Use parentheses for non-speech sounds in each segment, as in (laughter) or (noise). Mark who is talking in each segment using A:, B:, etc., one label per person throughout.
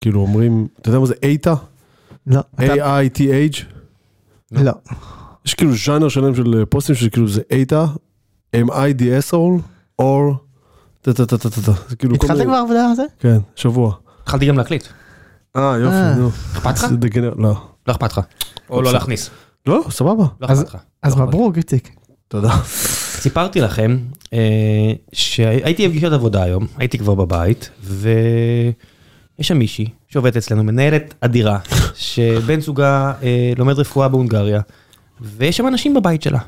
A: כאילו אומרים, אתה יודע מה זה אייטה?
B: לא. אתה-
A: A-I-T-H?
B: לא.
A: יש כאילו ז'אנר שלם של פוסטים שכאילו זה אייטה, M-I-D-S all, or, טה טה טה טה טה טה. זה כאילו כל
B: התחלת
A: מיני-
B: כבר עבודה על זה?
A: כן, שבוע.
C: התחלתי גם להקליט.
A: אה,
B: אה.
A: יופי, נו.
C: אכפת לך?
A: זה דגנר- לא.
C: לא אכפת לך. או לא להכניס.
A: לא, סבבה.
C: לא
B: אז-
C: אכפת לך.
B: אז
A: אוקיי.
C: לא אכפת
B: מברוק, איציק.
A: תודה. (laughs)
C: סיפרתי לכם אה, שהייתי בפגישת עבודה היום, הייתי כבר בבית, ויש שם מישהי שעובדת אצלנו, מנהלת (laughs) אדירה, שבן זוגה אה, לומד רפואה בהונגריה, ויש שם אנשים בבית שלה.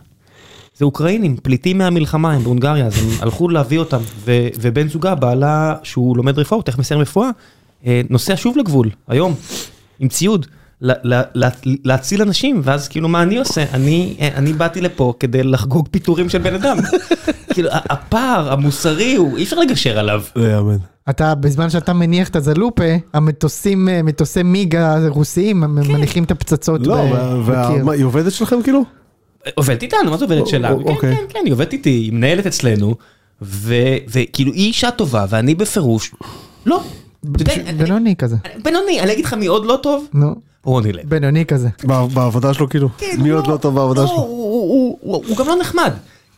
C: זה אוקראינים, פליטים מהמלחמה, הם בהונגריה, אז (laughs) הם הלכו להביא אותם, ו, ובן זוגה, בעלה, שהוא לומד רפואה, הוא תכף מסיים רפואה, אה, נוסע שוב לגבול, היום, עם ציוד. ל- ל- ל- להציל אנשים, ואז כאילו מה אני עושה? אני, אה, אני באתי לפה כדי לחגוג פיטורים של בן אדם. כאילו ה- הפער המוסרי הוא, אי אפשר לגשר עליו.
A: לא יאמן.
B: אתה, בזמן שאתה מניח את הזלופה, המטוסים, אה, מטוסי מיג הרוסיים, הם
C: כן.
B: מניחים את הפצצות
A: לא,
B: ב-
A: וה- וה-
B: בקיר.
A: מה, היא עובדת שלכם כאילו?
C: עובדת איתנו, מה זה עובדת
A: או-
C: שלה?
A: או-
C: כן,
A: אוקיי.
C: כן, כן, היא עובדת איתי, היא מנהלת אצלנו, ו- וכאילו היא אישה טובה, ואני בפירוש, לא. אתה יודע, אני-
B: בינוני כזה.
C: בינוני, אני אגיד לך מי עוד לא טוב?
B: נו,
C: רוני לב.
B: בינוני כזה.
A: בע- בעבודה שלו כאילו? מי עוד לא טוב בעבודה שלו?
C: הוא גם לא נחמד.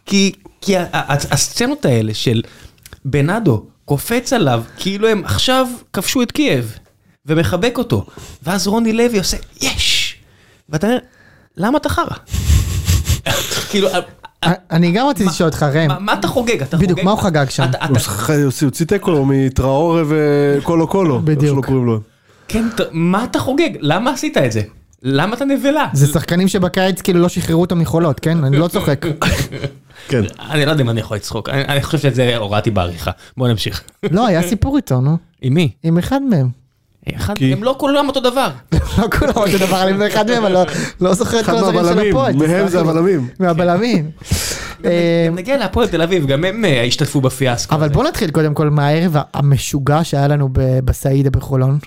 C: כי כי ה- ה- הסצנות האלה של בנאדו קופץ עליו, כאילו הם עכשיו כבשו את קייב, ומחבק אותו, ואז רוני לוי עושה, יש! ואתה אומר, למה אתה חרא? (laughs) כאילו,
B: א- אה, אני גם רציתי לשאול אותך, ראם,
C: מה- מה אתה חוגג? אתה
B: בדיוק,
C: חוגג-
B: מה הוא חגג שם?
C: אתה-
A: הוא
C: אתה-
A: שח- הוציא תיקו מטראורה וקולו קולו. איך
B: בדיוק.
A: שלא קוראים לו.
C: כן, אתה- מה אתה חוגג? למה עשית את זה? למה אתה נבלה?
B: זה שחקנים שבקיץ כאילו לא שחררו אותם מחולות, כן? אני לא
C: (laughs)
B: צוחק.
A: כן.
C: אני לא יודע אם אני יכול לצחוק, אני אני חושב שאת זה הורדתי בעריכה. בוא נמשיך.
B: לא, היה סיפור איתו, נו.
C: עם מי?
B: עם אחד מהם. (laughs)
C: אחד,
A: כי-
C: הם לא כולם אותו דבר.
B: לא כולם אותו דבר, אני מאחד מהם, אני לא- לא זוכר את
A: אחד
B: כל הדברים של
A: מהבלמים,
B: הפועל.
A: מהם
B: תסלח
A: זה
B: לי.
A: הבלמים.
C: (laughs)
B: מהבלמים. אה,
C: גם נגיע להפועל תל אביב, גם הם אה, השתתפו בפיאסקו.
B: אבל
C: הזה.
B: בוא נתחיל קודם כל מהערב המשוגע שהיה לנו ב- בסעידה בחולון.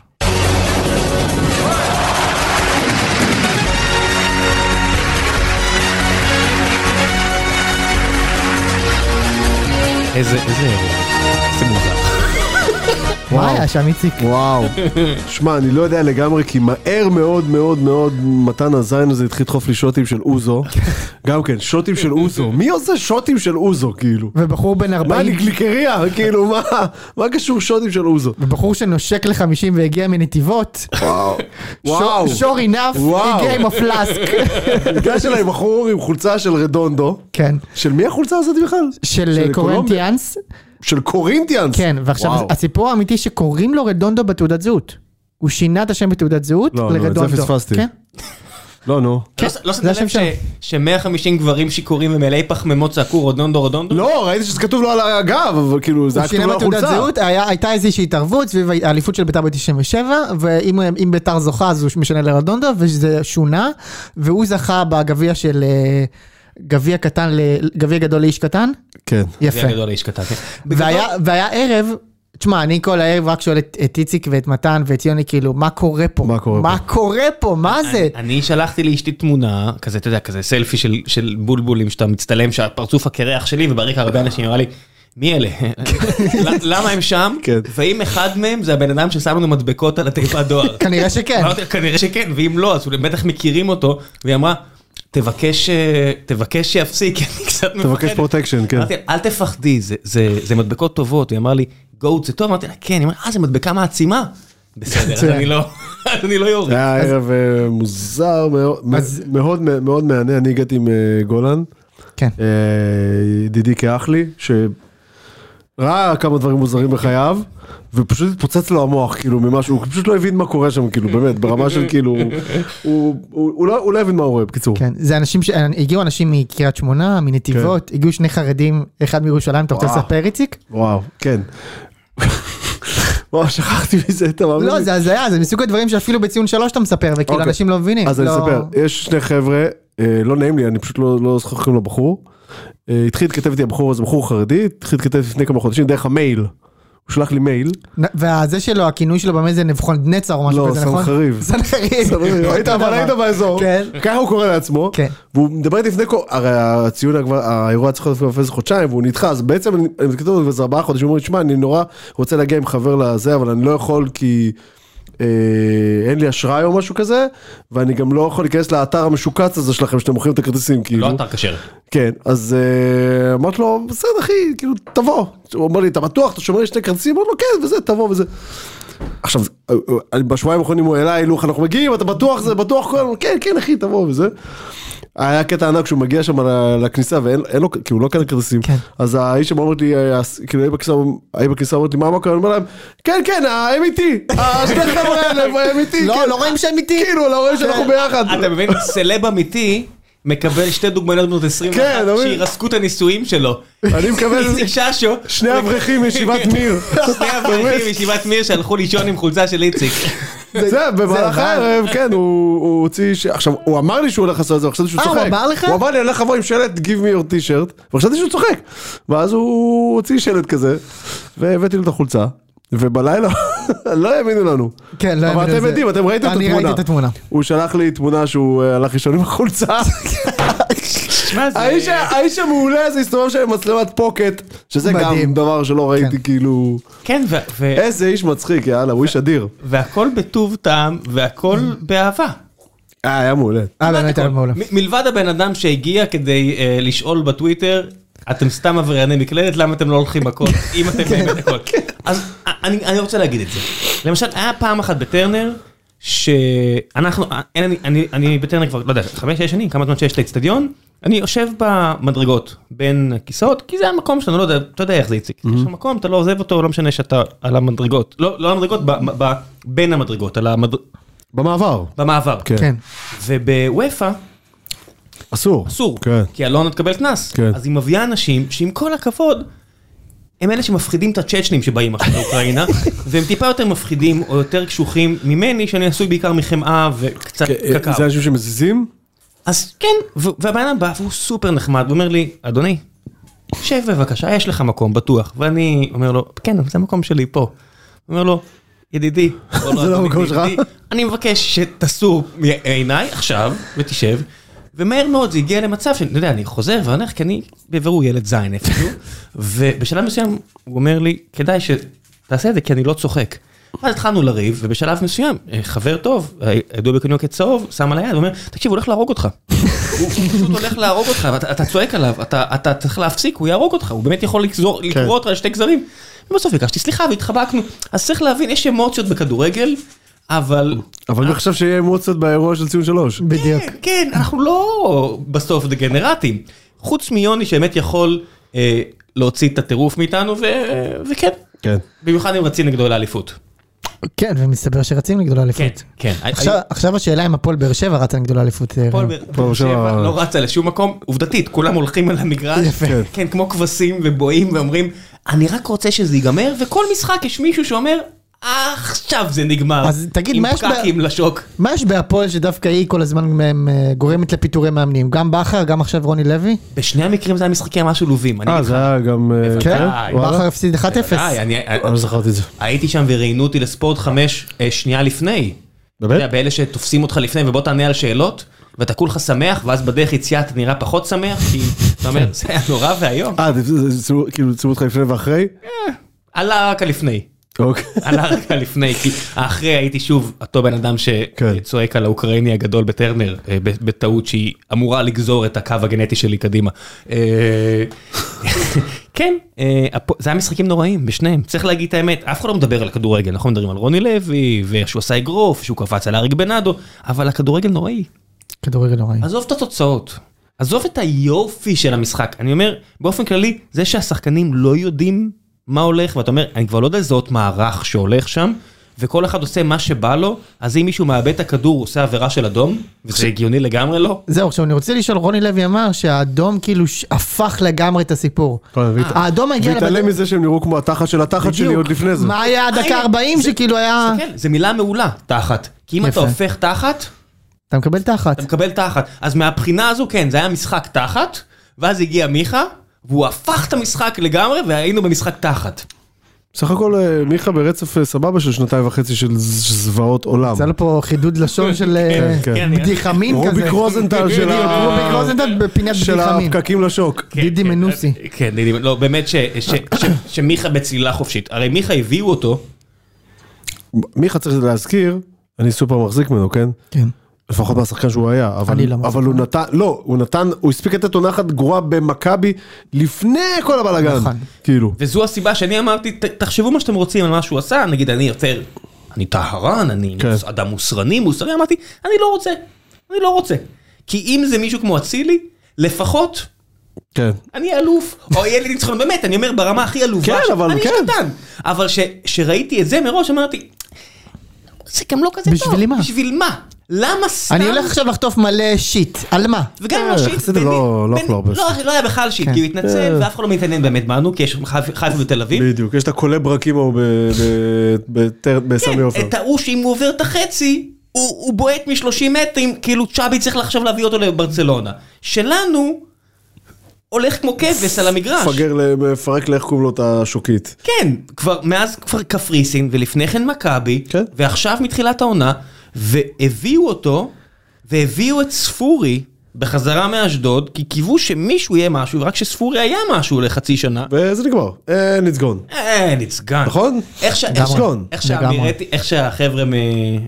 C: איזה, איזה אירוע. זה מוזר.
B: מה היה שם, איציק?
A: (laughs) וואו. שמע, אני לא יודע לגמרי, כי מהר מאוד מאוד מאוד מתן הזין הזה התחיל לדחוף לי שוטים של (laughs) אוזו. גם כן, שוטים של אוזו. מי עושה שוטים של אוזו, כאילו?
B: ובחור בן
A: מה,
B: 40,
A: אני גליקריה? כאילו, מה? מה קשור שוטים של אוזו?
B: ובחור שנושק ל-50 והגיע
A: (laughs)
B: מנתיבות.
A: וואו.
B: שור אינף,
A: וואו.
B: הגיע עם הפלאסק.
A: (laughs) ניגש אליי בחור עם חולצה של רדונדו.
B: כן.
A: של מי החולצה הזאת בכלל?
B: של אה,
A: של קולומביה.
B: קורנטיאנס.
A: של קורינטיאנס.
B: כן, ועכשיו
A: וואו.
B: הסיפור האמיתי שקוראים לו רדונדו בתעודת זהות. הוא שינה את השם בתעודת זהות
A: לא, לא, את זה
B: לרדונדו.
A: פספסתי.
B: כן?
A: לא, נו.
C: לא ש- לא
B: זה
C: שמת
B: השם
C: לב
B: שלו.
C: ש-150 גברים שיכורים ומלאי פחמימות צעקו רודונדו רודונדו?
A: לא, ראיתי שזה כתוב לו על הגב, אבל כאילו, זה
B: הוא
A: היה
B: שינה
A: כתוב לו על
B: בתעודת
A: החולצה.
B: זהות, היה- הייתה איזושהי התערבות סביב האליפות של ביתר ב-97, ואם אם ביתר זוכה אז הוא משנה לרדונדו, וזה שונה, והוא זכה בגביע של... אה, גביע קטן, ל- גביע גדול לאיש קטן,
A: כן.
C: זה
B: יפה.
C: היה גדול לאיש קטן. כן.
B: והיה, והיה ערב, תשמע, אני כל הערב רק שואל את, את איציק ואת מתן ואת יוני, כאילו, מה קורה פה?
A: מה קורה
B: מה קורה פה? מה זה?
C: אני-
A: אה,
C: אני שלחתי לאשתי תמונה, כזה, אתה יודע, כזה סלפי של- של בולבולים שאתה מצטלם, שהפרצוף הקרח שלי, וברקע הרבה אנשים אמרה לי, מי אלה? ל- (laughs) למה הם שם?
A: כן.
C: ואם אחד מהם זה הבן אדם ששם לנו מדבקות על התיבת
A: (laughs)
C: דואר.
B: כנראה שכן.
C: אמרתי, כנראה שכן, ואם לא, אז הם בטח מכירים אותו, והיא אמרה, תבקש, אה, תבקש שיפסיק, אני קצת מפחדת.
A: תבקש פרוטקשן, כן.
C: אמרתי, לה, אל תפחדי, זה- זה זה מדבקות טובות, היא אמרה לי, גוט זה טוב, אמרתי לה, כן, היא אמרה, אה, זה מדבקה מעצימה. בסדר, אז אני לא, (laughs) אז אני לא יורד.
A: היה ערב אה, מוזר מאוד,
B: אז-
A: מאוד מאוד מהנה, אני הגעתי עם אה, גולן,
B: כן.
A: אה, ידידי כאח לי, שראה כמה דברים מוזרים בחייו, ופשוט התפוצץ לו המוח, כאילו, ממה שהוא, הוא פשוט לא הבין מה קורה שם, כאילו, באמת, ברמה של כאילו, הוא- הוא- הוא לא- הוא לא הבין מה הוא רואה, בקיצור.
B: כן, זה אנשים ש... הגיעו אנשים מקריית שמונה, מנתיבות, הגיעו שני חרדים, אחד מירושלים, אתה רוצה
A: כן. וואו.
B: לספר איציק?
A: וואו, כן. (laughs) וואו, שכחתי מזה, אתה מאמין?
B: לא,
A: לי?
B: זה הזיה, זה מסוג הדברים שאפילו בציון שלוש אתה מספר, וכאילו
A: אוקיי.
B: אנשים לא מבינים.
A: אז אני
B: לא-
A: אספר, יש שני חבר'ה, אה, לא נעים לי, אני פשוט לא לא זוכר איך קוראים לבחור. אה, התחיל להתכתב איתי הבחור הזה, בחור חרדי, התחיל להתכתב לפני כמה חודשים דרך המייל. הוא שלח לי
B: (laughs)
A: מייל.
B: נ- והזה שלו, הכינוי שלו באמת זה נבחון נצר או משהו
A: לא,
B: כזה, נכון?
A: סנחריב.
B: סן חריב.
A: (laughs)
B: (laughs)
A: היית אבל היית באזור,
B: כן.
A: ככה הוא קורא לעצמו,
B: כן.
A: והוא מדבר איתי לפני כל, הרי הציון, היה כבר- האירוע צריך להיות לפני איזה חודשיים והוא נדחה, אז בעצם אני אני מתכתב איתו כבר איזה ארבעה חודשים, הוא אומר לי, שמע, אני נורא רוצה להגיע עם חבר לזה, אבל אני לא יכול כי אה, אין לי אשראי או משהו כזה, ואני גם לא יכול להיכנס לאתר המשוקץ הזה שלכם שאתם מוכרים את הכרטיסים, כאילו.
C: לא אתר כשר.
A: כן, אז אה, אמרתי לו, בסדר אחי, כאילו, תבוא. הוא אמר לי, אתה בטוח, אתה שומר לי שני כרטיסים? אמרתי לו, כן, וזה, תבוא וזה. עכשיו, אה, אה, אני- בשבועיים האחרונים הוא העלה הילוך, אנחנו מגיעים, אתה בטוח זה, בטוח כל הזמן, כן, כן, אחי, תבוא וזה. היה קטע ענק שהוא מגיע שם ל- לכניסה ואין אין לו, כאילו לא כאלה כרטיסים.
B: כן.
A: אז האיש שם אומר לי, אה, הס- כאילו, האם בכניסה, האם בכניסה אומרת לי, מה, מה קורה? אני אומר להם, כן, כן, הם איתי, השני חבר'ה האלה, הם איתי,
B: לא,
A: כן."
B: לא רואים שהם איתי? כן.
A: כאילו, לא רואים שאנחנו ביחד.
C: אתה מבין? סלב אמיתי מקבל שתי דוגמניות בנות 21
A: כן, אתה מבין?
C: שירסקו את הנישואים שלו.
A: אני מקבל
C: איציק (laughs) ששו.
A: שני אברכים מישיבת מיר.
C: שני אברכים ישיבת מיר שהלכו לישון עם חולצה של איציק.
A: זה, במהלך
B: זה הבעל.
A: הערב, כן, הוא הוא הוציא, ש- עכשיו, הוא אמר לי שהוא הולך לעשות את זה, וחשבתי שהוא
B: אה, הוא
A: צוחק.
B: אמר לך?
A: הוא אמר לי, אני הולך לבוא עם שלט, give me your t-shirt, וחשבתי שהוא צוחק. ואז הוא הוציא שלט כזה, והבאתי לו את החולצה, ובלילה (laughs) לא האמינו לנו.
B: כן, לא האמינו
A: אבל אתם
B: לזה.
A: יודעים, אתם ראיתם את
B: אני
A: התמונה.
B: ראיתי את התמונה.
A: הוא שלח לי תמונה שהוא אה, הלך לישון עם
B: (laughs)
A: החולצה.
C: שמע, זה-
A: האיש ה- האיש המעולה הזה הסתובב שם עם מצלמת פוקט, שזה
B: מדהים.
A: גם דבר שלא ראיתי, כאילו...
C: כן, ו- ו-
A: איזה איש מצחיק, יאללה, הוא איש אדיר.
C: והכל בטוב טעם והכל באהבה.
A: אה, היה מעולה.
B: אה, באמת, היה מעולה.
C: מ- מלבד הבן אדם שהגיע כדי אה, לשאול בטוויטר, אתם סתם עברייני מקלדת, למה אתם לא הולכים מכות, אם אתם באמת מכות. אז א- אני אני רוצה להגיד את זה. למשל, היה פעם אחת בטרנר, שאנחנו, אה, אין, אני- אני- אני בטרנר כבר, לא יודע, חמש, שש שנים, כמה זמן שיש את האצטדיון, אני יושב במדרגות בין הכיסאות, כי זה המקום שלנו, לא יודע, אתה יודע איך זה איציק. יש לך מקום, אתה לא עוזב אותו, לא משנה שאתה על המדרגות. לא לא על המדרגות, ב- ב- ב- בין המדרגות, על המדר-
A: במעבר.
C: במעבר.
A: כן.
B: כן.
C: ובוופא,
A: אסור.
C: אסור,
A: כן.
C: כי אלונה תקבל קנס.
A: כן.
C: אז היא מביאה אנשים שעם כל הכבוד, הם אלה שמפחידים את הצ'צ'נים שבאים
A: (laughs)
C: עכשיו לאוקראינה, והם טיפה יותר מפחידים או יותר קשוחים ממני, שאני עשוי בעיקר מחמאה וקצת
A: אה,
C: קקאו.
A: זה אנשים שמזיזים?
C: אז כן, ו- והבן אדם בא והוא סופר נחמד, הוא אומר לי, אדוני, שב בבקשה, יש לך מקום בטוח. ואני אומר לו, כן, אבל זה המקום שלי פה. הוא אומר לו,
A: (laughs)
C: ידידי, או
A: זה לא
C: אדוני,
A: המקום שלך?
C: ידידי, אני מבקש שתסור מעיניי עכשיו ותשב. ומהר מאוד זה הגיע למצב שאני, אתה יודע, אני חוזר ואני הולך, כי אני בבירור ילד זין איפשהו, (laughs) ובשלב מסוים הוא אומר לי, כדאי שתעשה את זה, כי אני לא צוחק. ואז התחלנו לריב, ובשלב מסוים, אה, חבר טוב, אה, ידוע בכינוי כצהוב, שם על היד, ואומר, תקשיב, הוא הולך להרוג אותך. הוא פשוט הולך להרוג אותך, ואתה אתה צועק עליו, אתה, אתה צריך להפסיק, הוא יהרוג אותך, הוא באמת יכול לגזור, לקרוא אותך לשתי גזרים. ובסוף ביקשתי סליחה והתחבקנו. אז צריך להבין, יש אמוציות בכדורגל, אבל...
A: אבל
B: אה.
A: אני חושב שיהיה אמוציות באירוע של ציון שלוש.
B: בדיוק.
C: כן, כן, אנחנו לא בסוף דגנרטים. חוץ מיוני שבאמת יכול אה, להוציא את הטירוף מאיתנו, ו, וכן.
A: כן.
C: במיוחד אם רצים נגדו לאליפות.
B: כן, ומסתבר שרצים לגדול
C: כן,
B: האליפות.
C: כן.
B: עכשיו- עכשיו השאלה אם הפועל באר שבע רצה לגדול האליפות.
C: הפועל
B: אה,
C: באר שבע
A: שבע.
C: לא רצה לשום מקום, עובדתית, כולם הולכים על המגרש,
B: יפה.
A: כן.
C: כן, כמו כבשים ובואים ואומרים, אני רק רוצה שזה ייגמר, וכל משחק יש מישהו שאומר, עכשיו זה נגמר.
B: אז תגיד, מה יש
C: עם
B: ב-
C: פקקים לשוק.
B: מה יש בהפועל שדווקא היא כל הזמן מהם, אה, גורמת לפיטורי מאמנים? גם בכר, גם עכשיו רוני לוי?
C: בשני המקרים זה היה משחקים ממש עלובים. אני
A: אה,
C: אגיד לך,
A: זה היה גם... אה,
C: בוודאי.
A: וואלה.
B: בכר הפסיד 1-0.
C: די, אני- אה,
A: אני לא זכרתי את זה.
C: הייתי שם וראיינו אותי לספורט 5 שנייה לפני.
A: באמת?
C: אתה יודע, באלה שתופסים אותך לפני ובוא תענה על שאלות, ואתה כולך שמח, ואז בדרך יציאה אתה נראה פחות שמח, כי אתה אומר, זה היה נורא ואיום.
A: אה, זה- זה- זה צילמו- כאילו צילמו אותך לפני ואחרי?
C: עלה רק הלפני.
A: אוקיי.
B: כן,
C: עלה רק הלפני, כי האחרי הייתי שוב אותו בן אדם
A: כן.
C: שצועק על האוקראיני הגדול בטרנר, אה, ב- בטעות שהיא אמורה לגזור את הקו הגנטי שלי קדימה. אה, (laughs) כן, אה, הפו- זה היה משחקים נוראים בשניהם, צריך להגיד את האמת, אף אחד לא מדבר על הכדורגל, אנחנו מדברים על רוני לוי, ושהוא עשה אגרוף, שהוא קפץ על אריק בנאדו, אבל הכדורגל נוראי.
B: כדורגל נוראי.
C: עזוב את התוצאות, עזוב את היופי של המשחק. אני אומר, באופן כללי, זה שהשחקנים לא יודעים מה הולך, ואתה אומר, אני כבר לא יודע לזהות מערך שהולך שם, וכל אחד עושה מה שבא לו, אז אם מישהו מאבד את הכדור, הוא עושה עבירה של אדום, וזה הגיוני לגמרי לא.
B: זהו, עכשיו אני רוצה לשאול, רוני לוי אמר שהאדום כאילו ש- הפך לגמרי את הסיפור.
A: אה, והת-
B: האדום הגיע
A: והתעלם
B: לבד-
A: מזה שהם נראו כמו התחת של התחת שלי
B: בדיוק.
A: עוד לפני זה.
B: מה היה הדקה
C: הנה,
B: 40
C: אה, זה- כן.
B: שכאילו היה...
C: תסתכל, זו מילה מעולה, תחת. כי אם
B: אה. יפה.
C: אתה הופך תחת,
B: אתה מקבל תחת.
C: אתה מקבל תחת. אז מהבחינה הזו, כן, זה היה משחק תחת, ואז הגיע מיכה, והוא הפך את המשחק לגמרי, והיינו במשחק תחת.
A: סך הכל אה, מיכה ברצף אה, סבבה של שנתיים וחצי של ז- זוועות עולם.
B: עשה לו פה חידוד לשון של אה,
A: כן.
C: כן, אני-
B: בדיחה מין כזה.
A: רוביק רוזנטל של
B: בדיוק,
A: ה-
B: רוביק רוזנטל בפינת
A: של
B: בדיחה מין.
A: הפקקים לשוק.
C: כן,
B: דידי
C: כן,
B: מנוסי. אה.
C: אה, כן, דידי, לא, באמת ש- ש- ש- שמיכה בצלילה חופשית. הרי מיכה הביאו אותו
A: מיכה צריך להזכיר, אני סופר מחזיק ממנו, כן?
B: כן.
A: לפחות מהשחקן שהוא היה, אבל,
B: אני לא מחזיק
A: אבל הוא נתן, לא, הוא נתן, הוא הספיק לתת עונה אחת גרועה במכבי לפני כל הבלאגן,
B: נכון.
A: כאילו.
C: וזו הסיבה שאני אמרתי, "ת- תחשבו מה שאתם רוצים על מה שהוא עשה, נגיד אני יותר, אני טהרן, אני
A: כן.
C: מוס- אדם מוסרני, מוסרי, אמרתי, אני לא רוצה, אני לא רוצה. כי אם זה מישהו כמו אצילי, לפחות
A: כן.
C: אני אלוף, או יהיה לי ניצחון, באמת, אני אומר ברמה הכי עלובה,
A: כן,
C: ש-
A: אבל
C: אני
A: כן.
C: שקטן, אבל ש- שראיתי את זה מראש אמרתי, זה גם לא כזה טוב,
B: בשביל מה?
C: בשביל מה? למה סתם?
B: אני הולך עכשיו לחטוף מלא שיט, על מה?
C: וגם אם
A: אה,
C: לא שיט,
A: חסידי
C: ביני-
A: לא- לא
C: ביני-
A: אכלו הרבה אה.
C: לא לא היה בכלל שיט,
B: כן.
C: כי הוא התנצל ואף אחד לא מתעניין באמת בנו, כי יש חיפה חיפה ותל אביב,
A: בדיוק, יש את הקולב רקימו ב- ב- בטר- בסמי עופר.
C: כן, את ההוא שאם הוא עובר את החצי, הוא, הוא בועט מ-30 מטרים, כאילו צ'אבי צריך עכשיו להביא אותו לברצלונה. שלנו, הולך כמו כבש על המגרש.
A: מפגר, ל- מפרק לאיך קוראים לו את השוקית.
C: כן, כבר, מאז כבר קפריסין, ולפני כן מכבי,
A: כן.
C: ועכשיו מתחילת העונה, והביאו אותו, והביאו את ספורי בחזרה מאשדוד, כי קיוו שמישהו יהיה משהו, רק שספורי היה משהו לחצי שנה.
A: וזה נגמר, אה, ניצגון.
C: אין, it's gone.
A: נכון?
C: איך ש-
A: לגמרי.
C: איך ש- איך
B: לגמרי.
C: שהאמירתי- איך שהחבר'ה מ...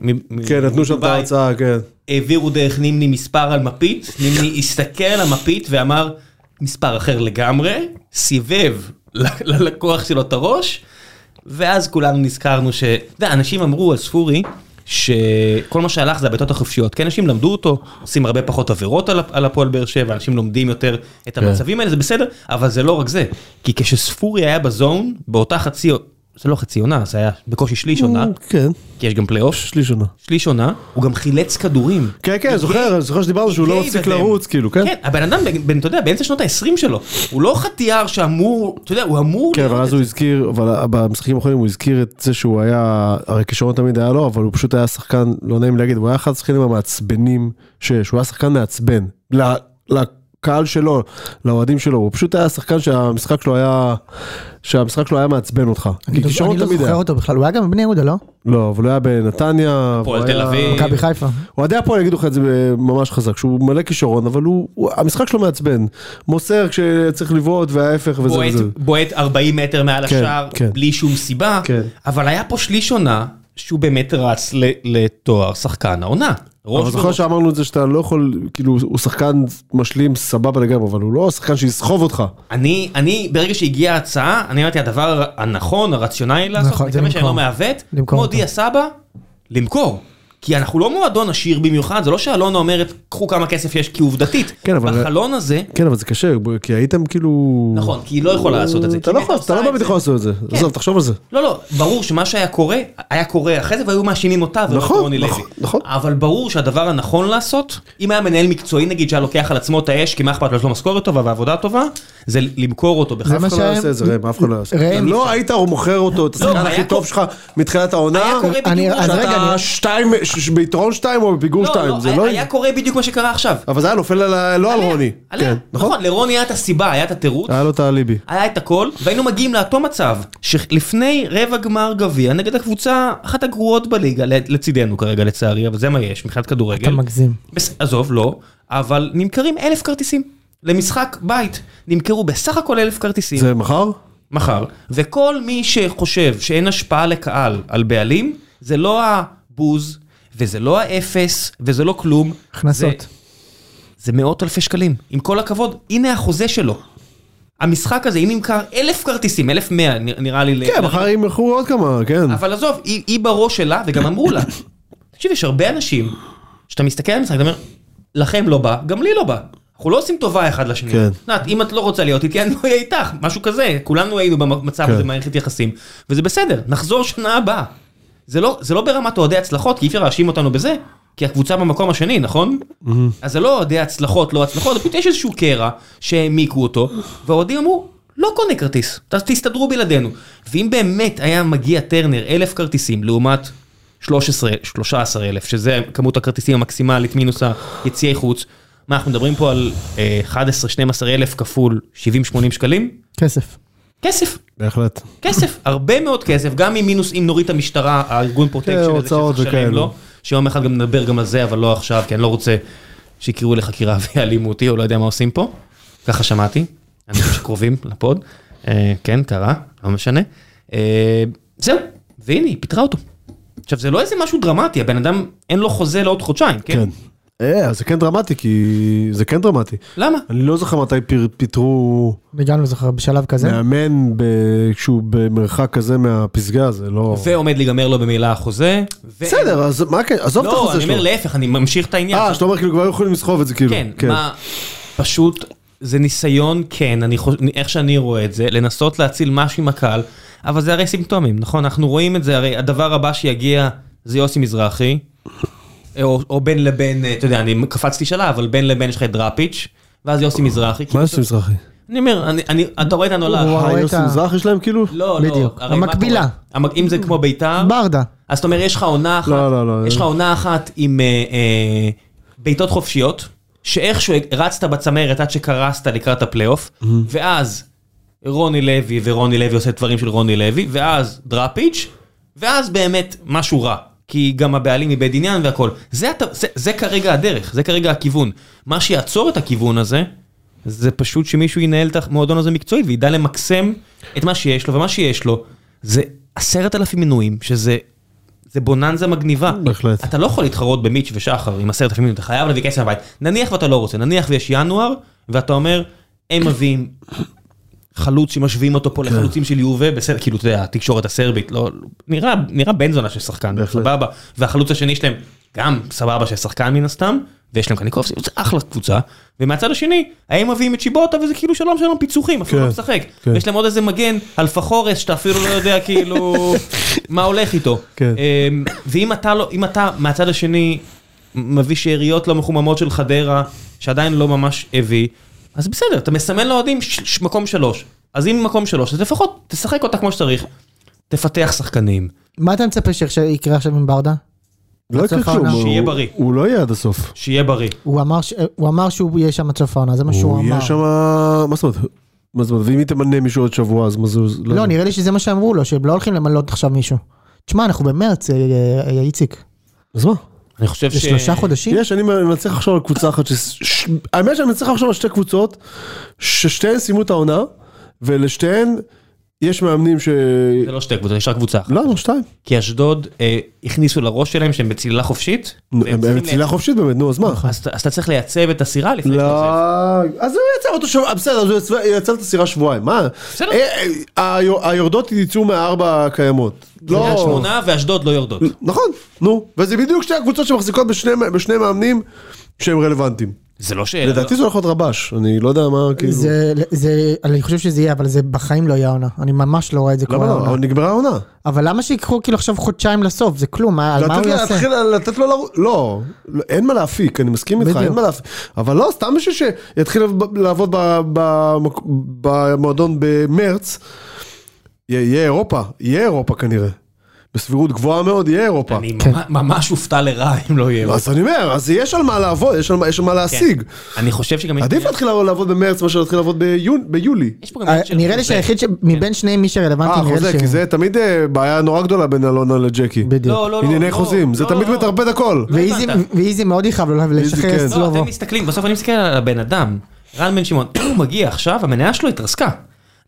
C: מ-
A: כן, נתנו שם את
C: מדובאי
A: ההרצאה, כן.
C: העבירו דרך נימני מספר על מפית, נימני הסתכל על המפית ואמר מספר אחר לגמרי, סיבב ל- ללקוח שלו את הראש, ואז כולנו נזכרנו ש... אתה יודע, אנשים אמרו על ספורי שכל מה שהלך זה הבעיטות החופשיות, כי אנשים למדו אותו, עושים הרבה פחות עבירות על, הפ- על הפועל באר שבע, אנשים לומדים יותר את המצבים האלה, זה בסדר, אבל זה לא רק זה, כי כשספורי היה בזון, באותה חצי... זה לא חצי עונה, זה היה בקושי שליש עונה,
A: כן.
C: כי יש גם פלייאוף.
A: שליש עונה.
C: שליש עונה, הוא גם חילץ כדורים.
A: כן, כן, זוכר, אני זוכר שדיברנו שהוא לא
C: גיי
A: מפסיק
C: בהם.
A: לרוץ, כאילו, כן?
C: אוקיי, כן, הבן אדם, בין- בין- אתה יודע, באמצע שנות ה-20 שלו, הוא לא חטיאר שאמור, אתה יודע, הוא אמור...
A: כן,
C: להיות-
A: אבל אז הוא הזכיר, אבל במשחקים האחרונים הוא הזכיר את זה שהוא היה, הרי כישרון תמיד היה לו, אבל הוא פשוט היה שחקן, לא נעים להגיד, הוא היה אחד השחקנים המעצבנים שיש, הוא היה שחקן מעצבן. ל- לקהל שלו, לאוהדים שלו, הוא פשוט היה שחקן שהמשחק שלו היה, שהמשחק שלו היה מעצבן אותך. כי
B: אני
A: כישרון
B: לא
A: תמיד
B: זוכר
A: היה.
B: אותו בכלל, הוא היה גם בבני יהודה, לא?
A: לא, אבל הוא היה בנתניה.
C: הפועל
A: והוא היה-
C: תל אביב.
B: מכבי חיפה.
C: כן.
A: אוהדי הפועל יגידו לך את זה ממש חזק, שהוא מלא כישרון, אבל הוא, הוא- המשחק שלו מעצבן. מוסר כשצריך לבעוט וההפך וזה
C: בועט-
A: וזה.
C: בועט 40 מטר מעל
A: כן,
C: השער,
A: כן.
C: בלי שום סיבה,
A: כן.
C: אבל היה פה שליש עונה שהוא באמת רץ ל- לתואר שחקן העונה. ראש
A: אבל זוכר
C: בראש.
A: שאמרנו את זה שאתה לא יכול, כאילו הוא שחקן משלים סבבה לגמרי, אבל הוא לא שחקן שיסחוב אותך.
C: אני, אני, ברגע שהגיעה ההצעה, אני אמרתי, הדבר הנכון, הרציונלי לעשות,
B: נכון,
C: נכון,
B: זה
C: מקווה שאני
B: למכור.
C: לא מעוות,
B: למכור
C: כמו
B: אותו.
C: דיה סבא, למכור. כי אנחנו לא מועדון עשיר במיוחד, זה לא שאלונה אומרת, קחו כמה כסף יש, כי עובדתית,
A: כן, אבל-
C: בחלון הזה,
A: כן, אבל זה קשה, כי הייתם כאילו...
C: נכון, כי היא לא יכולה לעשות את זה.
A: אתה
C: כי
A: לא
C: אם
A: יכול,
C: הייתה
A: אתה לא
C: עושה
A: באמת
C: את
A: יכול
C: זה-
A: לעשות את זה. עזוב, תחשוב על זה.
C: לא, לא, ברור שמה שהיה קורה, היה קורה אחרי זה, והיו מאשימים אותה ולא את
A: נכון,
C: רוני לוי.
A: נכון, נכון.
C: אבל ברור שהדבר הנכון לעשות, אם היה מנהל מקצועי נגיד שהיה לוקח על עצמו את האש, כי מה אכפת לו, יש לו משכורת טובה ועבודה טובה, זה למכור אותו
B: זה
C: בכלל.
A: אף
B: מה
A: אחד לא
B: שהיה-
A: יעשה את זה, ראם, אף אחד לא יעשה.
B: ראם-
A: אתה לא היית מוכר אותו, את השחקן
C: לא, היה
A: הכי טוב
C: קורה-
A: שלך מתחילת העונה.
C: היה קורה
B: אני-
C: בדיוק
B: אז רגע,
A: שאתה
B: אני-
A: שתיים, ש- ש- ביתרון שתיים או בפיגור
C: לא,
A: שתיים,
C: לא,
A: זה
C: היה-
A: לא...
C: היה קורה בדיוק מה שקרה עכשיו.
A: אבל זה היה נופל על ה- לא על
C: עליה,
A: רוני.
C: עליה.
A: כן, נכון. אה.
C: נכון, לרוני היה את הסיבה, היה את התירוץ,
A: היה לו את האליבי.
C: היה את הכל, והיינו מגיעים לאותו מצב, שלפני רבע גמר גביע, נגד הקבוצה, אחת הגרועות בליגה, לצידנו כרגע לצערי, אבל זה מה יש, מבחינת כדורגל.
B: אתה מגזים.
C: בס... עזוב, לא, אבל נמכרים אלף כרטיסים. למשחק בית נמכרו בסך הכל אלף כרטיסים זה...
A: זה מחר?
C: מחר, וכל מי שחושב שאין השפעה לקהל על בעלים, זה לא הבוז, וזה לא האפס, וזה לא כלום.
B: הכנסות.
C: זה, זה מאות אלפי שקלים. עם כל הכבוד, הנה החוזה שלו. המשחק הזה, אם נמכר אלף כרטיסים, אלף מאה נראה לי... ל-
A: כן, מחר הם ילכו עוד כמה, כן.
C: אבל עזוב, היא, היא בראש שלה, וגם
A: (laughs)
C: אמרו לה. תקשיב, יש הרבה אנשים, שאתה מסתכל על המשחק, אתה אומר, לכם לא בא, גם לי לא בא. אנחנו לא עושים טובה אחד לשני.
A: כן.
C: נת, אם את לא רוצה להיות איתי, אני לא אהיה איתך, משהו כזה. כולנו היינו במצב
A: כן.
C: הזה במערכת יחסים, וזה בסדר, נחזור שנה הבאה. זה לא, זה לא ברמת אוהדי הצלחות, כי אי אפשר להאשים אותנו בזה, כי הקבוצה במקום השני, נכון? אז זה לא אוהדי הצלחות, לא הצלחות, פשוט יש איזשהו קרע שהעמיקו אותו, והאוהדים אמרו, לא קונה כרטיס, ת- תסתדרו בלעדינו. ואם באמת היה מגיע טרנר אלף כרטיסים לעומת 13, 13 אלף, שזה כמות הכרטיסים המקסימלית מינוס היציאי חוץ, מה אנחנו מדברים פה על אה, 11-12 אלף כפול 70-80 שקלים?
B: כסף.
C: כסף.
A: בהחלט.
C: כסף, הרבה מאוד כסף, גם עם מינוס, אם נוריד את המשטרה, הארגון פרוטקשן הזה
A: כן, הוצאות
C: שצריך לשלם
A: וכאלו.
C: לו, שיום אחד גם נדבר גם על זה, אבל לא עכשיו, כי אני לא רוצה שיקראו לחקירה (laughs) ויעלימו אותי, או לא יודע מה עושים פה. ככה שמעתי, אנשים שקרובים לפוד, אה, כן, קרה, לא משנה. אה, זהו, והנה, היא פיטרה אותו. עכשיו, זה לא איזה משהו דרמטי, הבן אדם אין לו חוזה לעוד חודשיים, כן?
A: כן. אה, זה כן דרמטי, כי... זה כן דרמטי.
C: למה?
A: אני לא זוכר מתי פיר- פיטרו
B: אני גם לא זוכר בשלב
C: אה?
B: כזה.
A: מאמן ב- כשהוא במרחק כזה מהפסגה, זה לא...
C: ועומד להיגמר לו במילא החוזה. ו-
A: בסדר, אז מה כן, עזוב את
C: לא,
A: החוזה
C: אני
A: שלו.
C: אומר להפך, אני ממשיך את העניין.
A: אה, שאתה אומר כאילו כבר היו יכולים לסחוב את זה, כאילו.
C: כן, מה, פשוט זה ניסיון, כן, אני חוש... איך שאני רואה את זה, לנסות להציל משהו עם הקהל, אבל זה הרי סימפטומים, נכון? אנחנו רואים את זה, הרי הדבר הבא שיגיע זה יוסי מזרחי, או, או בין לבין, אה, אתה יודע, אני קפצתי שלה, אבל בין לבין יש לך את דראפיץ', ואז יוסי מזרחי.
A: מה
C: כאילו,
A: יש למזרחי?
C: אני אומר, אני, אני, אתה רואה את הנולד.
B: הוא- רואה
A: אה,
B: את
A: יוסי
B: ה-
A: מזרחי שלהם כאילו?
C: לא,
B: בדיוק,
C: לא. הרי מה
B: המקבילה.
C: קורה? המק- אם זה כמו ביתר,
B: ברדה.
C: אז אתה אומר, יש לך עונה אחת,
A: לא, לא, לא.
C: יש לך עונה אחת עם אה, אה, בעיטות חופשיות, שאיכשהו רצת בצמרת עד שקרסת לקראת הפלייאוף, ואז רוני לוי ורוני לוי עושה דברים של רוני לוי, ואז דראפיץ', ואז באמת משהו רע. כי גם הבעלים איבד עניין והכל. זה, הת- זה, זה כרגע הדרך, זה כרגע הכיוון. מה שיעצור את הכיוון הזה, זה פשוט שמישהו ינהל את המועדון הזה מקצועית וידע למקסם את מה שיש לו, ומה שיש לו זה עשרת אלפים מינויים, שזה זה בוננזה מגניבה.
A: בהחלט.
C: אתה לא יכול להתחרות במיץ' ושחר עם עשרת אלפים, אתה חייב להביא כסף מהבית. נניח ואתה לא רוצה, נניח ויש ינואר, ואתה אומר, הם מביאים חלוץ שמשווים אותו
A: כן.
C: פה לחלוצים של יובה, בסדר, כאילו, אתה יודע, התקשורת הסרבית, לא, נראה, נראה בן זונה של שחקן,
A: בהחלט.
C: סבבה, והחלוץ השני שלהם, גם סבבה של שחקן מן הסתם, ויש להם קניקובסקי, זה אחלה קבוצה, ומהצד השני, הם מביאים את שיבוטה וזה כאילו שלום שלום פיצוחים, אפילו
A: כן,
C: לא משחק,
A: כן.
C: ויש להם עוד איזה מגן, אלפה חורס, שאתה אפילו לא יודע
A: (laughs)
C: כאילו, מה הולך איתו.
A: כן.
C: אמ, ואם אתה לא, אם אתה מהצד השני מביא שאריות לא מחוממות של חדרה, שעדיין לא ממש הביא, אז בסדר, אתה מסמן לאוהדים ש- ש- מקום שלוש. אז אם מקום שלוש, אז לפחות תשחק אותה כמו שצריך. תפתח שחקנים.
B: מה אתה מצפה שעכשיו- יקרה עכשיו עם ברדה?
A: לא יקרה
B: הצלחה
A: כלום.
B: עונה.
A: הוא-
C: שיהיה בריא.
A: הוא לא יהיה עד הסוף.
C: שיהיה בריא.
B: הוא אמר ש- הוא אמר שהוא יהיה שם עד סוף העונה, זה מה שהוא
A: הוא
B: אמר.
A: יהיה שם... מה זאת אומרת? מה זאת אומרת? ואם היא תמנה מישהו עוד שבוע, אז מה זה...
B: לא, נראה לי שזה מה שאמרו לו, שהם לא הולכים למלות עכשיו מישהו. תשמע, אנחנו במרץ, אה, אה, אה, איציק.
A: אז מה?
C: אני חושב
B: זה
C: ש...
B: שלושה חודשים?
A: יש, אני מצליח לחשוב על קבוצה אחת ש... ש- האמת שאני מצליח לחשוב על שתי קבוצות ששתיהן סיימו את העונה, ולשתיהן יש מאמנים ש...
C: זה לא שתי קבוצות, יש רק קבוצה. אחת.
A: לא, לא, שתיים.
C: כי אשדוד אה, הכניסו לראש שלהם שהם בצלילה חופשית. והם
A: הם
C: צריכים
A: בצלילה חופשית באמת, נו, אז מה?
C: לייצב- אה, אז אתה- אז אתה צריך לייצב את הסירה לפני
A: לא,
C: שאתה עוזב.
A: אז הוא יצר אותו שבוע, בסדר, אז הוא יצר את הסירה שבועיים, מה?
C: בסדר.
A: אה, אה, היו- היורדות יצאו מהארבע הקיימות.
C: קריית
A: לא...
C: שמונה ואשדוד לא יורדות.
A: נכון, נו. וזה בדיוק שתי הקבוצות שמחזיקות בשני בשני מאמנים שהם רלוונטיים.
C: זה לא שאלה.
A: לדעתי זה הולך להיות רבש, אני לא יודע מה, כאילו...
B: זה, זה, אני חושב שזה יהיה, אבל זה בחיים לא יהיה עונה. אני ממש לא רואה את זה
A: למה
B: קורה
A: לא?
B: העונה.
A: אבל נגמרה העונה.
B: אבל למה שיקחו כאילו עכשיו חודשיים לסוף? זה כלום, מה- על מה
A: לתת
B: הוא
A: לו
B: יעשה?
A: להתחיל, לתת לו לרוץ, לא, לא, אין מה להפיק, אני מסכים איתך,
B: בדיוק.
A: אין מה להפיק, אבל לא, סתם מישהו שיתחיל לב- לעבוד ב- במק- במועדון במרץ, יהיה- יהיה אירופה, יהיה אירופה כנראה, בסבירות גבוהה מאוד יהיה אירופה.
C: אני
B: כן.
C: ממ- ממש אופתע לרע אם לא יהיה.
A: אז אני אומר, אז יש על מה לעבוד, יש על מה-
C: כן.
A: יש על מה להשיג.
C: אני חושב שגם... יש-
A: עדיף להתחיל לעבוד במרץ מאשר להתחיל לעבוד ביון- ביולי.
C: יש פה גם
B: אה,
C: עניין של
B: נראה לי
C: חוזה.
B: שהיחיד שמבין שניהם מי שרלוונטי
A: אה,
B: נראה לי
A: חוזה,
B: ש...
A: כי זה תמיד אה, בעיה נורא גדולה בין אלונה לג'קי.
B: בדיוק.
C: לא, לא, לא.
A: ענייני
C: לא,
A: חוזים, זה
C: לא,
A: תמיד
C: לא.
A: מטרפד הכל.
C: לא
B: ואיזי-
C: הבנת.
B: ואיזי מאוד יכאב לו
A: כן.
B: לשחרר את
A: לא,
C: לא,
B: סלובו.
C: אתם מסתכלים, בסוף אני מסתכל על הבן אדם, רן בן שמעון, אם הוא מגיע עכשיו, המניה שלו התרסקה.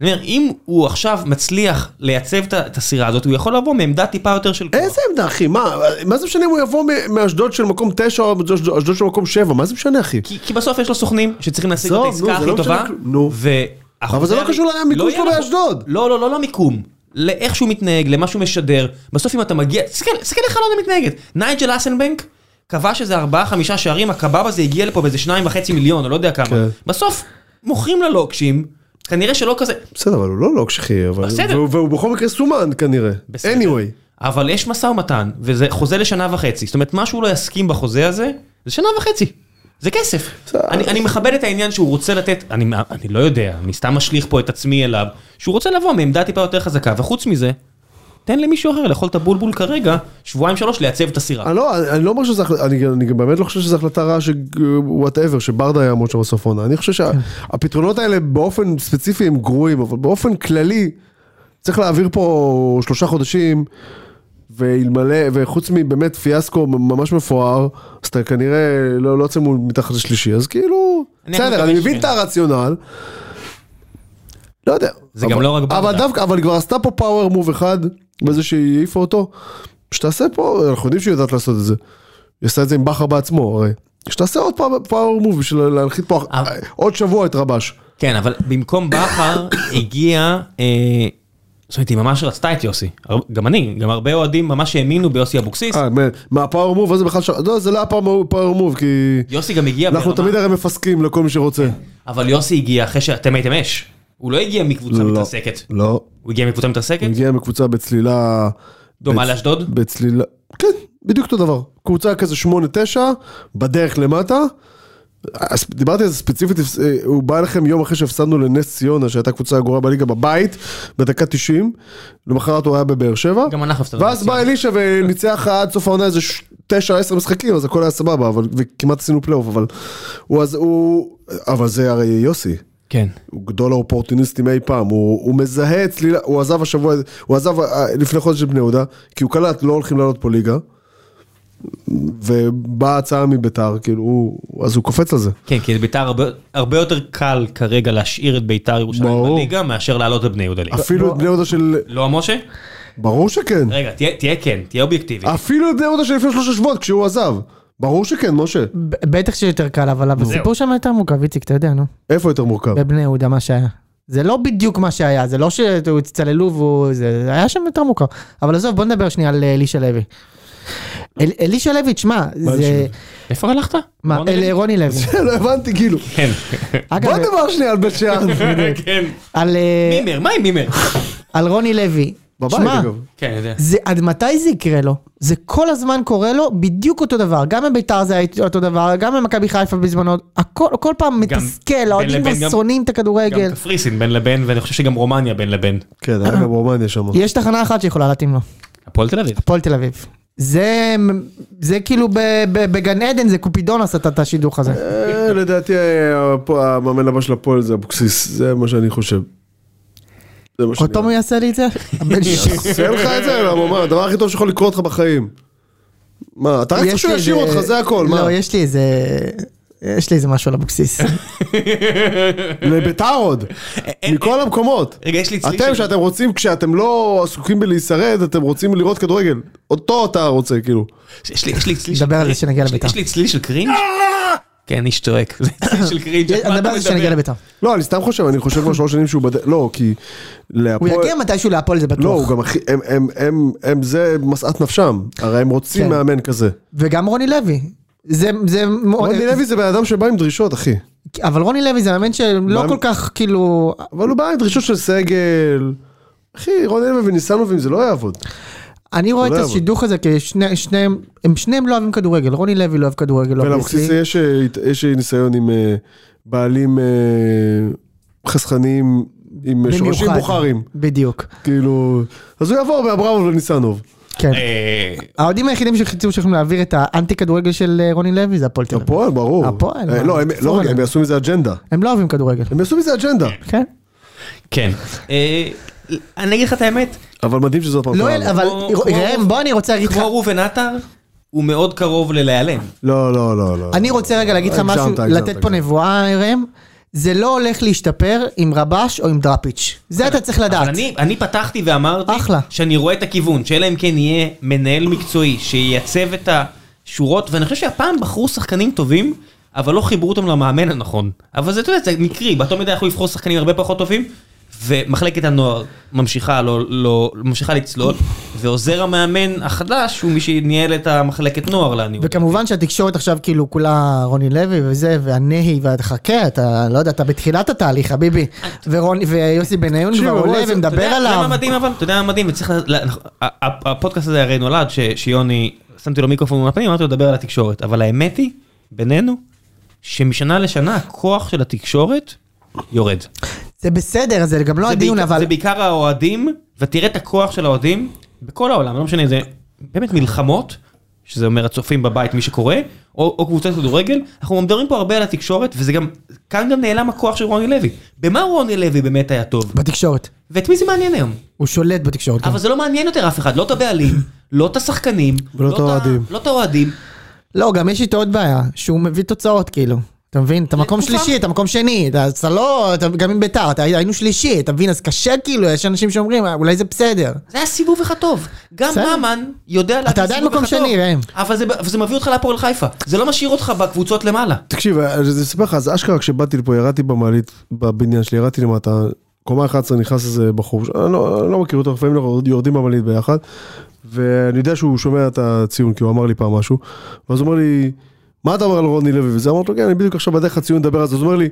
C: אני אומר, אם הוא עכשיו מצליח לייצב את ה- את הסירה הזאת, הוא יכול לבוא מעמדה טיפה יותר של כוח.
A: איזה עמדה אחי, מה, מה זה משנה אם הוא יבוא מ- מאשדוד של מקום תשע או מאשדוד אשדוד של מקום שבע, מה זה משנה אחי?
C: כי, כי בסוף יש לו סוכנים שצריכים להשיג לו את
A: עזוב, נו,
C: העסקה
A: זה
C: הכי
A: לא משנה
C: טובה.
A: כלום. נו.
C: והחוזה
A: אבל זה לא
C: הרי-
A: קשור למיקום
C: יהיה
A: שלו
C: לו-
A: באשדוד.
C: לא, לא, לא למיקום. לאיך שהוא מתנהג, למה שהוא משדר. בסוף אם אתה מגיע, תסתכל תסתכל איך אלונה מתנהגת. נייג'ל אסנבנק כבש איזה ארבעה חמישה שערים, הקבב הזה הגיע לפה באיזה שניים וחצי מיליון, או לא יודע כמה.
A: כן.
C: בסוף מוכרים ללוקשים, כנראה שלא כזה,
A: בסדר, אבל הוא לא לוקש אחי, אבל...
C: בסדר.
A: והוא- והוא בכל מקרה סומן כנראה.
C: בסדר.
A: anyway.
C: אבל יש משא ומתן, וזה חוזה לשנה וחצי. זאת אומרת, מה שהוא לא יסכים בחוזה הזה, זה שנה וחצי. זה כסף. אני, אני מכבד את העניין שהוא רוצה לתת, אני, אני לא יודע, אני סתם משליך פה את עצמי אליו, שהוא רוצה לבוא מעמדה טיפה יותר חזקה, וחוץ מזה, תן למישהו אחר לאכול את הבולבול כרגע, שבועיים שלוש לייצב את הסירה.
A: אני לא, אני- אני לא אומר שזה, החלטה- אני, אני גם באמת לא חושב שזו החלטה רעה שוואטאבר, שברדה יעמוד שם בסוף העונה. אני חושב שהפתרונות האלה באופן ספציפי הם גרועים, אבל באופן כללי, צריך להעביר פה שלושה חודשים, ואלמלא, וחוץ מבאמת פיאסקו ממש מפואר, אז אתה כנראה לא, לא יוצא מול מתחת לשלישי, אז כאילו,
C: אני
A: בסדר,
C: מקווה
A: אני מבין
C: שכן.
A: את הרציונל. לא יודע.
C: זה
A: אבל-
C: גם לא רק ברדה.
A: אבל דווקא, אבל היא כבר עשתה פה פאוור מוב אחד, בזה שהיא העיפה אותו. שתעשה פה, אנחנו יודעים שהיא יודעת לעשות את זה. היא עשתה את זה עם בכר בעצמו, הרי. שתעשה עוד פעם פאוור מוב בשביל להנחית פה אח-
C: אבל-
A: עוד שבוע את רבש.
C: כן, אבל במקום בכר הגיע, אה, זאת אומרת, היא ממש רצתה את יוסי. הר- גם אני, גם הרבה אוהדים ממש האמינו ביוסי אבוקסיס.
A: אה, מה- מהפאוור מוב הזה בכלל, ש- לא, זה לא הפאוור מוב, כי
C: יוסי גם הגיע
A: אנחנו
C: ברמה-
A: תמיד הרי מפסקים לכל מי שרוצה.
C: כן, אבל יוסי הגיע אחרי שאתם הייתם אש. הוא לא הגיע מקבוצה
A: לא.
C: מתרסקת.
A: לא.
C: הוא הגיע מקבוצה מתרסקת?
A: הוא הגיע מקבוצה בצלילה...
C: דומה
A: בצ-
C: לאשדוד?
A: בצלילה... כן, בדיוק אותו דבר. קבוצה כזה 8-9, בדרך למטה. אז דיברתי על זה ספציפית, אה, הוא בא אליכם יום אחרי שהפסדנו לנס ציונה, שהייתה קבוצה הגרועה בליגה בבית, בדקה 90, למחרת הוא היה בבאר שבע.
C: גם אנחנו הפסדנו לנס
A: ואז בא
C: ציונה.
A: אלישע וניצח עד סוף העונה איזה ש- 9-10 משחקים, אז הכל היה סבבה, אבל, וכמעט עשינו פלייאוף, אבל הוא אז הוא... אבל זה הרי יוסי.
C: כן.
A: הוא גדול האופורטוניסטים אי פעם, הוא, הוא מזהה צלילה, הוא עזב השבוע, הוא עזב אה, לפני חודש את בני יהודה, כי הוא קלט, לא הולכים לעלות פה ליגה, ובאה הצעה מביתר, כאילו, הוא, אז הוא קופץ על זה.
C: כן, כי ביתר הרבה, הרבה יותר קל כרגע להשאיר את ביתר ירושלים
A: ברור.
C: בליגה מאשר לעלות את בני יהודה ליגה.
A: אפילו את בני יהודה של...
C: לא משה?
A: ברור שכן.
C: רגע, תהיה, תהיה כן, תהיה אובייקטיבי.
A: אפילו את בני יהודה של לפני שלושה שבועות, כשהוא עזב. ברור שכן, משה.
B: ב- בטח שיותר קל, אבל הסיפור שם יותר מורכב, איציק, אתה יודע, נו.
A: איפה יותר מורכב?
B: בבני יהודה, מה שהיה. זה לא בדיוק מה שהיה, זה לא שהצטללו והוא... זה זה היה שם יותר מוכר. אבל עזוב, בוא נדבר שנייה על אה, אלישע לוי. אל- אלישע לוי, תשמע, זה...
C: איפה הלכת?
B: מה,
C: רוני
B: אל-
C: לוי?
B: רוני לוי.
A: (laughs) לא הבנתי, כאילו.
C: כן. (laughs)
A: בוא
B: אגב, אה-
A: נדבר שנייה על בית שאן.
C: כן.
B: על, אה,
C: מימר, מה עם מימר?
B: על רוני לוי.
A: בבית,
B: תשמע,
A: אגב.
C: כן, אני יודע.
B: זה, עד מתי זה יקרה לו? זה כל הזמן קורה לו בדיוק אותו דבר. גם בביתר זה היה אותו דבר, גם במכבי חיפה בזמנו. הכל, כל פעם
C: גם
B: מתסכל,
C: בין
B: האוהדים
C: לבין
B: כבר
C: גם-
B: שונאים את
C: גם
B: הכדורגל.
C: קפריסין בין לבין, ואני חושב שגם רומניה בין לבין.
A: כן, היה גם רומניה שם.
B: יש תחנה אחת שיכולה להתאים לו,
C: הפועל תל אביב.
B: הפועל תל אביב. זה, זה כאילו ב, ב, בגן עדן, זה קופידון עשה את- את השידוך הזה.
A: אה, לדעתי אה, פה המאמן הבא של הפועל זה אבוקסיס, זה מה שאני חושב. זה מה שאני...
B: עוד פעם הוא יעשה
A: (laughs)
B: לי את זה?
A: לא.
B: הבן ש-
A: עושה לך את (laughs) זה? למה, מה, הדבר הכי טוב שיכול לקרות לך בחיים. מה, אתה רק צריך
B: יש
A: שהוא
B: לי
A: ישאיר
B: איזה-
A: אותך, זה הכל, מה?
B: לא, יש לי איזה... יש לי איזה משהו על אבוקסיס.
A: (laughs) לביתר עוד, מכל המקומות.
C: רגע, יש לי צליל
A: אתם,
C: של-
A: שאתם רוצים, כשאתם לא עסוקים בלהישרד, אתם רוצים לראות כדורגל. אותו אתה רוצה, כאילו.
C: יש לי יש לי צליל של
B: נדבר על זה
C: קרינג'.
B: כשנגיע
C: יש לי-
B: לביתר. אה!
C: יש לי צליל של קרינג'? כן, איש צועק. (laughs) זה צליל של קרינג'. מה אתה
B: נדבר על זה כשנגיע
C: מדבר?
B: לביתר.
A: לא, אני סתם חושב, אני חושב כבר שלוש שנים שהוא בד... לא, כי...
B: הוא
A: להפועל-
B: יגיע מתישהו להפועל זה
A: לא, הוא
B: בטוח.
A: גם הכי... הם, הם, הם, הם, זה משאת נפשם. הרי הם רוצים
B: כן.
A: מאמן כזה.
B: וגם רוני לוי. זה, זה,
A: רוני לוי זה בן אדם שבא עם דרישות, אחי.
B: אבל רוני לוי זה מאמן שלא
A: מה-
B: כל כך כאילו,
A: אבל הוא בא עם דרישות של סגל. אחי, רוני לוי וניסנובים זה לא יעבוד.
B: אני רואה את
A: לא יעבוד.
B: השידוך הזה כשניהם, הם שניהם לא אוהבים כדורגל, רוני לוי לא אוהב כדורגל,
A: ולאבוקסיס
B: obviously.
A: יש, אה, יש ניסיון עם אה, בעלים אה, חסכניים, עם
B: במיוחד.
A: שורשים בוכרים.
B: בדיוק,
A: כאילו... אז הוא יעבור מאברמוב לניסנוב.
B: כן.
C: אה,
B: האוהדים היחידים שחיצו שיכולים להעביר את האנטי כדורגל של אה, רוני לוי זה הפועל תל אביב.
A: הפועל, ברור.
B: הפועל,
A: אה,
B: מה?
A: לא, הם, לא,
B: הפועל.
A: רגע, הם יעשו מזה אג'נדה.
B: הם לא אוהבים כדורגל,
A: הם יעשו מזה אג'נדה.
B: כן.
C: כן. אה, אני אגיד לך את האמת,
A: אבל מדהים שזאת פעם
B: לא,
A: קרה לו.
B: אבל
C: כמו-
B: ראם,
C: כמו-
B: בוא אני רוצה להגיד לך,
C: כמו ראובן עטר, הוא מאוד קרוב ללהיעלם.
A: לא, לא, לא, לא.
B: אני רוצה רגע להגיד לך
A: הגזמת,
B: משהו,
A: הגזמת,
B: לתת פה
A: הגזמת.
B: נבואה ראם, זה לא הולך להשתפר עם רבש או עם דראפיץ', זה אתה צריך
C: אבל
B: לדעת.
C: אני, אני פתחתי ואמרתי
B: אחלה.
C: שאני רואה את הכיוון, שאלא אם כן יהיה מנהל מקצועי שייצב את השורות, ואני חושב שהפעם בחרו שחקנים טובים, אבל לא חיברו אותם למאמן הנכון. אבל זה, אתה יודע, זה מקרי, באותו מידה יכלו לבחור שחקנים הרבה פחות טובים, ומחלקת הנוער ממשיכה, לא, לא, ממשיכה לצלול, ועוזר המאמן החדש הוא מי שניהל את המחלקת נוער לניהול.
B: וכמובן שהתקשורת עכשיו כאילו כולה רוני לוי וזה, והנהי, וחכה, אתה לא יודע, אתה בתחילת התהליך, חביבי. ורוני- ויוסי בניון
A: תקשיב,
B: כבר
A: אבל
B: עולה
A: זה-
B: ומדבר
C: אתה יודע- אתה יודע
B: עליו.
C: מה מדהים אבל? אתה יודע מה מדהים? וצריך... ל- ל- ה- ה- הפודקאסט הזה הרי נולד ש- שיוני, שמתי לו מיקרופון מול הפנים, אמרתי לו לדבר על התקשורת. אבל האמת היא, בינינו, שמשנה לשנה הכוח של התקשורת יורד.
B: זה בסדר, זה גם לא
C: זה
B: הדיון,
C: בעיקר-
B: אבל
C: זה בעיקר האוהדים, ותראה את הכוח של האוהדים בכל העולם, לא משנה, זה באמת מלחמות, שזה אומר הצופים בבית, מי שקורא, או, או קבוצת כדורגל, אנחנו מדברים פה הרבה על התקשורת, וזה גם, כאן גם נעלם הכוח של רוני לוי. במה רוני לוי באמת היה טוב?
B: בתקשורת.
C: ואת מי זה מעניין היום?
B: הוא שולט בתקשורת.
C: אבל זה לא מעניין יותר אף אחד, לא את הבעלים, לא את השחקנים,
A: ולא את האוהדים.
C: לא את האוהדים.
B: לא, גם יש איתו עוד בעיה, שהוא מביא תוצאות כאילו. אתה מבין? אתה מקום
C: לתקופה.
B: שלישי, אתה מקום שני, אתה- אתה לא, אתה גם עם ביתר, אתה- היינו שלישי, אתה מבין? אז קשה כאילו, יש אנשים שאומרים, "אה, אולי זה בסדר.
C: זה היה סיבוב אחד טוב. גם
B: בסדר.
C: ממן יודע להביא
B: עדיין
C: סיבוב
B: מקום
C: אחד טוב.
B: שני, ראם.
C: אבל זה- אבל זה מביא אותך להפועל חיפה. זה לא משאיר אותך בקבוצות למעלה.
A: תקשיב, אז אני אספר לך, אז אשכרה כשבאתי לפה, ירדתי במעלית, בבניין שלי, ירדתי למטה, קומה 11 נכנס איזה בחור, אני לא, אני לא מכיר אותו, לפעמים אנחנו יורדים במעלית ביחד, ואני יודע שהוא שומע את הציון, כי הוא אמר לי פעם משהו, ואז הוא אומר לי, מה אתה אומר על רוני לוי וזה? אמרתי לו, כן, אני בדיוק עכשיו בדרך הציון לדבר על זה, אז הוא אומר לי,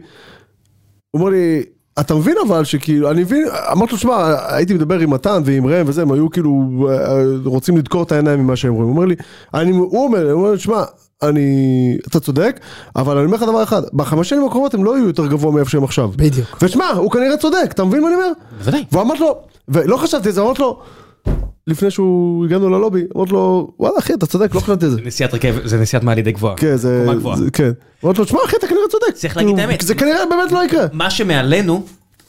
A: הוא אומר לי, אתה מבין אבל שכאילו, אני מבין, אמרתי לו, שמע, הייתי מדבר עם מתן ועם ראם וזה, הם היו כאילו אה, רוצים לדקור את העיניים ממה שהם רואים. הוא אומר לי, אני, הוא אומר, הוא אומר, שמע, אני, אתה צודק, אבל אני אומר לך דבר אחד, בחמש שנים הקרובות הם לא יהיו יותר גבוה מאיפה שהם עכשיו.
B: בדיוק.
A: ושמע, הוא כנראה צודק, אתה מבין מה אני אומר?
C: בוודאי.
A: ואמרתי לו, ולא חשבתי את זה, אמרתי לו, לפני שהוא, הגענו ללובי, אמרתי לו, וואלה אחי, אתה צודק, לא חשבתי על זה.
C: (laughs) נסיעת רכב, זה נסיעת מעלה די גבוהה.
A: כן, זה,
C: קומה גבוהה.
A: זה- כן. אמרתי לו, שמע אחי, אתה כנראה צודק.
C: צריך להגיד את
A: כאילו,
C: האמת.
A: זה כנראה באמת לא יקרה.
C: מה שמעלינו,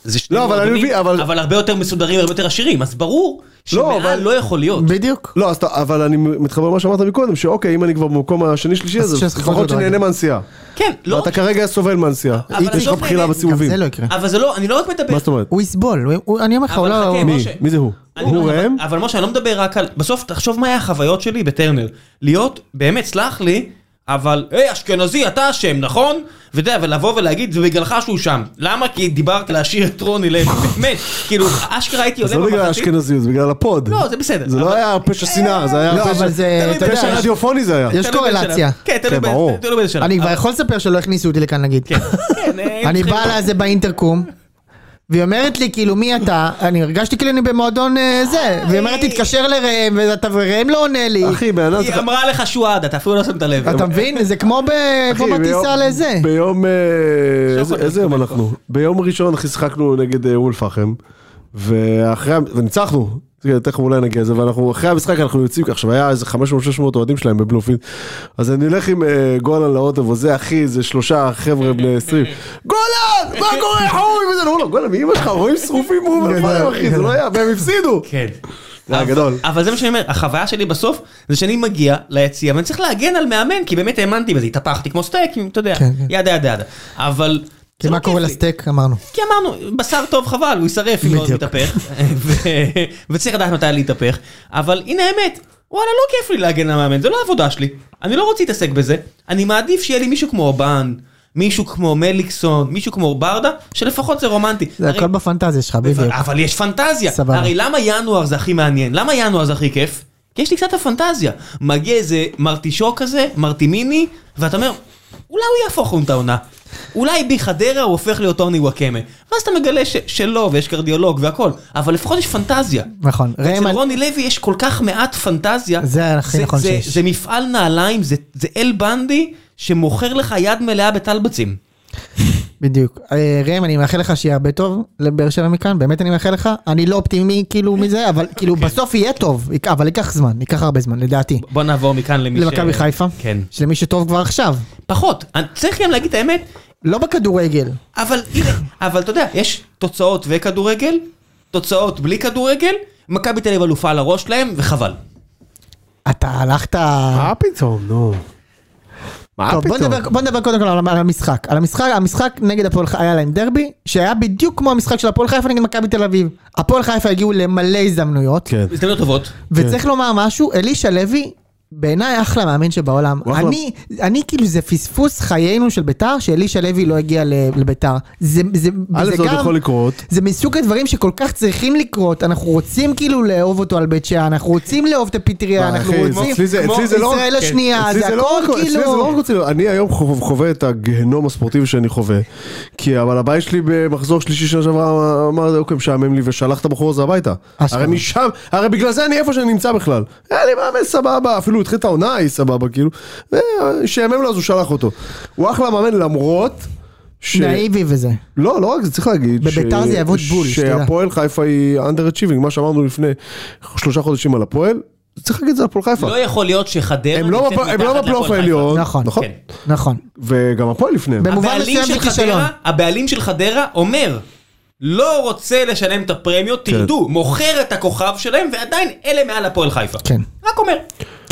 C: זה שני
A: לא, אבל אני
C: מועדונים,
A: מבין, אבל-
C: אבל הרבה יותר מסודרים, הרבה יותר עשירים, אז ברור
A: לא,
C: שמעל
A: אבל-
C: לא יכול להיות.
B: בדיוק.
A: לא, אז אתה, אבל אני מתחבר למה שאמרת מקודם, שאוקיי, אם אני כבר במקום השני-שלישי
B: אז
A: הזה,
B: שחקן
A: לפחות
B: כדורגל.
A: שנהנה מהנסיעה.
C: כן, לא,
A: ואתה כרגע סובל מהנסיעה.
C: אבל
A: יש לך
C: עזוב
A: בחילה
C: נהנה,
B: גם
A: בסיבובים.
B: זה לא יקרה.
C: אבל זה לא, אני לא רק מדבר,
A: מה זאת אומרת?
B: הוא יסבול, הוא- הוא- אני אומר לך, הוא
C: אבל
B: לא...
C: חכה,
A: מי?
C: משה.
A: מי זה הוא?
C: אני
A: הוא
C: לא-
A: ראם?
B: אה,
C: אבל משה, אני לא מדבר רק על... בסוף, תחשוב מה היה החוויות שלי בטרנר. להיות, באמת, סלח לי, אבל, היי, אשכנזי, אתה אשם, נכון? ואתה יודע, ולבוא ולהגיד, זה בגללך שהוא שם. למה? כי דיברת להשאיר את רוני לוי. באמת, כאילו, אשכרה הייתי
A: זה לא
C: עולה
A: בגלל
C: במחצית.
A: האשכנזיות, זה בגלל הפוד.
C: לא, זה בסדר.
A: זה לא
C: אבל-
A: היה פשע שנאה, זה
B: לא,
A: היה
B: אבל זה-
A: פשע-
B: אתה יודע,
A: פשע רדיופוני זה היה.
B: יש
C: תלוי באיזה
B: קורלציה.
C: שלב. כן, תלוי
A: כן, ברור.
C: באיזה- תלוי באיזה שלב.
B: אני כבר יכול לספר שלא הכניסו אותי לכאן נגיד.
C: כן, אה,
B: אני
C: צריכים-
B: בא לה זה באינטרקום. והיא אומרת לי כאילו מי אתה, אני הרגשתי כאילו אני במועדון אה, זה, והיא אומרת תתקשר לראם, ואתה וראם לא עונה לי,
A: אחי, בן אדם צריך...
C: היא אמרה לך שועד, אתה אפילו לא שמת לב.
B: אתה מבין? זה כמו ב- כמו
A: אחי,
B: בטיסה
A: ביום-
B: לזה.
A: ביום... אה, איזה-
C: שוקולד
A: איזה יום אנחנו? ביום ראשון אחי שיחקנו נגד אה, אום אל-פחם, ואחרי... ה- וניצחנו. תראה, תכף אולי נגיע לזה, ואנחנו אחרי המשחק אנחנו יוצאים ככה, עכשיו היה איזה 500-600 אוהדים שלהם בבלומפילד, אז אני הולך עם אה, גולן לאוטו, וזה אחי, זה שלושה חבר'ה בני 20, גולן! מה קורה? חורי וזה, אמרו לו, גולן, מאמא שלך, רואים שרופים באום אל-פחם אחי, זה לא היה, והם הפסידו!
C: כן.
A: זה היה גדול.
C: אבל זה מה שאני אומר, החוויה שלי בסוף, זה שאני מגיע ליציע, ואני צריך להגן על מאמן, כי באמת האמנתי בזה, התהפכתי כמו סטייק, אם- אתה יודע,
B: כן, כן.
C: ידה ידה ידה. אבל...
B: כי
C: זה לא
B: מה קורה
C: כיף לי.
B: לסטייק אמרנו.
C: כי אמרנו, בשר טוב חבל, הוא יישרף אם לא
B: בדיוק.
C: מתהפך, (laughs) ו- וצריך לדעת מתי להתהפך, אבל הנה האמת, וואלה לא כיף לי להגן על מאמן, זה לא העבודה שלי, אני לא רוצה להתעסק בזה, אני מעדיף שיהיה לי מישהו כמו אובן, מישהו כמו מליקסון, מישהו כמו ברדה, שלפחות זה רומנטי.
B: זה
C: הרי-
B: הכל בפנטזיה שלך, בדיוק.
C: אבל יש פנטזיה.
B: סבבה.
C: הרי למה ינואר זה הכי מעניין? למה ינואר זה הכי כיף? כי יש לי קצת הפנטזיה. מגיע איזה מרטישו כזה, מרטימיני, ואתה אומר, אולי הוא יהפוך לנו את העונה. אולי בחדרה הוא הופך להיות טוני וואקמה. ואז אתה מגלה ש- שלא, ויש קרדיולוג והכל. אבל לפחות יש פנטזיה.
B: נכון. ראם,
C: אצל
B: אני-
C: רוני לוי יש כל כך מעט פנטזיה.
B: זה הכי נכון
C: זה,
B: שיש.
C: זה מפעל נעליים, זה, זה אל בנדי שמוכר לך יד מלאה בטלבצים.
B: בדיוק. אה, ראם, אני מאחל לך שיהיה הרבה טוב לבאר שבע מכאן, באמת אני מאחל לך. אני לא אופטימי כאילו מזה,
C: (laughs)
B: אבל כאילו
C: כן.
B: בסוף יהיה טוב, יק- אבל ייקח זמן, ייקח הרבה זמן, לדעתי.
C: בוא נעבור מכאן למי ש...
B: למכבי חיפה,
C: כן.
B: שלמי שטוב כבר עכשיו,
C: פחות. אני- צריך גם להגיד את האמת,
B: לא בכדורגל.
C: אבל הנה, אבל אתה יודע, יש תוצאות וכדורגל, תוצאות בלי כדורגל, מכבי תל אביב אלופה על הראש שלהם, וחבל.
B: אתה הלכת...
A: מה פתאום, נו. מה
B: טוב, בוא
A: פתאום?
B: נדבר, בוא נדבר קודם כל על על המשחק. על המשחק, המשחק נגד הפועל חיפה, היה להם דרבי, שהיה בדיוק כמו המשחק של הפועל חיפה נגד מכבי תל אביב. הפועל חיפה הגיעו למלא הזדמנויות,
A: כן.
C: הזדמנויות טובות.
B: וצריך לומר משהו, אלישע לוי, בעיניי אחלה מאמן שבעולם.
A: הוא אחלה.
B: אני, אני כאילו, זה פספוס חיינו של ביתר, שאלישע לוי לא הגיע ל- לביתר. זה, זה,
A: א', זה עוד יכול לקרות.
B: זה מסוג הדברים שכל כך צריכים לקרות, אנחנו רוצים כאילו לאהוב אותו על בית שאן, אנחנו רוצים לאהוב את הפטריה,
A: אה, אחי,
B: אנחנו רוצים...
A: אצלי זה-
B: כמו
A: אצלי זה לא-
B: ישראל
A: כן.
B: השנייה,
A: אצלי
B: זה
A: לא
B: הכל
A: רק- אצלי זה לא
B: כאילו...
A: רק אצלי, אני היום חו- חווה את הגיהנום הספורטיבי שאני חווה, כי אבל הבית שלי במחזור שלישי שנה שעברה אמר, אוקיי, משעמם לי, ושלח את הבחור הזה הביתה.
B: אשכרה.
A: הרי משם, הרי בגלל זה אני איפה שאני נמצא בכלל. היה לי מאמן סבבה, אפילו הוא התחיל את העונה היא סבבה, כאילו, ושעמם לו אז הוא שלח אותו. הוא אחלה מאמן למרות... ש-
B: נאיבי וזה.
A: לא, לא רק זה, צריך להגיד.
B: בביתר זה יעבוד בול, שתדע.
A: שהפועל חיפה היא underachieving, מה שאמרנו לפני שלושה חודשים על הפועל, צריך להגיד את זה על הפועל חיפה.
C: לא יכול להיות שחדרה
A: הם לא
C: נמצאת
A: בפל- הם
C: מתחת
A: לא
C: להפועל
A: בפלייאוף
C: חיפה.
A: העליון,
B: נכון.
A: נכון?
C: כן.
B: נכון.
A: וגם הפועל לפניהם.
B: במובן
C: הבעלים
B: מסוים
C: של
B: זה
C: חדרה-
B: כישלון.
C: הבעלים של חדרה אומר, לא רוצה לשלם את
A: כן.
C: הפרמיות, תרדו, מוכר את הכוכב שלהם, ועדיין אלה מעל הפועל חיפה.
B: כן.
C: רק אומר.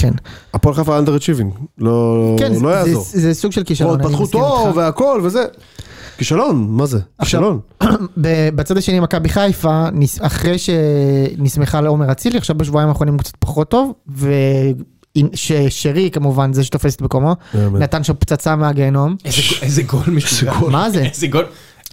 B: כן.
A: הפועל חיפה אנדר אצ'יבינג, לא
B: כן, זה-
A: לא
B: זה-
A: יעזור.
B: זה סוג של כישלון,
A: עוד
B: אני
A: פתחו
B: מסכים
A: תור
B: איתך.
A: והכל וזה. כישלון, מה זה?
B: עכשיו-
A: כישלון.
B: ב- בצד השני מכבי חיפה, נס- אחרי שנסמכה לעומר אצילי, עכשיו בשבועיים האחרונים הוא קצת פחות טוב, ושרי כמובן זה שתופס את מקומו,
A: באמת.
B: נתן שם פצצה מהגיהנום.
C: איזה- איזה גול משוגע.
B: מה זה?
C: איזה גול.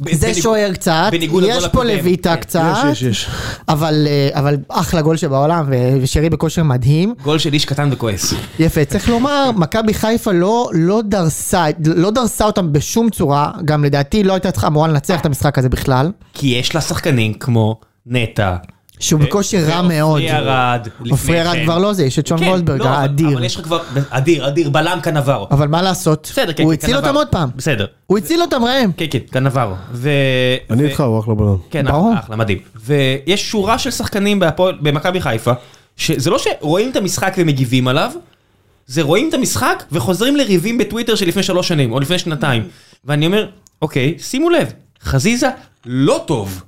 B: זה
C: בניגוד-
B: שוער קצת,
C: בניגוד לגול
B: יש פה
C: הקודם.
B: לויטה
C: כן.
B: קצת,
A: יש, יש, יש.
B: אבל אה, אבל אחלה גול שבעולם, ו- ושרי בכושר מדהים.
C: גול של איש קטן וכועס.
B: יפה,
A: (laughs)
B: צריך לומר, מכבי חיפה לא, לא, דרסה, לא דרסה אותם בשום צורה, גם לדעתי לא הייתה צריכה אמורה לנצח את המשחק הזה בכלל,
C: כי יש לה שחקנים כמו נטע.
B: שהוא
C: אה,
B: בכושר רע מאוד.
C: עופרי כן. ארד. לפני
B: עופרי ארד
C: כן.
B: כבר לא זה, יש את שון
C: כן,
B: גולדברג
C: לא, אבל-
B: האדיר.
C: אבל יש לך כבר... אדיר, אדיר, בלם קנברו.
B: אבל מה לעשות,
C: בסדר, כן,
B: הוא
C: כן,
B: הציל
C: קנברו.
B: אותם עוד פעם,
C: בסדר.
B: הוא הציל אותם ראם.
C: כן, כן, קנברו. ו...
A: אני
C: ו-
A: איתך, הוא אחלה בלם.
C: כן,
B: ברור.
C: אחלה, אחלה, מדהים. ויש שורה של שחקנים בהפועל, במכבי חיפה, שזה לא שרואים את המשחק ומגיבים עליו, זה רואים את המשחק וחוזרים לריבים בטוויטר של לפני שלוש שנים, או לפני שנתיים. ואני אומר, אוקיי, שימו לב, חזיזה לא טוב.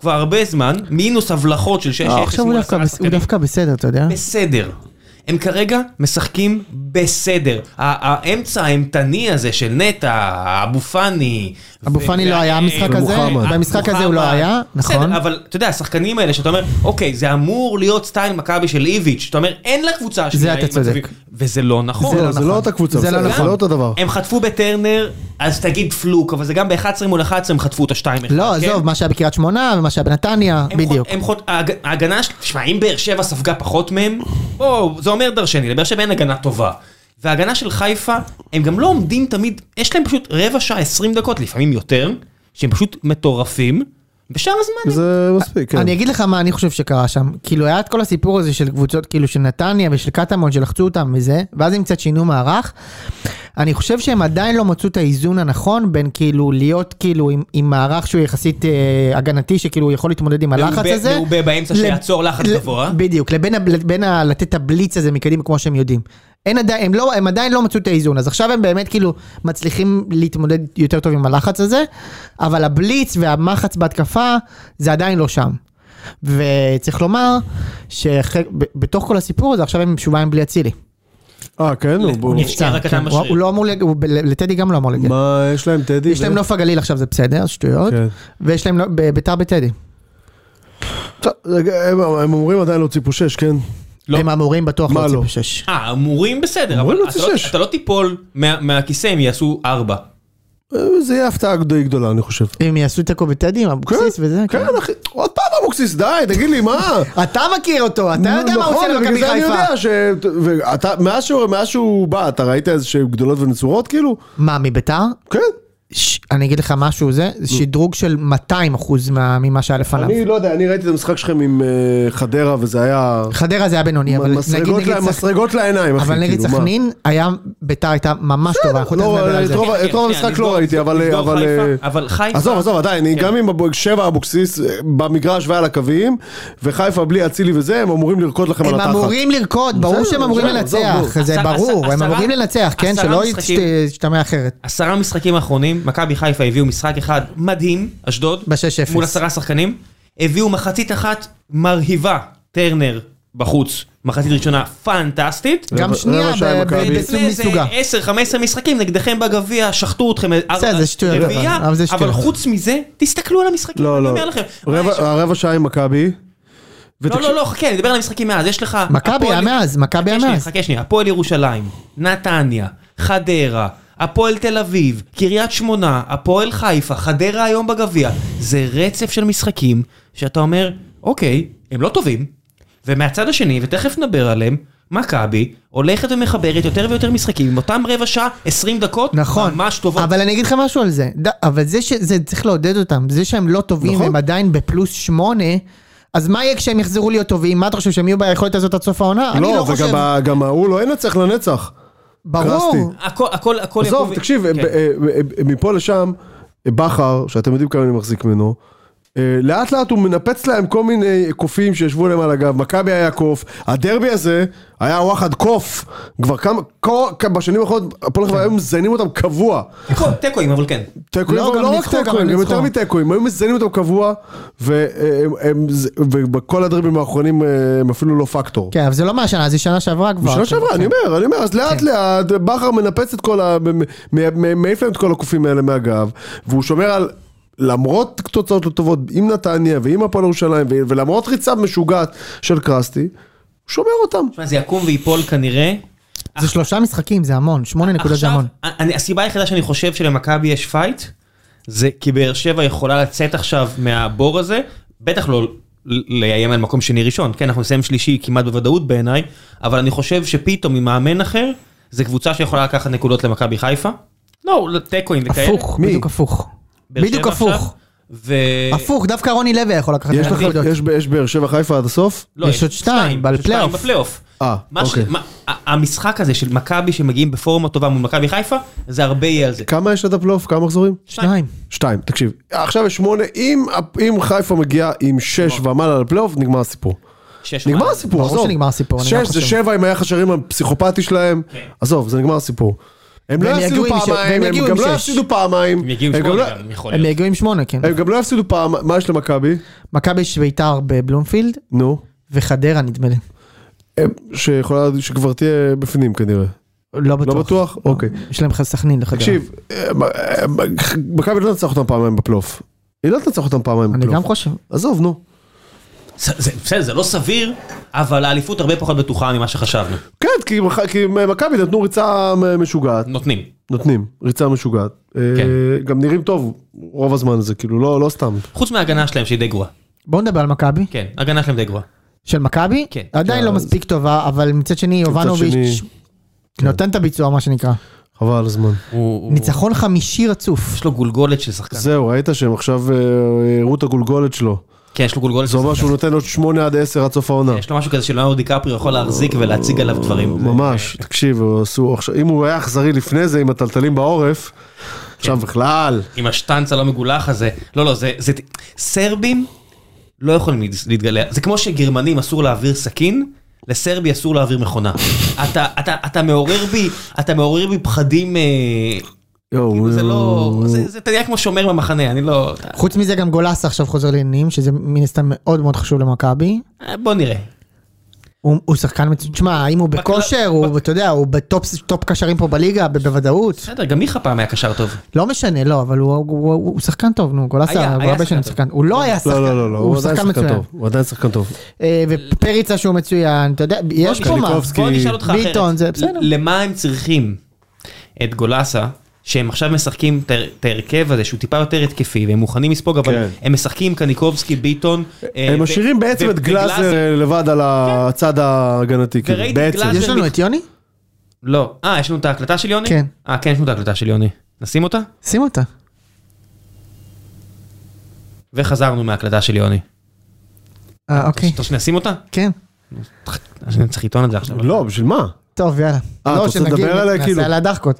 C: כבר הרבה זמן, מינוס הבלחות של 6-0.
B: לא, עכשיו הוא
C: מול
B: דווקא
C: עשרה
B: בס- הוא
C: שחקנים.
B: דווקא בסדר, אתה יודע.
C: בסדר. הם כרגע משחקים בסדר. ה- האמצע האימתני הזה של נטע, אבו פאני.
B: אבו
C: ו-
B: פאני
C: ו-
B: לא היה במשחק הזה,
A: ומוחמד.
B: במשחק הזה הוא לא
C: מוחמד.
B: היה, נכון?
C: בסדר, אבל אתה יודע, השחקנים האלה שאתה אומר, אוקיי, זה אמור להיות סטייל מכבי של איביץ', שאתה אומר, אין לקבוצה השנייה.
B: אתה
C: עם
B: צודק.
C: מצבים." וזה לא נכון.
A: זה
B: נכון.
A: לא אותה קבוצה,
B: זה לא
A: בסדר, זה
B: נכון.
A: לא אותו דבר.
C: הם חטפו בטרנר, אז תגיד פלוק, אבל זה גם ב-11 מול 11 הם חטפו את כן? ה-2-1.
B: לא, עזוב, מה שהיה בקריית שמונה ומה שהיה בנתניה,
C: הם
B: בדיוק.
C: חוט- הם חוט- ההג- ההגנה, של- תשמע, אם באר שבע ספגה פחות מהם, בוא, זה אומר דרשני, לבאר שבע אין הגנה טובה. וההגנה של חיפה, הם גם לא עומדים תמיד, יש להם פשוט רבע שעה, 20 דקות, לפעמים יותר, שהם פשוט מטורפים, בשאר הזמן... הם-
A: זה מספיק, כן.
B: אני אגיד לך מה אני חושב שקרה שם. כאילו היה את כל הסיפור הזה של קבוצות כאילו של נתניה ושל קטמון שלחצו אותם וזה, ואז הם קצת שינו מערך. אני חושב שהם עדיין לא מצאו את האיזון הנכון בין כאילו להיות כאילו עם, עם מערך שהוא יחסית אה, הגנתי שכאילו הוא יכול להתמודד עם הלחץ
C: מעובה-
B: הזה.
C: מעובה באמצע
B: לב-
C: שיעצור לחץ
B: לב-
C: גבוה.
B: בדיוק, לבין, ה- לבין ה, לתת את הבליץ הזה מקדימה כמו שהם יודעים. אין עדיין, הם, לא, הם עדיין לא מצאו את האיזון, אז עכשיו הם באמת כאילו מצליחים להתמודד יותר טוב עם הלחץ הזה, אבל הבליץ והמחץ בהתקפה זה עדיין לא שם. וצריך לומר שבתוך כל הסיפור הזה עכשיו הם שבועיים בלי אצילי.
A: אה, כן, הוא- הוא-
C: נפצע
B: כן,
C: הקטן
B: הוא-
C: בשריר.
B: הוא לא אמור, לג- הוא ב- לטדי גם לא אמור להגיע.
A: מה, יש להם טדי?
B: יש להם
A: ו-
B: נוף הגליל עכשיו זה בסדר, שטויות,
A: כן.
B: ויש להם לא- ב- ביתר בטדי.
A: טוב,
B: לא-
A: רגע, הם הם אומרים עדיין לא ציפו שש, כן?
C: לא.
B: הם אמורים בטוח
A: מה
B: להוציא
A: לא?
B: בשש.
C: אה, אמורים בסדר, אבל
A: אמורים
C: אתה
A: להוציא
C: לא-
A: שש.
C: אתה לא תיפול מה- מהכיסא אם יעשו 4.
A: אה, זה יהיה הפתעה די גדולה, אני חושב.
B: אם יעשו תיקו בטדי עם אבוקסיס וזה. כן.
A: כן, אחי, עוד פעם אבוקסיס, די, תגיד לי, מה?
B: אתה מכיר אותו, אתה יודע מה הוא עושה
A: נכון, בגלל
B: למכבי
A: זה אני
B: חיפה.
A: יודע ש... ואתה- מאז שהוא- מאז שהוא בא, אתה ראית איזה שהם גדולות ונצורות, כאילו?
B: מה, מביתר?
A: כן.
B: ש- אני אגיד לך משהו, זה שדרוג של 200 אחוז ממה שהיה לפניו.
A: אני לא יודע, אני ראיתי את המשחק שלכם עם אה, חדרה, וזה היה...
B: חדרה זה היה בינוני, אבל נגיד
A: מסרגות
B: נגיד
A: לה-
B: סכנין,
A: מסרגות לעיניים, אחי,
B: אבל נגד
A: כאילו, מה?
B: סכנין, היה, ביתר הייתה ממש טובה, אנחנו תכף
A: לא,
B: נדבר על
A: את
B: זה.
A: רוב- את רוב
C: שנייה,
A: המשחק
C: נסגור-
A: לא ראיתי, אבל...
C: נסגור
A: אבל,
C: חיפה,
A: אה,
C: אבל חיפה-
A: עזוב, עזוב, עדיין, אני
C: כן.
A: גם עם אבו- שבע אבוקסיס אה, במגרש ועל הקווים, וחיפה בלי אצילי וזה, הם אמורים לרקוד לכם על
B: הם
A: התחת.
B: אמורים לרקוד, ברור
A: בסדר,
B: שהם אמורים
A: בסדר,
B: לנצח,
A: עזוב,
B: זה
C: עשרה-
B: ברור, הם
C: עשרה-
B: אמורים לנצח, כן?
C: עשרה
B: שלא
C: משחקים.
B: יצט- ישתמע אחרת.
C: עשרה משחקים האחרונים, מכבי חיפה הביאו משחק אחד מדהים, אשדוד.
B: ב-6-0.
C: מול עשרה שחקנים. הביאו מחצית אחת מרהיבה, טרנר בחוץ. מחצית ראשונה פנטסטית.
B: גם
A: רבע
B: שנייה,
A: שעה
B: ב-
A: מכבי.
B: ב- בסוג
C: לפני אה, איזה
B: מסוגה.
C: 10-15 משחקים נגדכם בגביע, שחטו אתכם, אה,
B: בסדר, זה שטויות,
C: רביעייה,
B: אבל זה שטויות.
C: אבל חוץ מזה, תסתכלו על המשחקים,
A: לא,
C: אני
A: לא.
C: אומר לכם.
A: רבע-
C: יש-
A: הרבע שעה עם מכבי.
C: לא,
A: ותקשיב-
C: לא, לא, חכה, אני מדבר על המשחקים מאז, יש לך...
B: מכבי
C: הפועל-
B: היה מאז, מכבי היה
C: חכה שנייה,
B: מאז.
C: חכה שנייה, הפועל ירושלים, נתניה, חדרה, הפועל תל אביב, קריית שמונה, הפועל חיפה, חדרה היום בגביע. זה רצף של משחקים שאתה אומר, אוקיי, הם לא טובים. ומהצד השני, ותכף נדבר עליהם, מכבי הולכת ומחברת יותר ויותר משחקים עם אותם רבע שעה, 20 דקות,
B: נכון,
C: ממש טובות.
B: אבל אני אגיד לך משהו על זה, ד- אבל זה שזה צריך לעודד אותם, זה שהם לא טובים,
A: נכון.
B: הם עדיין בפלוס שמונה, אז מה יהיה כשהם יחזרו להיות טובים? מה אתה חושב שהם יהיו ביכולת הזאת עד סוף העונה? אני לא
A: לא,
B: חושב,
A: וגם ה- גם ההוא לא ינצח לנצח. קרסתי.
B: ברור,
C: הכל, הכל, הכל...
A: עזוב,
C: יקום-
A: תקשיב,
C: כן.
A: אה, אה, אה, מפה לשם, אה, בכר, שאתם יודעים כמה אני מחזיק ממנו, אה, לאט לאט הוא מנפץ להם כל מיני קופים שישבו להם על הגב, מכבי היה קוף, הדרבי הזה היה וואחד קוף, כבר כמה, כל, בשנים האחרונות הפועל
C: כן.
A: חיפה היו מזיינים אותם קבוע.
C: תיקו- תיקואים, אבל כן.
A: תיקואים,
B: לא,
A: אבל
B: גם
A: לא רק
B: ניצחו, גם
A: תיקואים, גם
B: ניצחו.
A: יותר מתיקואים, היו מזיינים אותם קבוע, והם- הם- ובכל הדרבים האחרונים אה, הם אפילו לא פקטור.
B: כן, אבל זה לא מהשנה, זה שנה שעברה כבר.
A: בשנה שעברה, אני אומר, אני אומר, אז
B: כן.
A: לאט לאט בכר מנפץ את כל ה... מ- מ- מ- מעיף להם את כל הקופים האלה מהגב, והוא שומר על... למרות תוצאות לא טובות עם נתניה ועם הפועל ירושלים ו- ולמרות ריצה משוגעת של קרסטי, הוא שומר אותם.
C: תשמע, זה יקום וייפול כנראה.
B: זה שלושה משחקים, זה המון, שמונה נקודות זה
C: עכשיו,
B: המון.
C: אני- הסיבה היחידה שאני חושב שלמכבי יש פייט, זה כי באר שבע יכולה לצאת עכשיו מהבור הזה, בטח לא ל- לאיים על מקום שני ראשון, כן, אנחנו נסיים שלישי כמעט בוודאות בעיניי, אבל אני חושב שפתאום עם מאמן אחר, זה קבוצה שיכולה לקחת נקודות למכבי חיפה. לא, לתיקואים וכאלה.
B: הפוך,
A: מי?
B: בדיוק הפוך.
C: באר
B: בדיוק
C: שבע עכשיו,
B: הפוך.
C: ו...
B: הפוך, דווקא רוני לוי יכול לקחת
A: אה, יש
B: את
A: לך,
B: הנקודות.
A: יש, ב- יש באר שבע חיפה עד הסוף?
C: לא,
B: יש עוד שתיים,
C: יש עוד שתיים
B: בפלייאוף.
C: בפלייאוף.
A: אה,
C: מה ש-
A: אוקיי.
C: מה- ה- המשחק הזה של מכבי שמגיעים בפורמה טובה מול מכבי חיפה, זה הרבה יהיה על זה.
A: כמה יש עד הפלייאוף? כמה מחזורים?
B: שניים.
A: שתיים, תקשיב. עכשיו יש שמונה, אם, אם חיפה מגיעה עם שש ומעלה לפלייאוף, נגמר הסיפור.
C: שש
A: נגמר
C: ומעלה.
A: הסיפור,
B: לא. ברור
A: עזוב.
B: שנגמר הסיפור, אני גם
A: שש זה
B: חושב. כן.
A: שבע עם היחס שערים הפסיכופתי שלהם. עזוב, זה נגמר הסיפור. הם לא
B: והם
A: יפסידו
B: יגיעו עם ש-
A: פעמיים,
B: והם
A: הם
B: יגיעו
A: גם
B: עם
A: לא
B: שש.
A: יפסידו פעמיים.
C: הם יגיעו
A: הם גם לא-
C: שמונה גם, יכול
B: הם
C: להיות.
B: יגיעו עם שמונה, כן.
A: הם גם לא יפסידו פעם, מה יש למכבי?
B: מכבי יש ביתר בבלומפילד,
A: נו.
B: וחדרה נדמה לי.
A: הם- שיכולה, שכבר תהיה בפנים כנראה.
B: לא בטוח.
A: לא בטוח? אוקיי.
B: יש להם לך סכנין לחדרה.
A: תקשיב, אה, מ- אה, מ- מכבי לא תנצח אותם פעמיים בפלייאוף. היא לא תנצח אותם פעמיים
B: אני גם
A: בפלייאוף.
B: חושב.
A: עזוב, נו.
C: זה- זה- בסדר, זה לא סביר, אבל האליפות הרבה פחות בטוחה ממה שחשבנו.
A: כן, כי מח- כי מכבי נתנו ריצה אה, משוגעת.
C: נותנים.
A: נותנים, ריצה משוגעת. אה,
C: כן.
A: גם נראים טוב רוב הזמן הזה, כאילו, לא לא סתם.
C: חוץ מההגנה שלהם שהיא די גרועה.
B: בואו נדבר על מכבי.
C: כן, ההגנה שלהם די גרועה.
B: של מכבי?
C: כן.
B: עדיין לא
A: אז-
B: מספיק טובה, אבל מצד שני, יובנוביץ'
A: שני-
B: נותן את הביצוע, מה שנקרא.
A: חבל על הזמן.
C: הוא- הוא-
B: ניצחון חמישי רצוף.
C: יש לו גולגולת של שחקן.
A: זהו, ראית שהם עכשיו אה, הראו את הגולגולת שלו.
C: כן, יש לו גולגולת של
A: זה אומר
C: שחקן.
A: שהוא נותן עוד 8 עד 10 עד סוף העונה.
C: יש לו משהו כזה שלאונר דיקפרי יכול להחזיק ולהציג עליו דברים.
A: ממש, תקשיב, הוא עשו עכשיו, אם הוא היה אכזרי לפני זה עם הטלטלים בעורף, עכשיו בכלל.
C: עם השטנץ הלא מגולח הזה. לא, לא, זה... זה- סרבים לא יכולים להת- להתגלח. זה כמו שגרמנים אסור להעביר סכין. לסרבי אסור להעביר מכונה. אתה, אתה, אתה מעורר בי, אתה מעורר בי פחדים, אה,
A: יואו,
C: כאילו זה לא,
A: הוא-
C: זה, זה, אתה יודע כמו שומר במחנה, אני לא, אתה-
B: חוץ מזה גם גולסה עכשיו חוזר לעניינים, שזה מן הסתם מאוד מאוד חשוב למכבי.
C: אה, בוא נראה.
B: הוא, הוא שחקן מצוין, תשמע, אם הוא
C: בקרב-
B: בכושר, הוא, אתה יודע, הוא בטופ טופ קשרים פה בליגה, ב- בוודאות.
C: בסדר, גם מיכה פעם היה קשר טוב.
B: לא משנה, לא, אבל הוא, הוא, הוא, הוא שחקן טוב, נו,
C: היה-
B: גולסה, הוא
C: היה
B: הרבה
C: שחקן
B: שנים
C: טוב.
B: שחקן. הוא לא היה שחקן,
A: לא, לא, לא, לא,
B: הוא
A: הוא עדיין
B: שחקן
A: שחקן
B: מצוין.
A: טוב, הוא עדיין שחקן טוב.
B: אה, ופריצה שהוא מצוין, אתה יודע, יש פה מה.
A: קניקובסקי.
C: בוא נשאל אותך אחרת.
B: ביטון, זה בסדר.
C: למה הם צריכים את גולסה, שהם עכשיו משחקים את ה- את ההרכב הזה, שהוא טיפה יותר התקפי, והם מוכנים לספוג, אבל
A: כן.
C: הם משחקים קניקובסקי, ביטון. אה,
A: הם
C: ו-
A: משאירים בעצם
C: ו-
A: את גלאזר אה, לבד על הצד ההגנתי, כאילו,
C: וראיתי
A: בעצם.
C: גלאזר-
B: יש לנו את יוני?
C: לא. אה, יש לנו את ההקלטה של יוני?
B: כן.
C: אה, כן, יש לנו את ההקלטה של יוני. נשים אותה?
B: שים אותה.
C: וחזרנו מההקלטה של יוני.
B: כן. אה, אוקיי,
C: אתה רוצה שנשים אותה?
B: כן.
C: אני צריך לטעון את זה עכשיו.
A: לא, בשביל מה?
B: טוב, יאללה.
A: אה,
B: לא,
A: אתה רוצה לדבר עליה, כאילו?
B: נעשה עליה דחקות.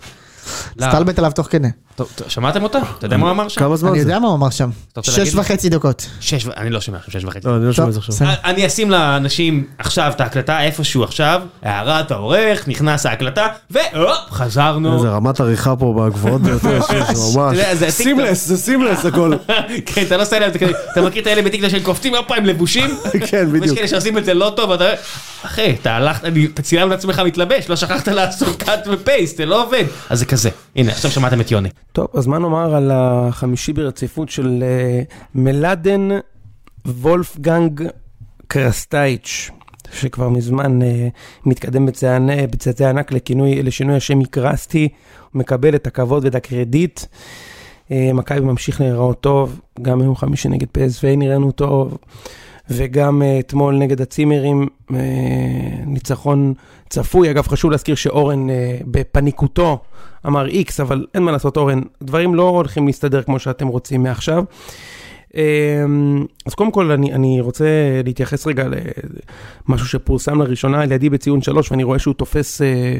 C: לא.
B: סטלבט עליו תוך כדי.
C: טוב, טוב, שמעתם אותה? אתה יודע מה הוא אמר שם?
A: כמה זמן
B: אני
A: זה?
B: יודע מה הוא אמר שם.
C: רוצה להגיד
B: שש
C: לי?
B: וחצי דקות.
C: שש, ו- אני לא שומע עכשיו שש וחצי.
A: לא, אני לא שומע את זה
B: טוב,
A: עכשיו.
B: בסדר.
C: אה, אני אשים לאנשים עכשיו את ההקלטה איפשהו עכשיו, הערת העורך, נכנס ההקלטה, והופ, חזרנו.
A: איזה רמת עריכה פה בגבוהות ביותר, שיש ממש.
C: אתה יודע, זה הטיקטוק.
A: סימלס, זה סימלס הכל.
C: (laughs)
A: (laughs)
C: כן, אתה לא עושה להם את זה כזה, אתה מכיר את האלה בטיקטוק שהם קופצים הרבה פעמים
B: (laughs)
C: לבושים?
A: כן,
C: ויש
A: בדיוק.
C: כאלה שעושים את זה לא טוב, ואתה אומר, אחי, אתה הלכת, אני- אתה צילמת את עצמך מתלבש, לא שכחת לעשות cut ו-paste, זה לא עובד. אז זה כזה, הנה, עכשיו שמעתם את יוני.
D: טוב, אז מה נאמר על החמישי ברציפות של אה, מלאדן וולפגנג קרסטייץ', שכבר מזמן אה, מתקדם בצעני- בצעדי ענק לכינוי, לשינוי השם מקרסטי, הוא מקבל את הכבוד ואת הקרדיט. אה, מכבי ממשיך להיראות טוב, גם יום חמישי נגד PSV נראינו טוב, וגם אה, אתמול נגד הצימרים, אה, ניצחון צפוי. אגב, חשוב להזכיר שאורן אה, בפניקותו אמר איקס, אבל אין מה לעשות, אורן, דברים לא הולכים להסתדר כמו שאתם רוצים מעכשיו. אמ, אז קודם כל אני, אני רוצה להתייחס רגע למשהו שפורסם לראשונה על ידי בציון שלוש, ואני רואה שהוא תופס אה,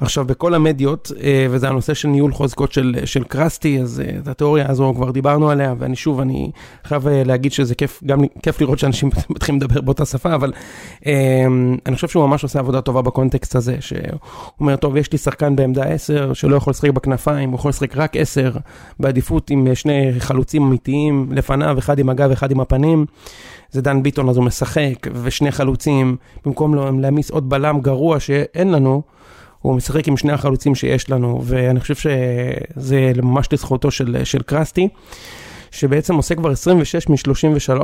D: עכשיו בכל המדיות, אה, וזה הנושא של ניהול חוזקות של, של קרסטי, אז אה, את התיאוריה הזו כבר דיברנו עליה, ואני שוב, אני חייב אה, להגיד שזה כיף, גם לי- כיף לראות שאנשים (laughs) מתחילים לדבר באותה שפה, אבל אה, אני חושב שהוא ממש עושה עבודה טובה בקונטקסט הזה, שהוא אומר, טוב, יש לי שחקן בעמדה 10 שלא יכול לשחק בכנפיים, הוא יכול לשחק רק 10, בעדיפות עם אה, שני חלוצים אמיתיים לפניו, אחד עם הגב, אחד עם הפנים. זה דן ביטון, אז הוא משחק, ושני חלוצים, במקום לה- להעמיס עוד בלם גרוע שאין לנו, הוא משחק עם שני החלוצים שיש לנו, ואני חושב שזה ממש לזכותו של, של קרסטי, שבעצם עושה כבר 26 מ-33.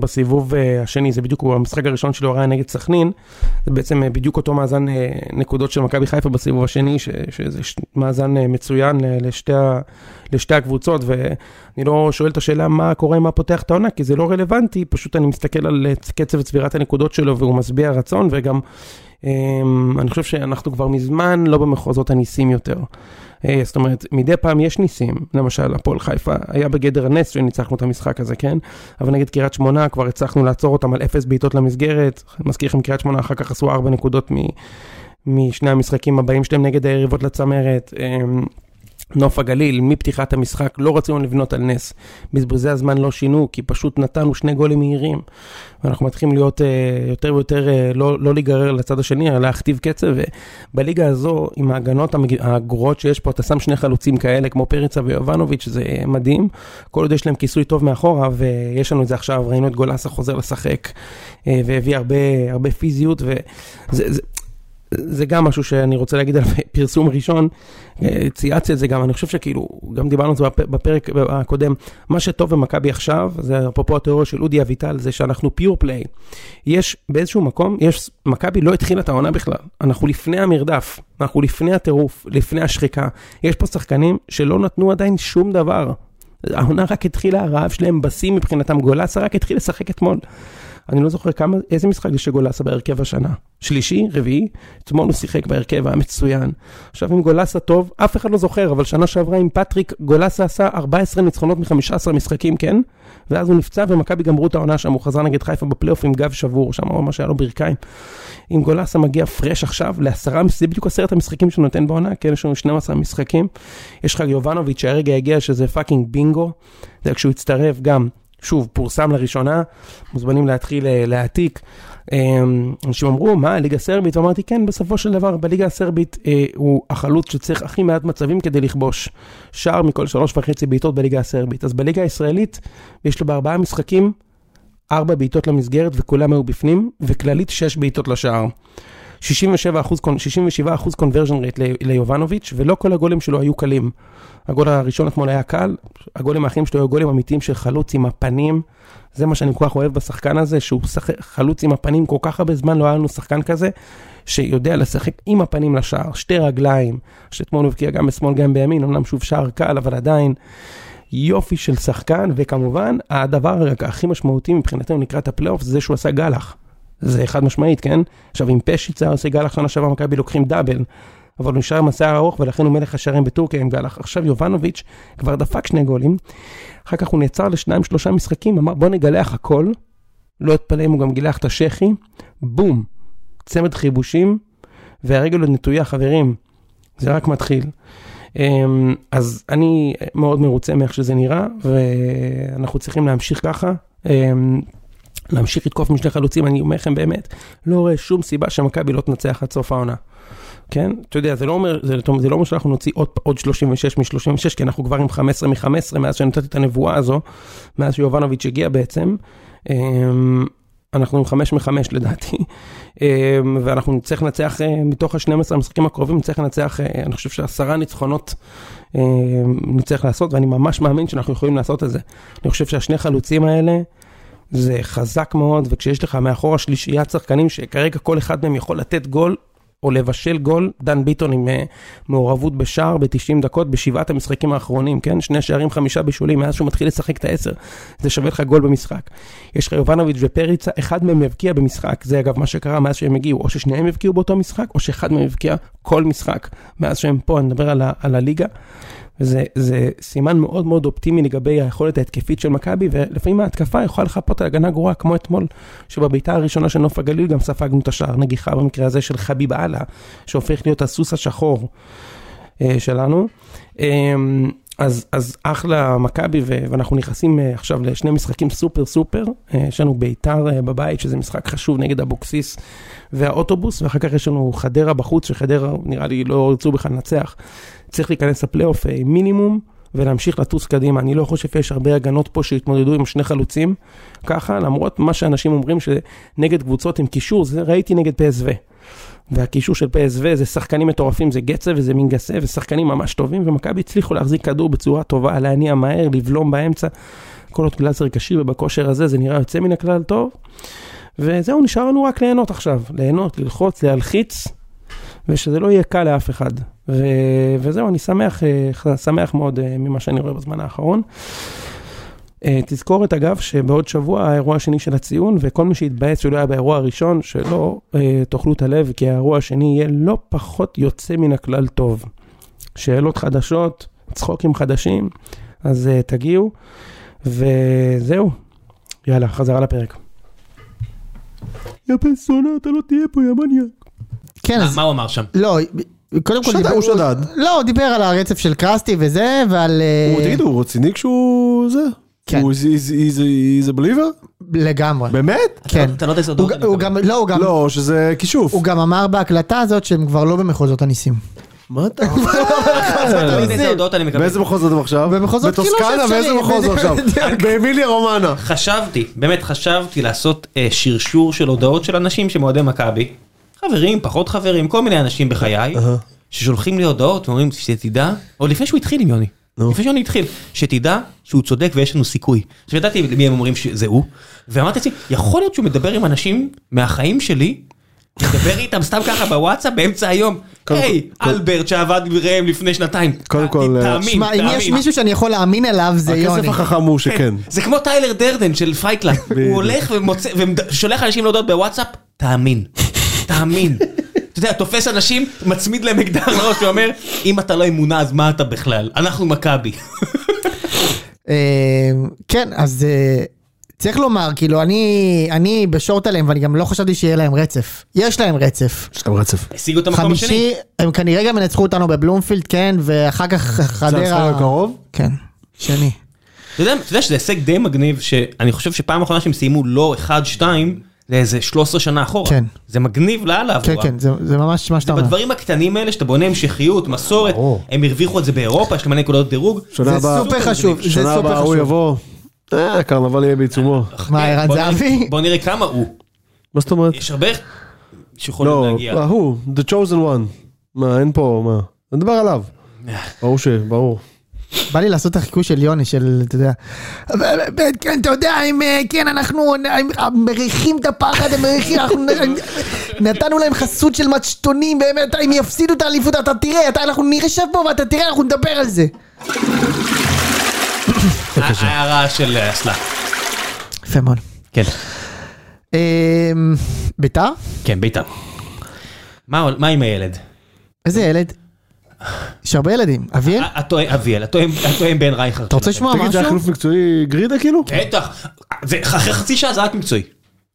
D: בסיבוב אה, השני, זה בדיוק, הוא- המשחק הראשון שלו היה נגד סכנין, זה בעצם אה, בדיוק אותו מאזן אה, נקודות של מכבי חיפה בסיבוב השני, ש- שזה ש- מאזן אה, מצוין ל- לשתי, ה- לשתי הקבוצות, ואני לא שואל את השאלה מה קורה, מה פותח את העונה, כי זה לא רלוונטי, פשוט אני מסתכל על אה, קצב צבירת הנקודות שלו והוא משביע רצון, וגם אמ, אני חושב שאנחנו כבר מזמן לא במחוזות הניסים יותר. אה, זאת אומרת, מדי פעם יש ניסים, למשל הפועל חיפה, היה בגדר נס שניצחנו את המשחק הזה, כן? אבל נגד קריית שמונה כבר הצלחנו לעצור אותם על אפס בעיטות למסגרת, אני מזכיר לכם קריית שמונה אחר כך עשו ארבע נקודות מ... משני המשחקים הבאים שלהם נגד היריבות לצמרת. אמ, נוף הגליל, מפתיחת המשחק, לא רצינו לבנות על נס. בזבוזי הזמן לא שינו, כי פשוט נתנו שני גולים מהירים. ואנחנו מתחילים להיות uh, יותר ויותר, uh, לא, לא להיגרר לצד השני, אלא להכתיב קצב. ובליגה הזו, עם ההגנות המג... הגרועות שיש פה, אתה שם שני חלוצים כאלה, כמו פריצה ויובנוביץ', זה אה, מדהים. כל עוד יש להם כיסוי טוב מאחורה, ויש לנו את זה עכשיו, ראינו את גולסה חוזר לשחק, אה, והביא הרבה, הרבה פיזיות, וזה... זה... זה גם משהו שאני רוצה להגיד על (laughs) פרסום ראשון, אה, צייצתי את זה גם, אני חושב שכאילו, גם דיברנו על זה בפ- בפרק הקודם, מה שטוב במכבי עכשיו, זה אפרופו התיאוריה של אודי אביטל, זה שאנחנו פיור פליי. יש באיזשהו מקום, יש, מכבי לא התחילה את העונה בכלל, אנחנו לפני המרדף, אנחנו לפני הטירוף, לפני השחיקה, יש פה שחקנים שלא נתנו עדיין שום דבר. העונה רק התחילה, הרעב שלהם בשיא מבחינתם, גולסה רק התחיל לשחק אתמול. אני לא זוכר כמה, איזה משחק זה שגולסה בהרכב השנה. שלישי, רביעי, אתמול הוא שיחק בהרכב, היה מצוין. עכשיו עם גולסה טוב, אף אחד לא זוכר, אבל שנה שעברה עם פטריק, גולסה עשה 14 ניצחונות מ-15 משחקים, כן? ואז הוא נפצע ומכבי גמרו את העונה שם, הוא חזר נגד חיפה בפלייאוף עם גב שבור, שם ממש היה לו ברכיים. אם גולסה מגיע פרש עכשיו לעשרה, זה בדיוק עשרת המשחקים שהוא נותן בעונה, כן, יש לנו 12 משחקים. יש לך יובנוביץ' שהרגע הגיע שזה פאקינג בינגו, זה כשהוא הצטרף גם, שוב, פורסם לראשונה, מוזמנים להתחיל אה, להעתיק. אמ, אנשים אמרו, מה, ליגה סרבית? ואמרתי, כן, בסופו של דבר, בליגה הסרבית אה, הוא החלוץ שצריך הכי מעט מצבים כדי לכבוש. שער מכל שלוש וחצי בעיטות בליגה הסרבית. אז בליגה הישראלית, יש לו בארבעה משחקים, ארבע בעיטות למסגרת וכולם היו בפנים, וכללית שש בעיטות לשער. 67% קונ- 67% קונברג'ן רייט ליובנוביץ', ולא כל הגולים שלו היו קלים. הגול הראשון אתמול היה קל, הגולים האחרים שלו היו גולים אמיתיים של חלוץ עם הפנים. זה מה שאני כל כך אוהב בשחקן הזה, שהוא שח... חלוץ עם הפנים, כל כך הרבה זמן לא היה לנו שחקן כזה, שיודע לשחק עם הפנים לשער, שתי רגליים, שאתמול הוא הבקיע גם בשמאל גם בימין, אמנם שוב שער קל, אבל עדיין יופי של שחקן, וכמובן, הדבר הכי משמעותי מבחינתנו לקראת הפלייאוף זה זה שהוא עשה גלח. זה חד משמעית, כן? עכשיו, אם פשיץ היה עושה גלח שנה שעברה, מכבי לוקחים דאבל. אבל הוא נשאר עם השיער הארוך, ולכן הוא מלך השערים בטורקיה עם גלח. עכשיו יובנוביץ' כבר דפק שני גולים, אחר כך הוא נעצר לשניים שלושה משחקים, אמר בוא נגלח הכל, לא אתפלא אם הוא גם גילח את השחי, בום, צמד חיבושים, והרגל עוד נטויה, חברים, זה רק מתחיל. אמ, אז אני מאוד מרוצה מאיך שזה נראה, ואנחנו צריכים להמשיך ככה. אמ, להמשיך לתקוף משני חלוצים, אני אומר לכם באמת, לא רואה שום סיבה שמכבי לא תנצח עד סוף העונה. כן? אתה יודע, זה לא אומר, זה, זה לא אומר שאנחנו נוציא עוד, עוד 36 מ-36, כי אנחנו כבר עם 15 מ-15 מאז שנתתי את הנבואה הזו, מאז שיובנוביץ' הגיע בעצם. אמ, אנחנו עם 5 מ-5 לדעתי, אמ, ואנחנו נצטרך לנצח אה, מתוך ה-12 המשחקים הקרובים, נצטרך לנצח, אה, אני חושב שעשרה ניצחונות אמ, נצטרך לעשות, ואני ממש מאמין שאנחנו יכולים לעשות את זה. אני חושב שהשני חלוצים האלה, זה חזק מאוד, וכשיש לך מאחורה שלישיית שחקנים שכרגע כל אחד מהם יכול לתת גול או לבשל גול, דן ביטון עם אה, מעורבות בשער ב-90 דקות בשבעת המשחקים האחרונים, כן? שני שערים, חמישה בישולים, מאז שהוא מתחיל לשחק את העשר, זה שווה לך גול במשחק. יש לך יובנוביץ' ופריצה, אחד מהם הבקיע במשחק, זה אגב מה שקרה מאז שהם הגיעו, או ששניהם הבקיעו באותו משחק, או שאחד מהם הבקיע כל משחק, מאז שהם פה, אני מדבר על, ה- על הליגה. וזה זה סימן מאוד מאוד אופטימי לגבי היכולת ההתקפית של מכבי, ולפעמים ההתקפה יכולה לחפות על הגנה גרועה, כמו אתמול, שבבעיטה הראשונה של נוף הגליל גם ספגנו את השער, נגיחה במקרה הזה של חביב אללה, שהופך להיות הסוס השחור אה, שלנו. אה, אז, אז אחלה מכבי, ו- ואנחנו נכנסים אה, עכשיו לשני משחקים סופר סופר. אה, יש לנו ביתר אה, בבית, שזה משחק חשוב נגד אבוקסיס והאוטובוס, ואחר כך יש לנו חדרה בחוץ, שחדרה נראה לי לא ירצו בכלל לנצח. צריך להיכנס לפלייאוף אה, עם מינימום ולהמשיך לטוס קדימה. אני לא חושב שיש הרבה הגנות פה שהתמודדו עם שני חלוצים ככה, למרות מה שאנשים אומרים שנגד קבוצות עם קישור, זה ראיתי נגד PSV. והקישור של PSV זה שחקנים מטורפים, זה גצב וזה מינגסה, ושחקנים ממש טובים, ומכבי הצליחו להחזיק כדור בצורה טובה, להניע מהר, לבלום באמצע. כל עוד גלאזר כשיר ובכושר הזה זה נראה יוצא מן הכלל טוב. וזהו, נשאר לנו רק ליהנות עכשיו, ליהנות, ללחוץ, להלחיץ, ושזה לא יהיה קל לאף אחד. ו... וזהו, אני שמח, אה, שמח מאוד אה, ממה שאני רואה בזמן האחרון. אה, תזכורת אגב, שבעוד שבוע האירוע השני של הציון, וכל מי שהתבאס שלא היה באירוע הראשון, שלא אה, תאכלו את הלב, כי האירוע השני יהיה לא פחות יוצא מן הכלל טוב. שאלות חדשות, צחוקים חדשים, אז אה, תגיעו, וזהו. יאללה, חזרה לפרק. יא בן זונה, אתה לא תהיה פה, יא מניאק.
B: כן,
C: מה-
B: אז...
C: מה הוא אמר שם?
B: לא, קודם כל
A: שדד,
B: דיבר-
A: הוא שדד.
B: לא, הוא דיבר על הרצף של קרסטי וזה, ועל... אה,
A: הוא- תגידו, הוא רציני כשהוא זה?
B: כן.
A: הוא is a believer?
B: לגמרי.
A: באמת?
B: כן.
C: אתה לא יודע איזה
B: הוא
C: הודעות
B: ג-
C: אני
B: הוא
C: מקבל.
B: גם, לא, הוא גם...
A: לא, שזה כישוף.
B: הוא גם אמר בהקלטה הזאת שהם כבר לא במחוזות הניסים.
A: (laughs) מה אתה...
C: אתה לא יודע
B: אה,
C: איזה הודעות אני מקבל.
A: באיזה מחוז אתם עכשיו?
B: במחוזות כאילו
A: בטוסקנה,
B: שאפשרי,
A: באיזה מחוז הוא
B: בדיוק.
A: עכשיו? באמיליה רומנה.
C: חשבתי, באמת חשבתי לעשות אה, שרשור של הודעות של אנשים שהם אוהדי מכבי. חברים, פחות חברים, כל מיני אנשים בחיי, ששולחים לי הודעות ואומרים שתדע, עוד לפני שהוא התחיל עם יוני, לפני שיוני התחיל, שתדע שהוא צודק ויש לנו סיכוי. עכשיו ידעתי למי הם אומרים שזה הוא, ואמרתי לעצמי, יכול להיות שהוא מדבר עם אנשים מהחיים שלי, מדבר איתם סתם ככה בוואטסאפ באמצע היום.
A: קודם
C: היי,
A: כל-
C: אלברט שעבד ראם לפני שנתיים.
A: קודם כל, אה,
C: תאמין,
B: שמע, אם יש
C: תאמין.
B: מישהו שאני יכול להאמין אליו זה יוני.
A: הכסף החכם הוא שכן.
C: זה כמו טיילר דרדן של
B: (laughs)
C: פייטלאפ, הוא הולך ומוצא- ושולח אנשים להודות בוואטסאפ, תאמין, תאמין. אתה יודע, תופס אנשים, מצמיד להם אקדח לראש ואומר, אם אתה לא אמונה אז מה אתה בכלל? אנחנו מכבי.
B: (laughs) אה, כן, אז אה, צריך לומר, כאילו, אני אני בשורט עליהם ואני גם לא חשבתי שיהיה להם רצף. יש להם רצף.
A: יש להם רצף.
C: השיגו את המקום השני.
B: חמישי, הם כנראה גם ינצחו אותנו בבלומפילד, כן, ואחר כך
A: זה
B: חדרה...
A: המשחק הקרוב?
B: כן, שני.
C: אה, אתה יודע- אתה יודע שזה הישג די מגניב, שאני חושב שפעם אחרונה שהם סיימו לא 1-2, זה איזה 13 שנה אחורה.
B: כן.
C: זה מגניב לאללה
B: כן,
C: עבורם.
B: כן, זה זה ממש מה שאתה אומר.
C: בדברים הקטנים האלה שאתה בונה המשכיות, מסורת,
A: ברור.
C: הם הרוויחו את זה באירופה, יש להם מלא נקודות דירוג.
A: שנה
B: זה
A: הבאה-
B: סופר חשוב, זה
A: שנה
B: סופר
A: הבאה הוא
B: חשוב.
A: יבוא. אה, הקרנבל יהיה בעיצומו.
B: מה, ערן
C: בוא נראה-
B: זהבי?
C: בוא נראה כמה הוא.
A: מה זאת אומרת?
C: יש הרבה שיכולים
A: לא,
C: להגיע.
A: ההוא, The Chosen One. מה, אין פה, מה? נדבר עליו. ברור ש... ברור.
B: בא לי לעשות את החיקוי של יוני, של, אתה יודע, "אבל, כן, אתה יודע, אם, אה, כן, אנחנו הם מריחים את הפחד, הם מריחים, אנחנו נ- נתנו להם חסות של מצ'טונים, באמת, הם יפסידו את האליפות, אתה תראה, אתה- אנחנו נשב פה ואתה תראה, אנחנו נדבר על זה.
C: ההערה של אה, אסלה.
B: יפה מאוד.
C: כן,
B: אמ, ביתר?
C: כן, בית"ר. מה מה עם הילד?
B: איזה ילד? יש הרבה ילדים. אביר?
C: התואם, אביאל, התואם התואם בן רייכר.
B: כן. אתה רוצה לשמוע
A: תגיד, זה היה
B: משהו?
A: חילוף מקצועי גרידה כאילו?
C: בטח, זה אחרי חצי שעה זה רק מקצועי.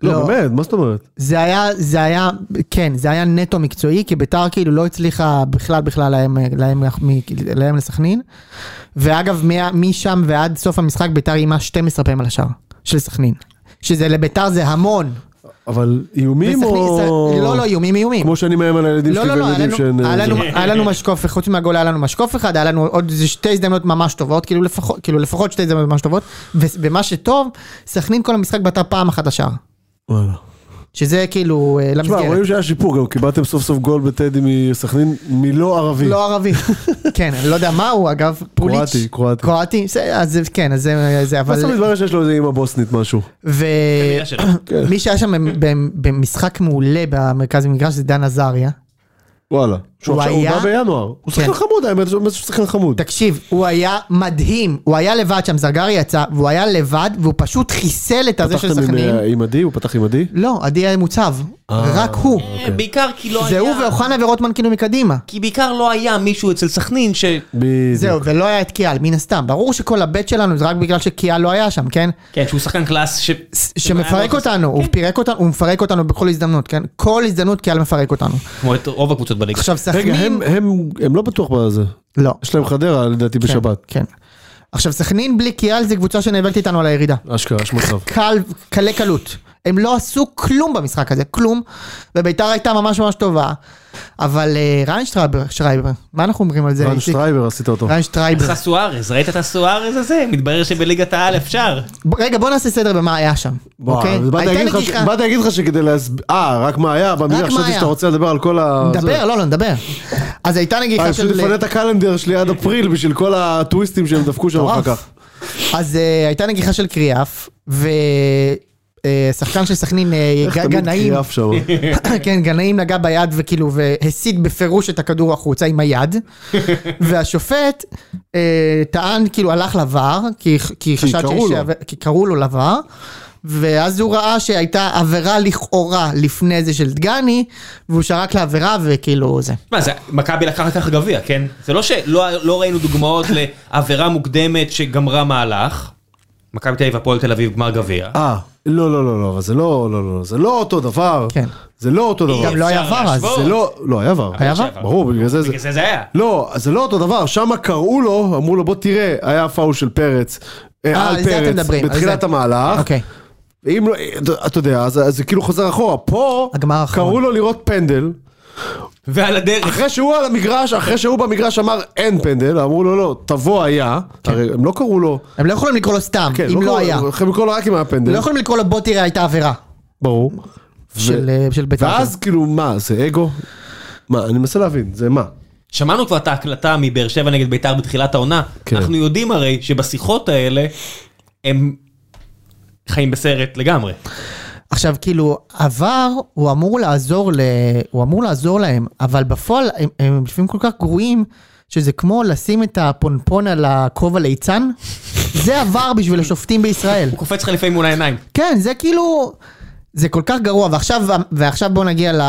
A: לא,
B: לא.
A: באמת, מה זאת אומרת?
B: זה היה, זה היה, כן, זה היה נטו מקצועי, כי ביתר כאילו לא הצליחה בכלל בכלל להם, להם, להם, להם לסכנין. ואגב, מה- משם ועד סוף המשחק ביתר איימה 12 פעמים על השער של סכנין. שזה לביתר זה המון.
A: אבל איומים
B: וסכנין-
A: או...
B: זה- לא, לא, איומים, איומים.
A: כמו שאני מאיים על הילדים
B: לא,
A: שלי
B: לא, לא,
A: והם
B: היה
A: יודעים שאין...
B: לנו- היה לנו-
A: אה,
B: היה לנו משקוף, חוץ מהגול היה לנו משקוף אחד, היה לנו עוד איזה שתי הזדמנויות ממש טובות, כאילו לפחות, כאילו לפחות שתי הזדמנויות ממש טובות, ובמה שטוב, סכנין כל המשחק בעטה פעם אחת השער,
A: וואלה.
B: שזה כאילו אה,
A: תשמע,
B: למסגרת.
A: רואים שהיה שיפור, גם קיבלתם סוף סוף גול בטדי מסכנין מלא ערבי.
B: לא
A: (laughs)
B: ערבי. כן, אני לא יודע מה הוא אגב, פוליץ'.
A: קרואטי, קרואטי.
B: קרואטי, זה- אז זה- כן, אז זה- זה אבל...
A: בסוף מתברר שיש לו איזה אימא בוסנית משהו.
B: ומי (coughs)
C: שלו.
A: כן.
B: שהיה שם במ- במ- במשחק מעולה במרכז המגרש זה דן עזריה.
A: וואלה. שהוא
B: הוא
A: עכשיו- הוא
B: היה-
A: בא בינואר. הוא שחקן
B: כן.
A: חמוד, האמת שהוא שחקן חמוד.
B: תקשיב, הוא היה מדהים, הוא היה לבד שם, זרגרי יצא, והוא היה לבד, והוא פשוט חיסל את הזה של
A: פתחתם עם,
B: סכנין.
A: אה, עם עדי? הוא פתח עם עדי?
B: לא, עדי היה מוצב, רק הוא.
C: בעיקר כי לא
B: זה
C: היה...
B: הוא ואוחנה ורוטמן כאילו מקדימה.
C: כי בעיקר לא היה מישהו אצל סכנין ש...
A: בדיוק.
B: זהו, ולא היה את קיאל, מן הסתם. ברור שכל הבט שלנו זה רק בגלל שקיאל לא היה שם, כן?
C: כן, שהוא שחקן קלאס ש...
B: ש- שמפרק אותנו,
A: כן.
B: הוא פירק אותנו, הוא מפרק אותנו בכל הזדמנות, כן? כל הזדמנות קיאל מפרק אותנו.
C: כמו את רוב הקבוצות בליגה.
B: עכשיו
A: רגע,
B: סכנין...
A: הם- הם- הם לא בטוח בזה.
B: לא.
A: יש להם חדרה לדעתי
B: כן,
A: בשבת.
B: כן. עכשיו סכנין בלי קיאל זה קבוצה שנאבקת איתנו על הירידה.
A: אשכרה, יש מצב.
B: קל, קלי קלות. הם לא עשו כלום במשחק הזה, כלום. וביתר הייתה ממש ממש טובה. אבל אה, רן שטרייבר, שטרייבר, מה אנחנו אומרים על זה?
A: רן
B: איציק?
A: שטרייבר עשית אותו.
B: רן שטרייבר.
C: עשה סוארז, ראית את הסוארז הזה? מתברר שבליגת העל אפשר.
B: ב- רגע, בוא נעשה סדר במה היה שם,
A: וואו,
B: אוקיי?
A: אז באתי
B: הייתה
A: להגיד לך ש-
B: נגיחה.
A: באתי להגיד לך שכדי להסביר, אה, רק מה היה, אבל
B: רק
A: אני
B: מה
A: חשבתי
B: היה.
A: שאתה רוצה לדבר על כל ה... אה,
B: נדבר, לא, לא, נדבר. אז הייתה
A: אני
B: נגיחה
A: פשוט
B: של...
A: מפנה את הקלנדר שלי עד אפריל בשביל כל הטוויסטים שהם דפקו שם אחר כך.
B: אז אה, הייתה נגיחה של קריאף, ושחקן של סכנין, אה,
A: איך
B: ג-
A: תמיד
B: גנאים,
A: קריאף
B: (laughs)
A: שם.
B: (coughs) כן, גנאים נגע ביד וכאילו, והסיט בפירוש את הכדור החוצה
A: (laughs)
B: עם היד, והשופט אה, טען, כאילו, הלך לבר, כי, כי חשד
A: קראו
B: שיש...
A: לו.
B: עבר- כי קראו לו לבר, ואז הוא ראה שהייתה עבירה לכאורה לפני זה של דגני, והוא שרק לעבירה וכאילו זה.
C: מה זה, מכבי לקחה ככה גביע, כן? זה לא שלא לא ראינו דוגמאות לעבירה מוקדמת שגמרה מהלך. מכבי תל אביב, הפועל תל אביב, גמר גביע.
A: אה, לא, לא, לא, לא, אבל זה לא, לא, לא, זה לא אותו דבר.
B: כן.
A: זה לא אותו דבר.
B: גם לא היה
C: אפשר
B: ור אז,
C: להשוות.
A: זה לא, לא, היה ור.
B: היה ור?
A: ברור, בגלל זה זה...
C: בגלל זה זה היה.
A: לא, אז זה לא אותו דבר, שם קראו לו, אמרו לו בוא תראה, היה פאול של פרץ. אה,
B: אה,
A: על
B: על זה אתם
A: פרץ,
B: מדברים, על
A: בתחילת
B: זה.
A: המהלך,
B: אוקיי.
A: אם לא, אתה יודע, אז אז זה כאילו חוזר אחורה, פה
B: הגמר האחרון.
A: קראו לו לראות פנדל,
C: ועל הדרך.
A: אחרי שהוא על המגרש, אחרי שהוא במגרש אמר אין פנדל, אמרו לו לא, תבוא היה, הרי הם לא קראו לו,
B: הם לא יכולים לקרוא לו סתם,
A: כן,
B: כן. אם לא
A: קראו-
B: היה.
A: הם קראו לו רק אם היה פנדל,
B: לא יכולים לקרוא לו בוא תראה הייתה עבירה.
A: ברור,
B: של,
A: ו-
B: אה, של בית"ר.
A: ואז כאילו מה, זה אגו? מה, אני מנסה להבין, זה מה?
C: שמענו כבר את ההקלטה מבאר שבע נגד ביתר בתחילת העונה.
A: כן.
C: אנחנו יודעים הרי שבשיחות האלה הם חיים בסרט לגמרי.
B: עכשיו כאילו עבר הוא אמור לעזור ל... הוא אמור לעזור להם אבל בפועל הם, הם לפעמים כל כך גרועים שזה כמו לשים את הפונפון על הכובע ליצן זה עבר בשביל השופטים בישראל
C: הוא קופץ לך לפעמים מול העיניים.
B: כן זה כאילו זה כל כך גרוע ועכשיו ועכשיו בוא נגיע ל,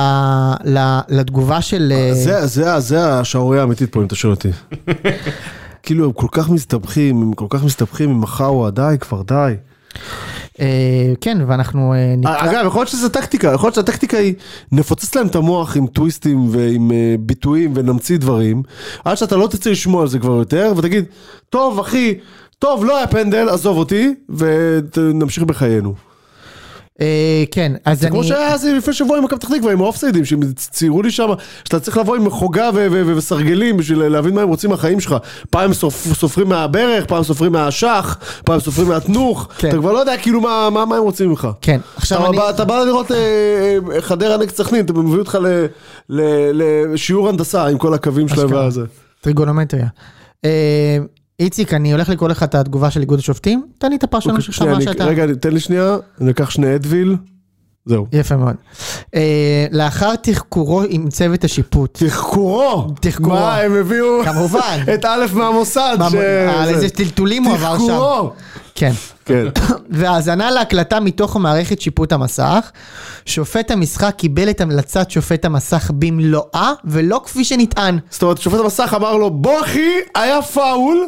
B: ל, לתגובה של אה,
A: זה, זה, זה השערורייה האמיתית פה, אם אתה שואל אותי. (laughs) כאילו, הם כל כך מסתבכים, הם כל כך מסתבכים עם החאווה, די, כבר די.
B: אה, כן ואנחנו אה, נ-
A: אגב, יכול להיות שזה טקטיקה, יכול להיות שהטקטיקה היא, נפוצץ להם את המוח עם טוויסטים ועם אה, ביטויים ונמציא דברים, עד שאתה לא תצא לשמוע על זה כבר יותר, ותגיד, טוב, אחי, טוב, לא היה פנדל, עזוב אותי, ונמשיך בחיינו.
B: אה, כן אז
A: כמו
B: אני
A: שהיה אז לפני שבוע עם מכבי פתח תקווה, עם האופסיידים, שציירו לי שם, שאתה צריך לבוא עם חוגה ו- ו- ו- וסרגלים בשביל להבין מה הם רוצים מהחיים שלך. פעם סופ- סופרים מהברך, פעם סופרים מהשח, פעם סופרים מהתנוך,
B: כן.
A: אתה כבר לא יודע כאילו מה, מה, מה הם רוצים ממך.
B: כן עכשיו
A: אתה,
B: אני
A: בא, אתה בא לראות אה, אה, חדרה נגד סכנין, אתה מביא אותך ל- ל- לשיעור הנדסה עם כל הקווים שלהם
B: אשכרה.
A: והזה.
B: טריגונומטריה. אה, איציק, אני הולך לקרוא לך את התגובה של איגוד השופטים, תן לי את הפרשנות שלך,
A: אוקיי, שנייה,
B: מה
A: אני-
B: שאתה...
A: רגע, אני- תן לי שנייה, אני אקח שני אדוויל, זהו.
B: יפה מאוד. אה, לאחר תחקורו עם
A: (laughs)
B: צוות השיפוט.
A: תחקורו!
B: תחקורו.
A: מה, הם הביאו
B: כמובן.
A: את א' מהמוסד.
B: מה, אה,
A: ש-
B: על
A: זה.
B: איזה טלטולים הוא עבר שם.
A: תחקורו!
B: כן.
A: כן.
B: והאזנה להקלטה מתוך מערכת שיפוט המסך. שופט המשחק קיבל את המלצת שופט המסך במלואה, ולא כפי שנטען.
A: זאת אומרת, שופט המסך אמר לו, בוא אחי, היה פאול.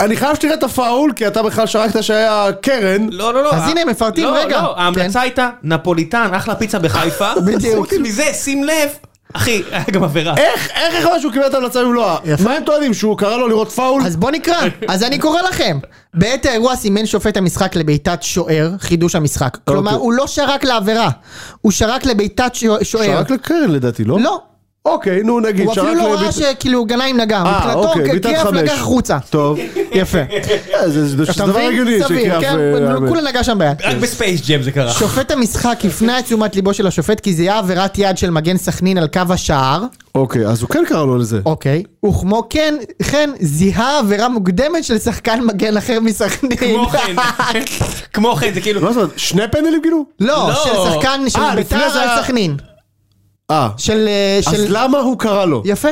A: אני חייב שתראה את הפאול, כי אתה בכלל שרקת שהיה קרן.
C: לא, לא, לא.
B: אז הנה, הם מפרטים,
C: לא,
B: רגע.
C: לא, ההמלצה
B: כן.
C: הייתה נפוליטן, אחלה פיצה בחיפה.
B: (laughs) בדיוק.
C: חוץ מזה, שים לב, אחי, היה גם עבירה.
A: איך, איך יכול להיות שהוא קיבל את ההמלצה במלואה?
B: יפה.
A: מה הם טוענים, שהוא קרא לו לראות פאול?
B: אז בוא נקרא, אז אני קורא לכם. בעת האירוע סימן שופט המשחק לבעיטת שוער, חידוש המשחק. כלומר,
A: אוקיי.
B: הוא לא שרק לעבירה, הוא שרק לבעיטת שוע- שוער.
A: שרק לקרן לדעתי, לא?
B: לא,
A: אוקיי, נו נגיד,
B: הוא אפילו
A: שרק
B: לא
A: לביט-
B: ראה שכאילו גנאים נגע,
A: אה,
B: מבחינתו
A: אוקיי, בעיטת
B: קריאף
A: חמש.
B: נגח החוצה.
A: טוב.
B: יפה.
A: אה, זה זה- זה
B: אתה
A: דבר הגיוני
B: מבין? סביר,
A: שקריאף...
B: כן,
A: אה,
B: אבל כולה נגע שם ביד.
C: רק בספייס ג'ם זה קרה.
B: שופט המשחק הפנה את תשומת ליבו של השופט כי זיהה עבירת יד של מגן סכנין על קו השער,
A: אוקיי, אז הוא כן קרא לו לזה.
B: אוקיי, וכמו כן, כן, זיהה עבירה מוקדמת של שחקן מגן אחר מסכנין.
C: (laughs) כמו
B: (laughs)
C: כן, כמו
A: לא-
C: כן, זה כאילו,
A: מה זאת אומרת, שני פנדלים כאילו?
B: לא,
C: לא.
B: של שחקן של
A: אה, לפני
B: ביתר
A: זה
B: על
A: היה-
B: סכנין.
A: אה,
B: של... אה,
A: אז לא.
B: של...
A: למה הוא קרא לו?
B: יפה,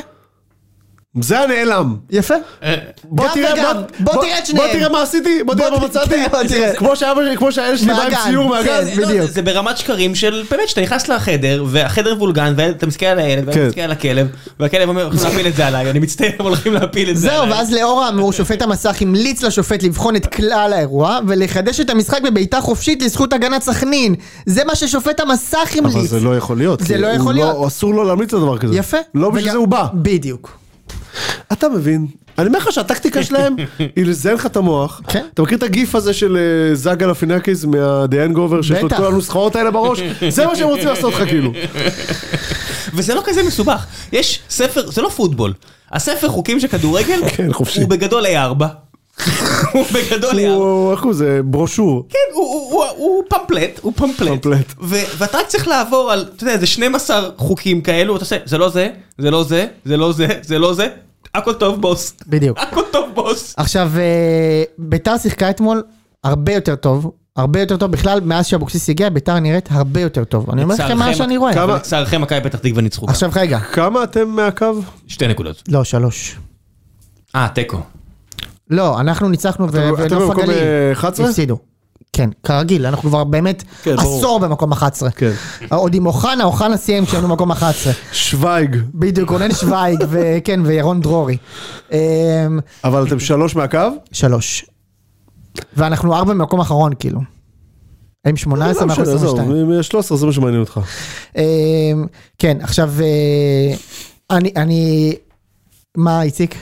A: זה הנעלם.
B: יפה.
C: אה,
A: בוא
B: גם
A: תראה,
B: וגם, בוא תראה את שניהם.
A: בוא תראה מה עשיתי, בוא תראה
B: בוא
A: מה
B: ת-
A: מצאתי.
B: כן, בוא תראה.
A: כמו שאבא שלי, כמו שהילד שלי בא עם
B: מהגן,
A: ציור
B: כן.
A: מהגן.
C: זה- לא,
B: בדיוק.
C: זה- זה ברמת שקרים של באמת שאתה נכנס לחדר והחדר וולגן ואתה מסתכל על הילד ואתה
A: כן.
C: מסתכל על הכלב והכלב אומר הולכים להפיל את זה עליי אני מצטער אבל הולכים להפיל את זה
B: זהו,
C: עליי.
B: ואז לאור האמור, שופט המסך המליץ לשופט לבחון את כלל האירוע ולחדש את המשחק בבעיטה חופשית לזכות הגנת סכנין. זה מה ששופט המסך המליץ.
A: אבל זה לא יכול להיות.
B: זה
A: כי
B: לא
A: הוא
B: יכול להיות.
A: אסור לו להמליץ על דבר כזה.
B: יפה.
A: לא בשביל
B: וגם-
A: זה הוא בא.
B: בדיוק.
A: אתה מבין? אני אומר לך שהטקטיקה (laughs) שלהם היא לזיין לך את המוח.
B: כן.
A: אתה מכיר את הגיף הזה של אה, זאגה לפינקיס מה"דה הנגובר" שיש לו את
B: בטח.
A: כל הנוסחאות האלה (laughs) בראש? זה מה שהם רוצים לעשות לך (laughs) כאילו.
C: וזה לא כזה מסובך יש ספר זה לא פוטבול הספר חוקים של כדורגל
A: כן, חופשי.
C: הוא בגדול A4 (laughs) הוא בגדול A4
A: הוא, איך הוא זה? ברושור.
C: כן, הוא, הוא, הוא, הוא פמפלט, הוא פמפלט.
A: פמפלט.
C: ו, ואתה רק צריך לעבור על, אתה יודע, איזה 12 חוקים כאלו, אתה עושה, זה לא זה, זה לא זה, זה לא זה, זה לא זה, הכל טוב בוס. (laughs)
B: בדיוק.
C: הכל טוב בוס.
B: עכשיו, אה, ביתר שיחקה אתמול הרבה יותר טוב. הרבה יותר טוב בכלל, מאז שאבוקסיס הגיע, ביתר נראית הרבה יותר טוב. אני אומר לכם מה
C: לצערכם-
B: שאני רואה.
A: כמה-
C: לצערכם מכבי פתח תקווה ניצחו.
B: עכשיו רגע.
A: כמה אתם מהקו?
C: שתי נקודות.
B: לא, שלוש.
C: אה, תיקו.
B: לא, אנחנו ניצחנו ו-
A: אתם
B: ונוף
A: במקום,
B: הגליל.
A: אה, 11?
B: הפסידו. כן, כרגיל, אנחנו כבר באמת
A: כן, ברור.
B: עשור במקום 11.
A: כן.
B: עוד עם אוחנה, אוחנה סיים כשהיינו במקום 11.
A: שוויג.
B: בדיוק, רונן שוויג,
A: (laughs)
B: וכן, וירון דרורי. אמ,
A: אבל אתם שלוש מהקו?
B: שלוש. ואנחנו ארבע במקום אחרון, כאילו. הם 18
A: לא
B: ואנחנו
A: משנה, עזוב,
B: 22.
A: מ- מ- 13 זה מה שמעניין אותך.
B: אמ, כן, עכשיו, אה, אני, אני... מה, איציק?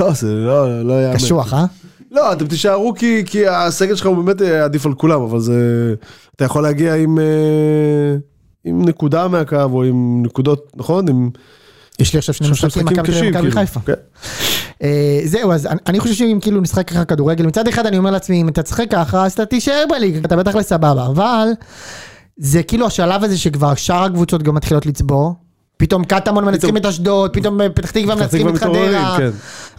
A: לא, זה לא, לא יאמן.
B: קשוח, אה?
A: לא, אתם תישארו כי, כי הסגל שלך הוא באמת אה, עדיף על כולם, אבל זה... אתה יכול להגיע עם, אה, עם נקודה מהקו או עם נקודות, נכון? עם
B: יש לי עכשיו שני
A: שלושה
B: משחקים, מכבי תל אביב ומכבי חיפה.
A: כן.
B: אה, זהו, אז אני- אני חושב שאם כאילו נשחק ככה כדורגל, מצד אחד אני אומר לעצמי, אם אתה תשחק ככה, אז אתה תישאר בליגה, אתה בטח לסבבה, אבל זה כאילו השלב הזה שכבר שאר הקבוצות גם מתחילות לצבור. פתאום קטמון מנצחים את אשדוד, פתאום אה, פתח תקווה מנצחים
A: תקווה
B: את
A: מתעוררים,
B: חדרה.
A: כן.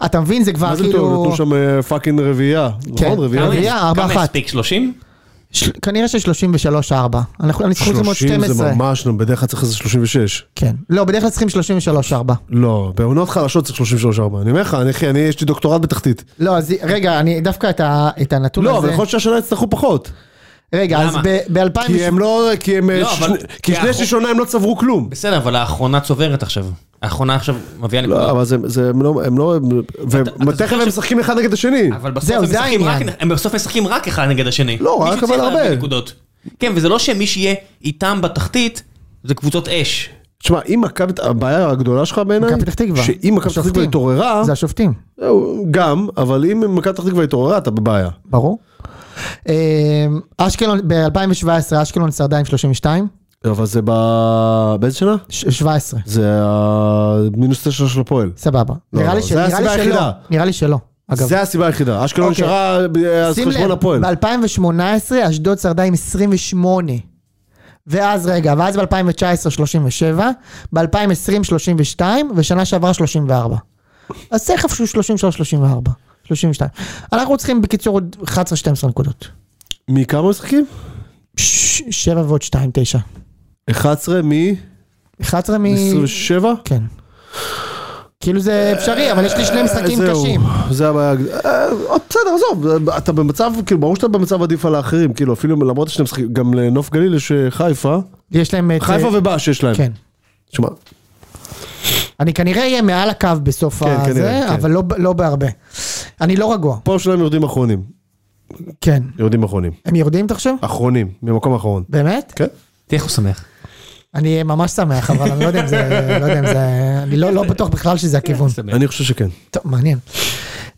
B: אתה מבין, זה כבר
A: מה זה טוב?
B: כאילו...
A: נתנו שם אה, פאקינג רביעייה.
B: כן.
A: נכון? רביעייה.
B: רביעייה, ארבע
C: כמה
B: אחת.
C: הספיק? 30?
B: של- כנראה ש-33-4. אנחנו ניצחו את זה מאוד
A: 30
B: 12.
A: זה ממש, נו, בדרך כלל צריך איזה 36.
B: כן. לא, בדרך כלל צריכים 33-4.
A: לא, בעונות חלשות צריך 33 4. אני אומר לך, אני אחי, אני יש לי דוקטורט בתחתית.
B: לא, אז רגע, אני דווקא את ה- את הנתון
A: לא, אבל
B: הזה...
A: יכול להיות שהשנה יצטרכו פחות.
B: רגע, אז
C: למה?
B: ב-2018...
A: כי הם לא, כי הם, אה,
C: לא, אבל-
A: שני- כי
C: כי
A: שני
C: אנחנו-
A: שלישונה הם לא צברו כלום.
C: בסדר, אבל האחרונה צוברת עכשיו. האחרונה עכשיו מביאה
A: לא,
C: נקודות.
A: אבל זה, זה, הם לא, הם לא,
C: אתה
A: ותכף
C: זוכר
A: הם
C: ש-
A: משחקים אחד נגד השני.
C: אבל
B: זהו,
C: בסוף הם
B: זה
C: משחקים רק-
B: העניין.
C: הם בסוף משחקים רק אחד נגד השני.
A: לא,
C: מישהו
A: רק, אבל
C: צריך להביא
A: הרבה.
C: נקודות. כן, וזה לא שמי שיהיה איתם בתחתית, זה קבוצות אש.
A: תשמע, אם מכבי, הבעיה הגדולה שלך בעיניי,
B: מכבי פתח תקווה.
A: שאם מכבי פתח
B: השופטים.
A: תקווה התעוררה,
B: זה השופטים,
A: זהו, גם, אבל אם מכבי פתח תקווה התעוררה, אתה בבעיה.
B: ברור. אה, אשקלון, ב-2017 אשקלון שרדה עם 32,
A: אבל זה ב... באיזה שנה?
B: ש- 17,
A: זה המינוס תשע של הפועל.
B: סבבה.
A: לא,
B: נראה לי
A: לא,
B: ש-
A: זה
B: נראה לי
A: הסיבה
B: שלא,
A: היחידה.
B: נראה לי שלא. אגב,
A: זה הסיבה היחידה. אשקלון
B: אוקיי.
A: נשארה אה, אז
B: שים
A: חשבון
B: לב,
A: הפועל.
B: ב-2018 אשדוד שרדה עם 28. ואז רגע, ואז ב-2019 37, ב-2020 32, ושנה שעברה 34. אז תכף שהוא 33, 34, 32. אנחנו צריכים בקיצור עוד 11-12 נקודות.
A: מכמה משחקים?
B: 7 ועוד 2, 9.
A: 11 מ...
B: 11 מ...
A: 27?
B: כן. כאילו זה אפשרי, אבל יש לי שני משחקים
A: אה, זהו,
B: קשים.
A: זה הבעיה. אה, עוד בסדר, עזוב, אתה במצב, כאילו, ברור שאתה במצב עדיף על האחרים, כאילו, אפילו למרות שאתם משחקים, גם לנוף גליל יש אה, חיפה,
B: יש להם את...
A: חיפה ובאש יש להם.
B: כן.
A: שמע,
B: אני כנראה אהיה מעל הקו בסוף
A: כן, כנראה,
B: הזה,
A: כן.
B: אבל לא- לא בהרבה. אני לא רגוע,
A: פה שלהם יורדים אחרונים,
B: כן.
A: יורדים אחרונים,
B: הם יורדים, אתה חושב?
A: אחרונים, ממקום אחרון.
B: באמת?
A: כן.
C: תהיה איך הוא שמח.
B: אני אהיה ממש שמח, אבל אני לא יודע אם זה... לא יודע אם זה... אני לא לא בטוח בכלל
A: (laughs)
B: שזה הכיוון.
A: אני חושב שכן.
B: טוב, מעניין.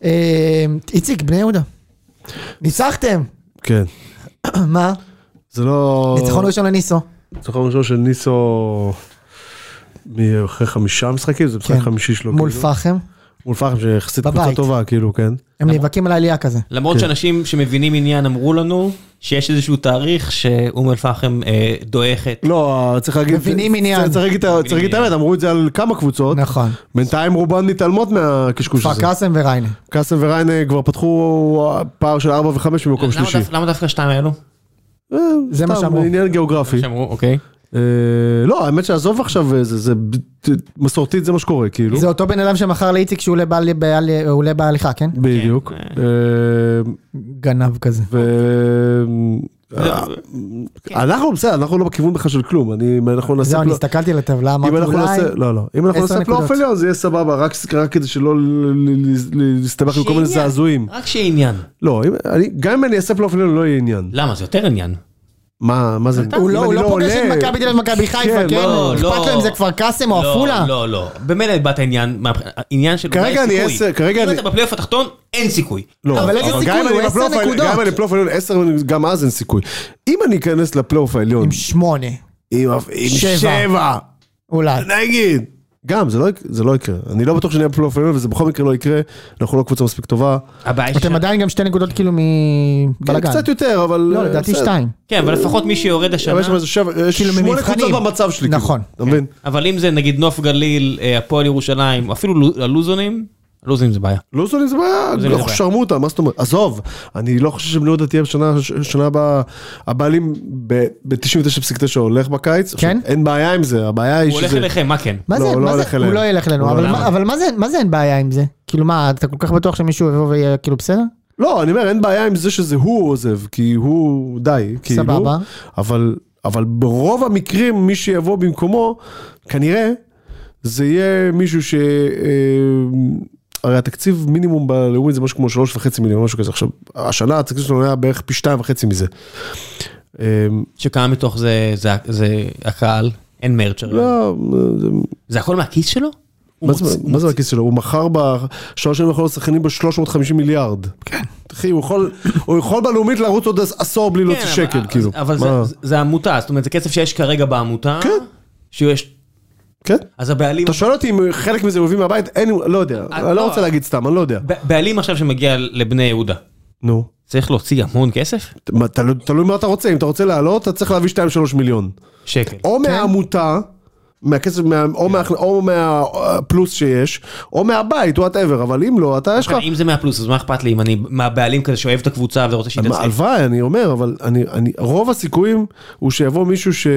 B: אה, איציק, בני יהודה. ניצחתם! (clears throat)
A: כן.
B: מה?
A: זה לא...
B: ניצחון ראשון לניסו.
A: ניצחון ראשון של ניסו אחרי חמישה משחקים, זה משחק
B: כן.
A: חמישי שלו.
B: מול
A: כאילו.
B: פחם.
A: מול פחם שיחסית קבוצה
B: בבית.
A: טובה, כאילו, כן.
B: הם נאבקים על העלייה כזה.
C: למרות שאנשים שמבינים עניין אמרו לנו שיש איזשהו תאריך שאום אל פחם אה, דועכת.
A: לא, צריך להגיד...
B: מבינים עניין.
A: צריך- צריך להגיד את ה- צריך להגיד את האמת, אמרו את זה על כמה קבוצות.
B: נכון.
A: בינתיים רובן מתעלמות מהקשקוש
B: כפר
A: הזה.
B: קאסם וריינה.
A: קאסם וריינה כבר פתחו אה, פער של 4 ו-5 במקום
C: למה
A: שלישי.
C: דווקא- למה דווקא שתיים האלו?
A: אה,
B: זה מה
A: סתם,
B: שאמרו.
A: עניין גיאוגרפי.
C: שאמרו, אוקיי.
A: אה, לא, האמת שעזוב עכשיו, אה, זה, זה ב- ת- מסורתית זה מה שקורה, כאילו.
B: זה אותו בן אדם שמכר לאיציק שהוא עולה בעל- בעל- עולה בהליכה, כן?
A: בדיוק. אה,
B: גנב כזה.
A: ו... אה,
C: כן.
A: אנחנו בסדר, אנחנו לא בכיוון בכלל של כלום, אני, אם אנחנו נעשה...
B: זהו, אני
A: פלא-
B: הסתכלתי על הטבלה,
A: לא- אם
B: אמרתי
A: אנחנו
B: אולי...
A: נעשה, לא, לא, אם אנחנו
B: עשר
A: נעשה פלייאוף
B: נקודות.
A: עליון זה יהיה סבבה, רק רק כדי שלא ל- ל- ל- להסתבך עם כל מיני
C: שעניין.
A: זעזועים.
C: רק שיהיה עניין.
A: לא, אם- אני- גם אם אני אעשה פלייאוף עליון לא יהיה עניין.
C: למה? זה יותר עניין.
A: מה, מה זה?
B: הוא
A: אם
B: לא, הוא
A: אני
B: לא פוגש
A: עולה-
B: את מכבי תל אביב ומכבי חיפה,
A: כן,
B: כן?
C: לא, לא.
B: אכפת לו אם זה כפר קאסם או
C: לא,
B: עפולה?
C: לא, לא. במילא איבדת עניין, מה- העניין של
A: כרגע
C: אולי
A: אני
C: סיכוי.
A: עשר, כרגע
C: אם
A: אני-
C: אתה בפלייאוף התחתון, אין סיכוי.
A: לא,
B: אבל איזה סיכוי?
A: גם אם
B: הוא
A: אני
B: עשר
A: בפלייאוף העליון-
B: נקודות.
A: גם אם אני בפלייאוף העליון 10, גם אז אין סיכוי. אם אני אכנס לפלייאוף העליון
B: עם שמונה,
A: עם עם
B: שבע.
A: שבע, (laughs)
B: אולי.
A: נגיד. גם, זה לא, יק- זה לא יקרה. אני לא בטוח שנהיה בפלייאוף העליון, וזה בכל מקרה לא יקרה. אנחנו לא קבוצה מספיק טובה.
C: הבעיה היא ש...
B: אתם עדיין גם שתי נקודות כאילו מבלאגן.
A: כן. קצת יותר, אבל...
B: לא, לדעתי
A: בסדר.
B: שתיים.
C: כן, אבל לפחות מי שיורד השנה...
A: אבל יש שם איזה שבע, יש
B: כאילו,
A: שמונה
B: ממבחנים.
A: קבוצות במצב שלי. כאילו.
B: נכון.
A: אתה מבין?
C: אבל אם זה נגיד נוף גליל, אה, הפועל ירושלים, אפילו לו- הלוזונים, הלוזונים זה בעיה.
A: לוזון זה
B: לא
A: בעיה,
C: זה בעיה.
A: אנחנו שרמוטה, לא מה זאת אומרת? עזוב, אני לא חושב שבני יהודה תהיה בשנה ש- שנה הבאה, הבעלים ב-99.9 הולך בקיץ. עכשיו,
B: כן?
A: אין בעיה עם זה, הבעיה היא
C: הוא הולך
A: שזה...
C: אליכם, מה כן?
B: מה
A: לא,
B: זה,
A: הוא לא
B: מה
A: הולך
B: זה, הוא
A: אליהם.
B: לא ילך אלינו,
A: הוא
B: אבל
A: לא
B: מה-
A: הולך.
B: אבל מה זה, מה זה אין בעיה עם זה? כאילו מה, אתה כל כך בטוח שמישהו יבוא ויהיה כאילו בסדר?
A: לא, אני אומר, אין בעיה עם זה שזה הוא עוזב, כי הוא די, כאילו.
B: סבבה.
A: אבל, אבל ברוב המקרים, מי שיבוא במקומו, כנראה, זה יהיה מישהו ש... אה, הרי התקציב מינימום בלאומית זה משהו כמו שלוש וחצי מיליון, משהו כזה. עכשיו, השנה התקציב שלנו היה בערך פי שתיים וחצי מזה. אה,
C: שכמה מתוך זה, זה, זה הקהל, אין מרצ' הרי.
A: לא, זה-
C: זה הכל מהכיס שלו? הוא
A: מה זה-
C: מוציא-
A: מה זה בכיס שלו? הוא מכר בשלוש שנים האחרונות שחקנים ב-350 מיליארד. כן. אחי, הוא יכול- הוא יכול בלאומית לרוץ עוד עשור בלי
C: כן,
A: להוציא
C: אבל-
A: שקל,
C: אז-
A: כאילו.
C: אבל
A: מה?
C: זה- זה- זה עמותה, זאת אומרת, זה כסף שיש כרגע בעמותה.
A: כן.
C: שיש,
A: כן.
C: אז הבעלים,
A: אתה שואל אותי אם חלק מזה הוא הביא מהבית? אין, לא יודע. אני
C: לא.
A: לא רוצה להגיד סתם, אני לא יודע.
C: ב- בעלים עכשיו שמגיע לבני יהודה,
A: נו.
C: צריך להוציא המון כסף?
A: מה, תלוי- תלוי מה אתה רוצה, אם אתה רוצה לעלות, אתה צריך להביא 2-3 מיליון.
C: שקל.
A: או מהעמותה, מהכסף, מה- או מה- או מהפלוס שיש, או מהבית, וואטאבר, אבל אם לא, אתה יש לך...
C: אם זה 100 פלוס, אז מה אכפת לי אם אני, מהבעלים כזה שאוהב את הקבוצה ורוצה שהיא
A: מה,
C: תצליח?
A: הלוואי, אני אומר, אבל אני, אני, רוב הסיכויים הוא שיבוא מישהו ש,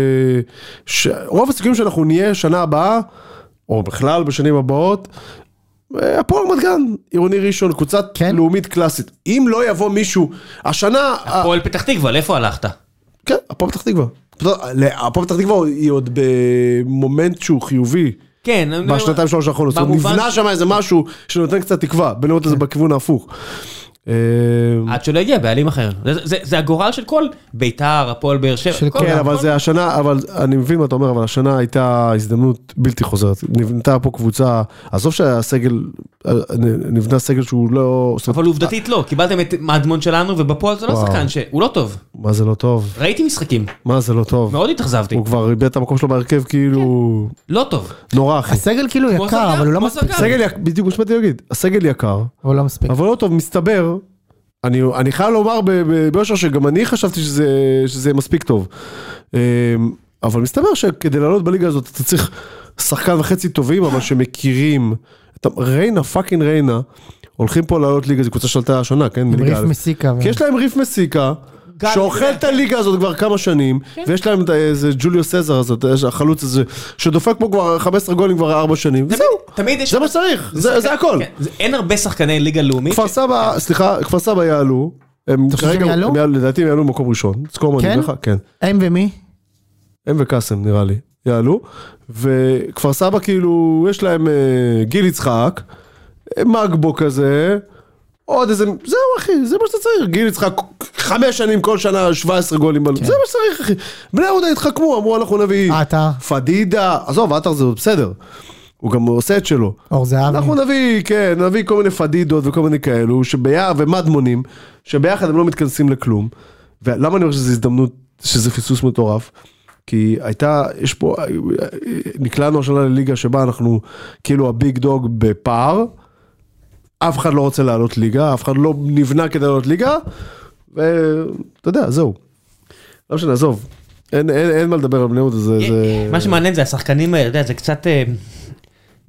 A: ש... רוב הסיכויים שאנחנו נהיה שנה הבאה, או בכלל בשנים הבאות, אה, הפועל רמת גן, עירוני ראשון, קבוצת
B: כן.
A: כן. לאומית קלאסית. אם לא יבוא מישהו, השנה... ה-
C: הפועל פתח תקווה, לאיפה הלכת?
A: כן, הפועל פתח תקווה. פתאום- הפועל פתח תקווה היא עוד במומנט שהוא חיובי.
C: כן, אני אומר-
A: בשנתיים שלוש האחרונות, זאת אומרת,
C: במובן- כן.
A: נבנה שם איזה משהו שנותן קצת תקווה, בלראות את זה בכיוון ההפוך. אה,
C: עד שלא הגיע בעלים אחר. זה- זה- זה הגורל של כל ביתר, הפועל באר שבע.
B: של
C: כל-
A: כן,
C: כל-
A: אבל זה השנה, אבל אני מבין מה אתה אומר, אבל השנה הייתה הזדמנות בלתי חוזרת. נבנתה פה קבוצה, עזוב שהסגל, אה, נבנה סגל שהוא לא... זאת אומרת,
C: אבל עובדתית לא, קיבלתם את מדמון שלנו, ובפועל זה לא
A: וואו.
C: שחקן שהוא לא טוב.
A: מה זה לא טוב?
C: ראיתי משחקים,
A: מה זה לא טוב?
C: מאוד התאכזבתי.
A: הוא כבר איבד את המקום שלו בהרכב כאילו...
C: לא טוב.
A: נורא אחי.
B: הסגל כאילו
C: כמו
B: יקר,
C: זרגר,
B: אבל הוא לא
C: כמו
B: מספיק.
C: זרגר.
A: הסגל, יק- בדיוק מה שבאתי להגיד, הסגל יקר,
B: הוא לא מספיק.
A: אבל לא טוב, מסתבר, אני, אני חייב לומר ב- ב- ביושר שגם אני חשבתי שזה, שזה מספיק טוב. אמ, אבל מסתבר שכדי לעלות בליגה הזאת אתה צריך שחקן וחצי טובים, אבל שמכירים. את ה- ריינה, פאקינג ריינה, הולכים פה לעלות ליגה, זו קבוצה שעלתה השנה, כן?
B: עם
A: בליגה
B: ריף
A: א'.
B: מסיקה. ו-
A: כי יש להם ריף מסיקה, שאוכל את הליגה הזאת כבר כמה שנים, ויש להם את איזה ג'וליו סזר הזאת, יש החלוץ הזה, שדופק פה כבר 15 גולים כבר 4 שנים, וזהו.
C: תמיד יש...
A: זה מה שצריך, זה זה הכל.
C: כן, זה- אין הרבה שחקני ליגה לאומית.
A: כפר סבא, סליחה, כפר סבא יעלו. הם
B: חושב שהם
A: כרגע,
B: יעלו?
A: הם יעלו? לדעתי הם יעלו במקום ראשון. תזכור מה אני
B: כן?
A: אומר לך, כן.
B: הם ומי?
A: הם וקאסם נראה לי, יעלו. וכפר סבא כאילו, יש להם אה, גיל יצחק, אה, מגבו כזה, עוד איזה, זהו אחי, זה מה שאתה צריך. גיל יצחק, חמש שנים כל שנה, 17 גולים,
B: כן.
A: בלם. זה מה שצריך אחי. בני יהודה התחכמו, אמרו אנחנו נביא
B: עטר.
A: פדידה, עזוב, עטר זה בסדר. הוא גם עושה את שלו.
B: אור זהבי.
A: אנחנו נביא, כן, נביא כל מיני פדידות וכל מיני כאלו, שביחד, ומדמונים, שביחד הם לא מתכנסים לכלום. ולמה אני אומר שזו הזדמנות, שזה פספוס מטורף? כי הייתה, יש פה, נקלענו השנה לליגה שבה אנחנו כאילו הביג דוג בפער, אף אחד לא רוצה לעלות ליגה, אף אחד לא נבנה כדי לעלות ליגה, ואתה יודע, זהו. לא משנה, עזוב. אין, אין, אין מה לדבר על בני יהודה, זה... זה...
C: אה, מה שמעניין זה השחקנים האלה, אתה יודע, זה קצת אה,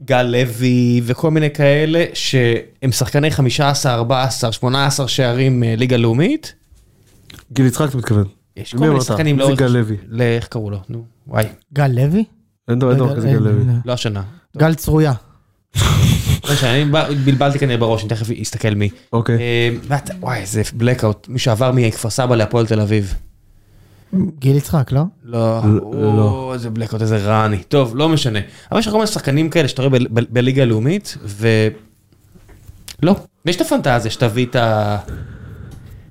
C: גל לוי וכל מיני כאלה, שהם שחקני 15, 14, 18 שערים אה, ליגה לאומית.
A: גיל יצחק אתה מתכוון.
C: יש
A: מי
C: כל מיני
A: אמרת?
C: שחקנים
A: זה
C: לאורך...
A: גל לוי.
C: ל- איך קראו לו? נו, וואי,
B: גל לוי?
A: אין דבר אין דבר כזה גל לוי.
C: לא השנה.
B: גל צרויה.
C: לא משנה, אני ב- בלבלתי כנראה בראש, אני תכף אסתכל מי.
A: אוקיי.
C: אה, ואתה- וואי, איזה בלקאוט, מי שעבר מכפר סבא להפועל תל אביב.
B: גיל יצחק, לא?
C: לא,
A: לא.
C: או, איזה בלקאוט, איזה רעני. טוב, לא משנה. אבל יש לך כל מיני שחקנים כאלה שאתה רואה ב- ב- בליגה הלאומית, ו... לא. ויש את הפנטזיה שתביא את ה...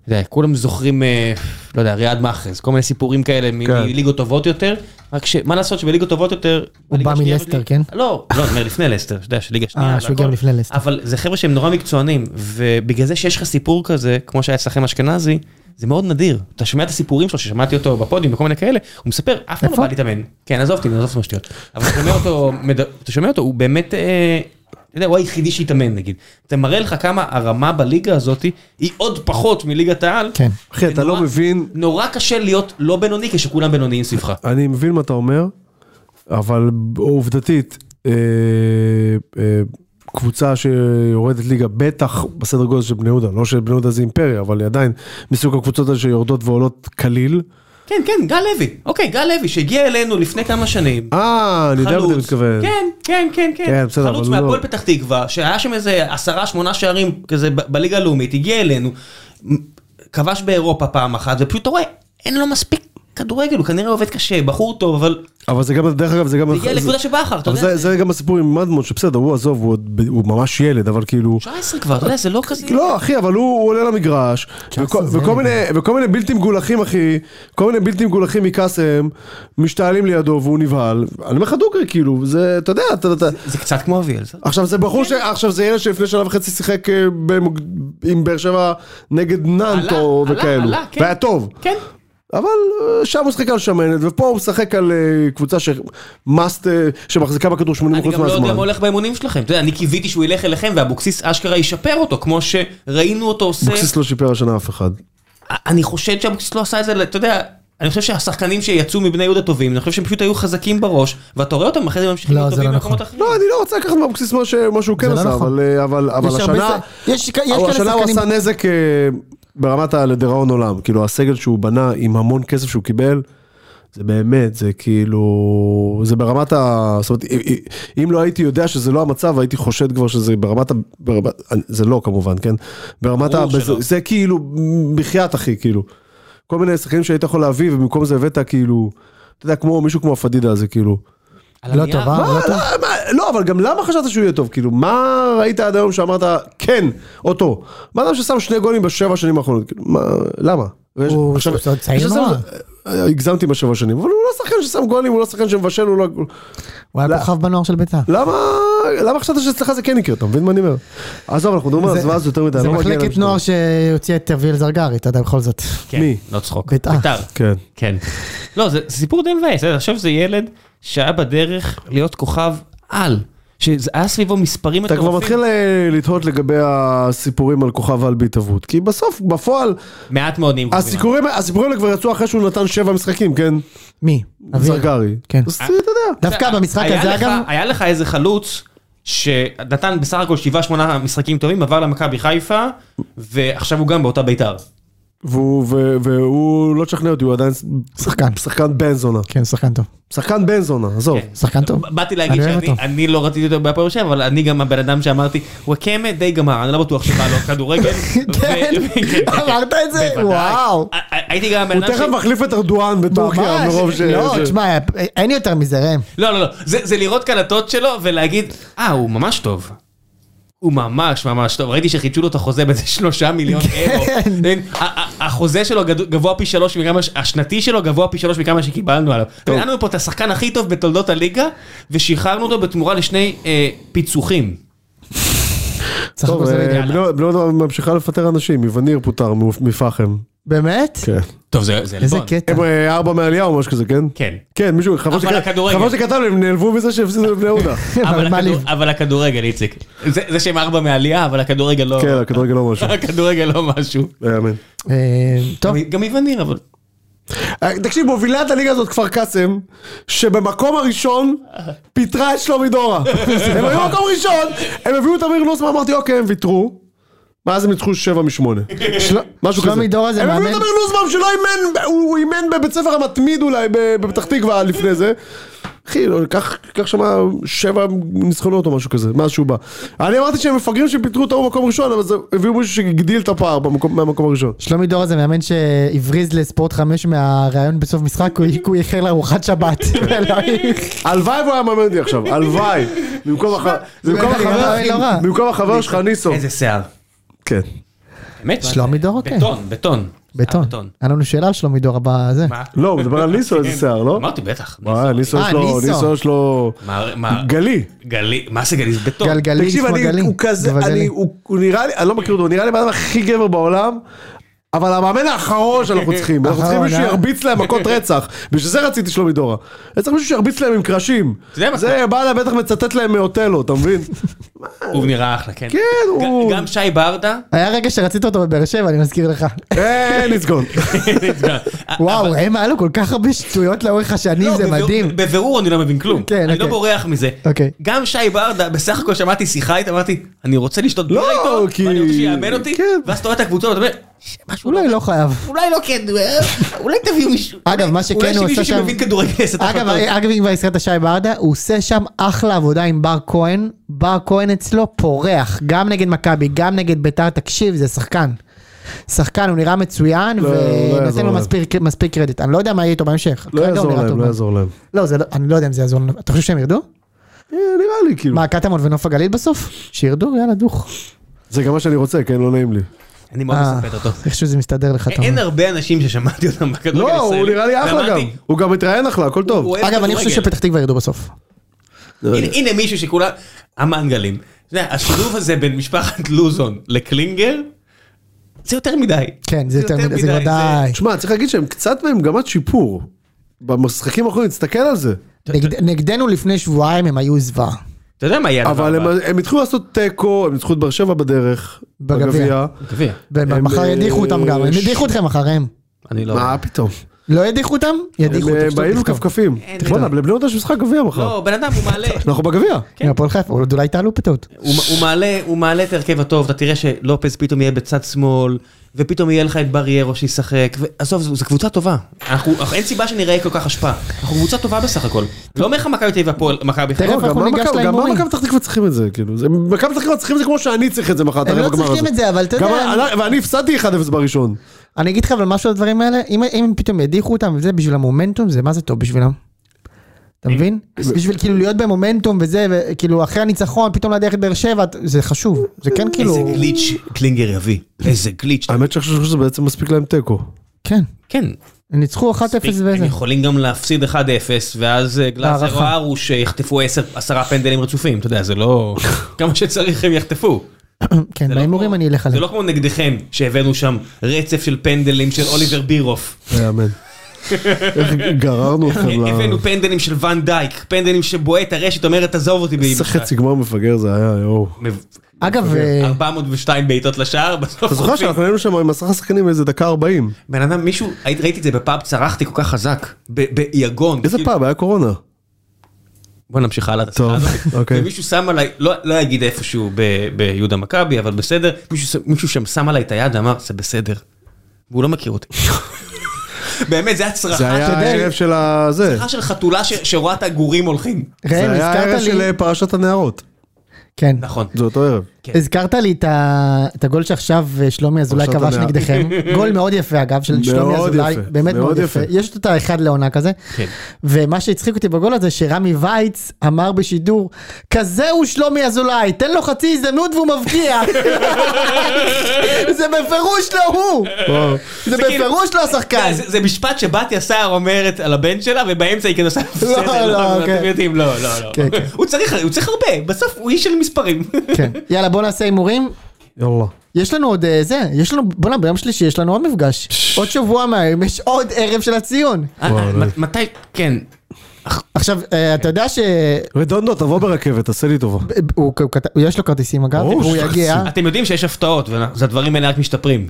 C: אתה יודע, כולם זוכרים, אה, לא יודע, ריאד מאחז, כל מיני סיפורים כאלה מ-
A: כן.
C: מליגות טובות יותר, רק שמה לעשות שבליגות טובות יותר...
B: הוא
C: בליגה
B: בא
C: השנייה
B: מלסטר,
C: ובליגה-
B: כן? אה,
C: לא, לא, אני אומר לפני לסטר, שאתה יודע, שליגה שנייה.
B: שהוא
C: והכל.
B: הגיע לפני לסטר.
C: אבל זה חבר'ה שהם נורא מקצוענים, ובגלל זה שיש לך סיפור כזה, כמו שהיה אצלכם אשכנזי, זה מאוד נדיר. אתה שומע את הסיפורים שלו, ששמעתי אותו בפודיום וכל מיני כאלה, הוא מספר, אף פעם לא
B: איפה?
C: בא להתאמן. כן, עזוב אותי, עזוב את השטויות. אבל אתה שומע אותו, מד- אתה שומע אותו, הוא באמת, אה, אתה יודע, הוא היחידי שהתאמן נגיד. זה מראה לך כמה הרמה בליגה הזאת היא עוד פחות מליגת העל.
B: כן.
A: אחי, אתה לא
C: נורא-
A: מבין,
C: נורא קשה להיות לא בינוני כשכולם בינוניים סביבך.
A: אני מבין מה אתה אומר, אבל עובדתית, אה, אה, קבוצה שיורדת ליגה, בטח בסדר גודל של בני יהודה, לא שבני יהודה זה אימפריה, אבל היא עדיין מסוג הקבוצות האלה שיורדות ועולות קליל.
C: כן, כן, גל לוי. אוקיי, גל לוי שהגיע אלינו לפני כמה שנים.
A: אה, אני יודע מה אתה מתכוון.
C: כן, כן, כן, כן.
A: כן, בסדר,
C: חלוץ
A: אבל לא.
C: מהפועל פתח תקווה, שהיה שם איזה עשרה, שמונה שערים כזה ב- בליגה הלאומית, הגיע אלינו, מ- כבש באירופה פעם אחת, ופשוט אתה רואה, אין לו מספיק כדורגל, הוא כנראה עובד קשה, בחור טוב, אבל
A: אבל זה גם, דרך אגב, זה גם...
C: זה הגיע
A: זה-
C: לנקודה שבכר, אתה
A: אבל זה,
C: יודע,
A: זה גם הסיפור עם מדמון, שבסדר, הוא עזוב, הוא, עוד- הוא ממש ילד, אבל כאילו...
C: 19 כבר, אתה יודע, זה לא כזה...
A: לא, אחי, אבל הוא, הוא עולה למגרש, וכל,
B: זה
A: וכל, מיני, וכל מיני בלתי מגולחים, אחי, כל מיני בלתי מגולחים מקאסם, משתעלים לידו והוא נבהל. אני אומר לך דוגרי, כאילו, זה, אתה יודע, אתה, אתה,
C: זה קצת כמו אביאל. זה-
A: עכשיו זה בחור, ש, עכשיו זה ילד שלפני שנה וחצי שיחק אה, במוג- עם באר שבע נגד
C: עלה,
A: ננטו
C: עלה,
A: וכאלו,
C: עלה, כן.
A: והיה טוב.
C: כן.
A: אבל אה, שם הוא שיחק על שמנת, ופה הוא משחק על אה, קבוצה שמאסט, אה, שמחזיקה בכדור 80%
C: אני
A: מהזמן.
C: גם לא יודע מה הולך באימונים שלכם, אתה יודע, אני קיוויתי שהוא ילך אליכם ואבוקסיס אשכרה ישפר אותו, כמו שראינו אותו עושה...
A: אבוקסיס לא שיפר השנה אף אחד.
C: אני חושד שאבוקסיס לא עשה את זה, אתה יודע, אני חושב שהשחקנים שיצאו מבני יהודה טובים, אני חושב שהם פשוט היו חזקים בראש, ואתה רואה אותם אחרי זה ממשיכים
B: לא,
C: להיות
B: זה
C: טובים
B: לא
C: במקומות
B: נכון.
C: אחרים.
A: לא, אני לא רוצה לקחת מאבוקסיס מה ש- מה שהוא כן
B: זה לא
A: עשה,
B: נכון.
A: אבל אה, אבל- אבל
B: יש הרבה
A: השנה...
B: ש- יש יש
A: אבל
B: כאלה
A: השנה הוא
B: שחקנים...
A: עשה נזק אה, ברמת הלדיראון עולם, כאילו הסגל שהוא בנה עם המון כסף שהוא קיבל, זה באמת, זה כאילו, זה ברמת ה... זאת אומרת, אם- אם לא הייתי יודע שזה לא המצב, הייתי חושד כבר שזה ברמת ה... ברמת, זה לא כמובן, כן? ברמת ה...
C: ברור
A: בזה-
C: שלא.
A: זה כאילו, בחייאת אחי, כאילו. כל מיני שחקנים שהיית יכול להביא, ובמקום זה הבאת כאילו, אתה יודע, כמו מישהו כמו הפדידה הזה, כאילו.
C: על
B: לא
C: הנייר,
B: טוב, אה?
A: מה,
B: לא טוב.
A: לא, מה, לא, אבל גם למה חשבת שהוא יהיה טוב? כאילו, מה ראית עד היום שאמרת, כן, אותו. מה אדם ששם שני גולים בשבע שנים האחרונות? כאילו, מה, למה? ויש-
B: הוא
A: עכשיו-
B: הוא צעיר
A: יש
B: נורא.
A: לזה- אה, הגזמתי בשבע שנים, אבל הוא לא שחקן ששם גולים, הוא לא שחקן שמבשל, הוא לא...
B: הוא היה
A: לא.
B: כוכב בנוער של בית"ר.
A: למה, למה חשבת שאצלך זה כן יקרה? אתה מבין מה אני אומר? עזוב, אנחנו מדברים על
B: זה-
A: הזוועה הזו יותר מדי,
B: זה
A: לא מגיע
B: מחלקת
A: למשטרה.
B: נוער שהוציאה את אביאל זרגרי, אתה יודע, בכל זאת. (laughs)
C: כן,
A: מי?
C: לא צחוק.
B: בית"ר.
A: כן.
C: כן. לא, זה זה סיפור די מבאס, אתה חושב שזה ילד שהיה בדרך להיות כוכב על, שהיה סביבו מספרים
A: אתה
C: מטורפים.
A: כבר מתחיל אה, לתהות לגבי הסיפורים על כוכב על בהתהוות, כי בסוף, בפועל,
B: לא
C: מעט מאוד נהיים כוכבים.
A: הסיפורים הסיפורים האלה כבר יצאו אחרי שהוא נתן שבע משחקים, כן?
B: מי? אביאל.
A: זרגרי.
B: כן.
A: אז אתה יודע.
B: דווקא במשחק
C: היה
B: הזה,
C: לך-
B: אגב,
C: היה לך איזה חלוץ שנתן בסך הכל 7-8 משחקים טובים, עבר למכבי חיפה, ועכשיו הוא גם באותה בית"ר.
A: והוא, ו, והוא לא תשכנע אותי, הוא עדיין
B: שחקן.
A: שחקן בן זונה.
B: כן, שחקן טוב.
A: שחקן בן זונה, עזוב.
C: כן.
B: שחקן טוב.
C: ב- באתי להגיד
B: אני אוהב
C: שאני
B: אותו.
C: אני לא רציתי אותו בהפועל באר שבע, אבל אני גם הבן אדם שאמרתי, וואקמה די גמר, אני לא בטוח שבא לו כדורגל.
B: (laughs) (laughs)
C: ו-
B: כן,
C: כן, כן, כן.
B: (laughs) אמרת את זה?
C: בוודאי.
B: וואו.
C: ה- ה- הייתי גם הבן
A: הוא
C: אדם ש...
A: תכף מחליף את ארדואן בטורקיה,
B: ממש.
A: מרוב ש...
B: לא,
A: ש-
B: תשמע, אין יותר מזה, ראם.
C: לא, לא, לא, זה זה לראות קלטות שלו ולהגיד, אה, הוא ממש טוב. הוא ממש ממש טוב, ראיתי שחידשו לו את החוזה באיזה (laughs) שלושה
B: כן.
C: מיליון אירו. אין, ה- ה- החוזה שלו גדו- גבוה פי שלוש מכמה, ש- השנתי שלו גבוה פי שלוש מכמה שקיבלנו עליו. היה לנו פה את השחקן הכי טוב בתולדות הליגה, ושחררנו אותו בתמורה לשני אה, פיצוחים.
B: צריך
A: טוב,
B: לעשות
A: אה,
B: את זה.
A: בני- בני יהודה ממשיכה לפטר אנשים, יווניר פוטר מ- מפחם.
B: באמת?
A: כן.
C: טוב, זה זה
B: איזה
C: עלבון.
B: קטע.
A: הם אה, ארבע מהעלייה או משהו כזה, כן?
C: כן.
A: כן, מישהו, חבל
C: אבל
A: שכ-
C: הכדורגל.
A: חבל שכתב לי, הם נעלבו מזה שהפסידו לבני
C: (laughs)
A: יהודה.
B: אבל
C: אבל, הכדור,
B: מעליב.
C: אבל הכדורגל, איציק. זה, זה שהם ארבע מעלייה, אבל הכדורגל לא...
A: כן, הכדורגל לא משהו.
C: הכדורגל לא משהו.
A: לא יאמן.
B: אה, טוב,
C: גם- גם איווניר, אבל...
A: אה, תקשיב, מובילת הליגה הזאת כפר קאסם, שבמקום הראשון פיטרה
B: (laughs)
A: את שלומי דורה. הם היו במקום ראשון, הם הביאו את אמיר נוסמן, אמרתי אוקיי, הם ויתרו. ואז הם ניצחו שבע משמונה.
B: של-
A: משהו כזה.
B: שלומי דורה זה
A: הם הביאו
B: מאמן,
A: את אמיר נוסבאום שלא אימן, הוא הוא אימן בבית ספר המתמיד אולי ב- בפתח תקווה לפני זה. אחי, לא, קח קח שמה שבע ניצחונות או משהו כזה, מאז שהוא בא. אני אמרתי שהם מפגרים שפיטרו את ההוא במקום ראשון, אבל זה- הביאו מישהו שהגדיל את הפער במקום- מהמקום הראשון.
B: שלומי דורה זה מאמן שהבריז לספורט 5 מהראיון בסוף משחק, הוא- הוא איחר לארוחת שבת. אלוהים.
A: הלוואי והוא היה מאמן אותי עכשיו, הלוואי. במקום הח- זה במקום
B: זה
A: החבר-
B: לא רע.
A: במקום החבר שלך ניסו.
C: איזה שיער.
A: כן.
C: באמת?
B: שלומי דורה, כן.
C: בטון, בטון. אה,
B: בטון.
C: בטון.
B: היה לנו שאלה על שלומי דורה בזה.
C: מה? כן.
A: לא, הוא מדבר על ניסו, איזה שיער, לא?
C: אמרתי בטח.
A: וואי, ניסו
B: אה,
A: יש לו,
B: ניסו.
A: ניסו יש לו...
C: מה- מה-
A: גלי.
C: גלי, מה זה גלי? זה בטון.
B: גלגלי,
A: תקשיב,
B: נשמע
A: אני,
B: גלי.
A: הוא כזה,
B: גלגלי.
A: אני, הוא, הוא נראה לי, אני לא מכיר אותו, הוא נראה לי בן אדם הכי גבר בעולם, אבל המאמן האחרון שאנחנו צריכים, אנחנו צריכים
B: אחרון,
A: מישהו
B: אה?
A: שירביץ להם מכות רצח, בשביל זה רציתי שלומי דורה. אני צריך מישהו שירביץ להם עם קרשים.
C: יודע מה?
A: זה בעלה בטח מצטט להם מאוטלו, אתה מבין?
C: הוא נראה אחלה, כן.
A: כן,
C: ג-
A: הוא...
C: גם שי ברדה.
B: היה רגע שרצית אותו בבאר שבע, אני מזכיר
C: אה,
B: לך.
A: אין לא לסגון.
B: וואו, הם היה לו כל כך הרבה שטויות לאורך השנים,
C: לא,
B: זה
C: בבירור-
B: מדהים.
C: בבירור אני לא מבין כלום.
B: כן,
C: אני לא
B: אוקיי.
C: בורח מזה.
B: אוקיי.
C: גם שי ברדה, בסך הכל שמעתי שיחה איתה, אמרתי, אני רוצה לשתות בירה איתו,
A: כי-
C: ואני רוצה שיאמן אותי,
A: כן.
C: ואז אתה רואה את הקבוצה ואתה אומר, "ש- משהו
B: אולי לא חייב.
C: אולי לא כן, אולי תביאו מישהו.
B: אגב, מה שכן כן, הוא
C: אולי
B: עשה
C: שמישהו
B: שם-
C: שמבין כדורגל יעשה את
B: אגב, אה,
C: ההחלטות.
B: אגב, אם כבר הזכרת שי ברדה, הוא עושה שם אחלה עבודה עם בר כהן. בר כהן אצלו פורח, גם נגד מכבי, גם נגד ביתר, תקשיב, זה שחקן. שחקן, הוא נראה מצוין,
A: לא, לא יעזור
B: ונותן לו
A: להם.
B: מספיק- מספיק קרדיט. אני לא יודע מה יהיה איתו בהמשך.
A: לא
B: כרגע הוא
A: יעזור
B: נראה
A: להם,
B: טוב.
A: לא יעזור להם.
B: לא, זה לא- אני לא יודע אם זה יעזור להם. אתה חושב שהם ירדו?
A: אה, נראה לי, כאילו.
B: מה, קטמון ונוף הגליל בסוף? שירדו, יאללה, דוך.
A: זה גם מה שאני רוצה, כן? לא נעים לי.
C: אני מאוד
B: אה,
C: מספר אותו.
B: איכשהו זה מסתדר לך, אתה
C: אין
B: אומר.
C: הרבה אנשים ששמעתי אותם בכדורגל
A: לא,
C: הישראלי.
A: הוא נראה לי אחלה גם.
C: ואמרתי,
A: הוא גם מתראיין אחלה, הכל טוב.
C: הוא אוהב
B: אגב, אני חושב
C: כדורגל.
B: שפתח תקווה ירדו בסוף. לא
C: הנה, הנה מישהו שכולם, המנגלים. אתה יודע, השילוב הזה בין משפחת לוזון לקלינגר, זה יותר מדי.
B: כן, זה יותר מדי, זה כבר
C: זה-
B: די.
A: שמע, צריך להגיד שהם קצת במגמת שיפור. במשחקים האחרונים, תסתכל על זה.
B: נגד- נגדנו לפני שבועיים הם היו זוועה.
C: אתה יודע מה יהיה הדבר
A: אבל הם-
C: הבא?
A: הם התחילו לעשות תיקו, הם ניצחו את באר שבע בדרך.
B: בגביע.
A: בגביע.
C: גביע.
A: הם,
B: ומחר
A: אה,
B: ידיחו אותם גם, הם
A: ש-
B: ידיחו אתכם אחריהם.
C: אני לא...
A: מה פתאום?
B: לא ידיחו אותם? ידיחו
A: הם
B: אותם.
A: אה, באים
B: שתכתוב.
A: לכפכפים.
C: אין לי
A: בואנה,
C: בעיה.
A: לבני יהודה יש משחק גביע מחר.
C: לא, בן אדם הוא מעלה,
A: אנחנו בגביע.
B: עם כן. הפועל חיפה, עוד אולי תעלו פתאום.
C: הוא הוא מעלה, הוא מעלה את ההרכב הטוב, אתה תראה שלופז פתאום יהיה בצד שמאל, ופתאום יהיה לך את בריירו שישחק, ועזוב, זו זו קבוצה טובה. אנחנו, אנחנו- אין סיבה שנראה כל כך השפעה. אנחנו קבוצה טובה בסך הכל. לא אומר לך מכבי תל אביב והפועל, מכבי חיפה.
B: תכף
A: לא, גם
B: אנחנו
A: מה
B: ניגש
A: מכבי- גם מה
B: להימורים.
A: מכבי פתח תקווה צריכים את זה, כאילו. זה- מכבי פתח תקווה צריכים את זה כמו שאני צריך את זה מחר, את
B: הם
A: הרבע
B: לא
A: הגמר
B: צריכים
A: הזה.
B: את זה, אבל אתה
A: גם
B: יודע...
A: אני- ואני הפסדתי 1-0 בראשון.
B: אני אגיד לך אבל משהו על הדברים האלה, אם- אם הם פתאום ידיחו אותם וזה בשביל המומנטום, זה מה זה טוב בשבילם. אתה מבין? אז בשביל כאילו להיות במומנטום וזה, וכאילו אחרי הניצחון, פתאום להדיח את באר שבע, זה חשוב. זה
A: אה,
B: כן כאילו... אה,
C: איזה גליץ' קלינגר יביא. איזה גליץ'.
A: האמת שאני חושב שזה בעצם מספיק להם תיקו.
B: כן.
C: כן.
B: הם ניצחו 1-0
C: הם
B: וזה.
C: יכולים גם להפסיד 1-0, ואז אה, גלאזר או
B: הערכה.
C: ארוש אה, יחטפו 10 עשרה פנדלים רצופים. אתה יודע, זה
B: (laughs)
C: לא... כמה שצריך הם יחטפו.
B: כן,
C: זה לא
B: בהימורים
C: כמו-
B: אני אלך על
C: זה
B: זה.
C: לא כמו נגדכם, שהבאנו שם רצף של פנדלים של אוליבר בירוף.
A: לא יאמן. איך גררנו אתכם ל...
C: הבאנו פנדלים של ואן דייק, פנדלים שבועט הרשת אומרת תעזוב אותי.
A: איזה
C: באימא שלך."
A: חצי גמר מפגר זה היה, יואו.
C: מב-
B: אגב, אה,
C: 402 בעיטות לשער, בסוף
A: אתה זוכר
C: חוטפים.
A: שאנחנו היינו שם עם עשרה שחקנים איזה דקה 40.
C: בן אדם, מישהו, הייתי- ראיתי את זה בפאב, צרחתי כל כך חזק, ב- ביגון.
A: איזה
C: כאילו-
A: פעם, היה קורונה.
C: בוא נמשיך הלאה. את השיחה (laughs)
A: טוב, (laughs)
C: הזאת.
A: אוקיי.
C: ומישהו שם עליי, לא לא אגיד איפשהו ב- ביהודה מכבי, אבל בסדר, מישהו ש- מישהו שם שם עליי את היד ואמר, זה בסדר. והוא לא
A: (laughs)
C: מכיר אותי. באמת, זה היה
A: זה
C: צרחה
A: היה
C: של-
A: הערב של הזה.
C: צרחה של חתולה ש- שרואה את הגורים הולכים.
A: זה
B: ראם,
A: היה הערב
B: הזכרת
A: של
B: לי...
A: אה, פרשת הנערות.
B: כן.
C: נכון.
A: זה אותו ערב.
C: כן.
B: הזכרת לי את ה- את הגול שעכשיו אה, שלומי אזולאי
A: עכשיו
B: כבש
A: אתה יודע.
B: נגדכם,
A: (laughs)
B: גול מאוד יפה אגב, של שלומי
A: מאוד
B: אזולאי,
A: יפה,
B: באמת
A: מאוד
B: מאוד יפה,
A: יפה.
B: יש את אותה אחד לעונה כזה,
C: כן.
B: ומה שהצחיק אותי בגול הזה שרמי וייץ אמר בשידור, כזה הוא שלומי אזולאי, תן לו חצי הזדמנות והוא
C: (laughs)
B: מבקיע, זה בפירוש לא הוא, זה
C: כאילו-
B: בפירוש לא השחקן,
C: זה, זה משפט שבתיה סער אומרת על הבן שלה, ובאמצע היא כאילו עושה בסדר,
B: לא,
C: אתם
B: כן.
C: יודעים, לא, לא, לא.
B: כן, כן.
C: הוא צריך, הוא צריך הרבה, בסוף הוא איש של מספרים.
B: כן. יאללה בוא נעשה הימורים,
A: יאללה.
B: יש לנו עוד אה, זה, יש לנו, בוא'נה ביום שלישי יש לנו עוד מפגש, עוד שבוע מהיום יש עוד ערב של הציון,
C: אה, אה, מ- מתי, כן,
B: עכשיו אה, אתה יודע ש...
A: ודונדו, תבוא ברכבת, תעשה לי טובה.
B: הוא, הוא, כת- יש לו כרטיסים אגב,
A: ברור
B: והוא
A: שיש לו
B: יגיע.
C: אתם יודעים שיש הפתעות, והדברים האלה רק משתפרים.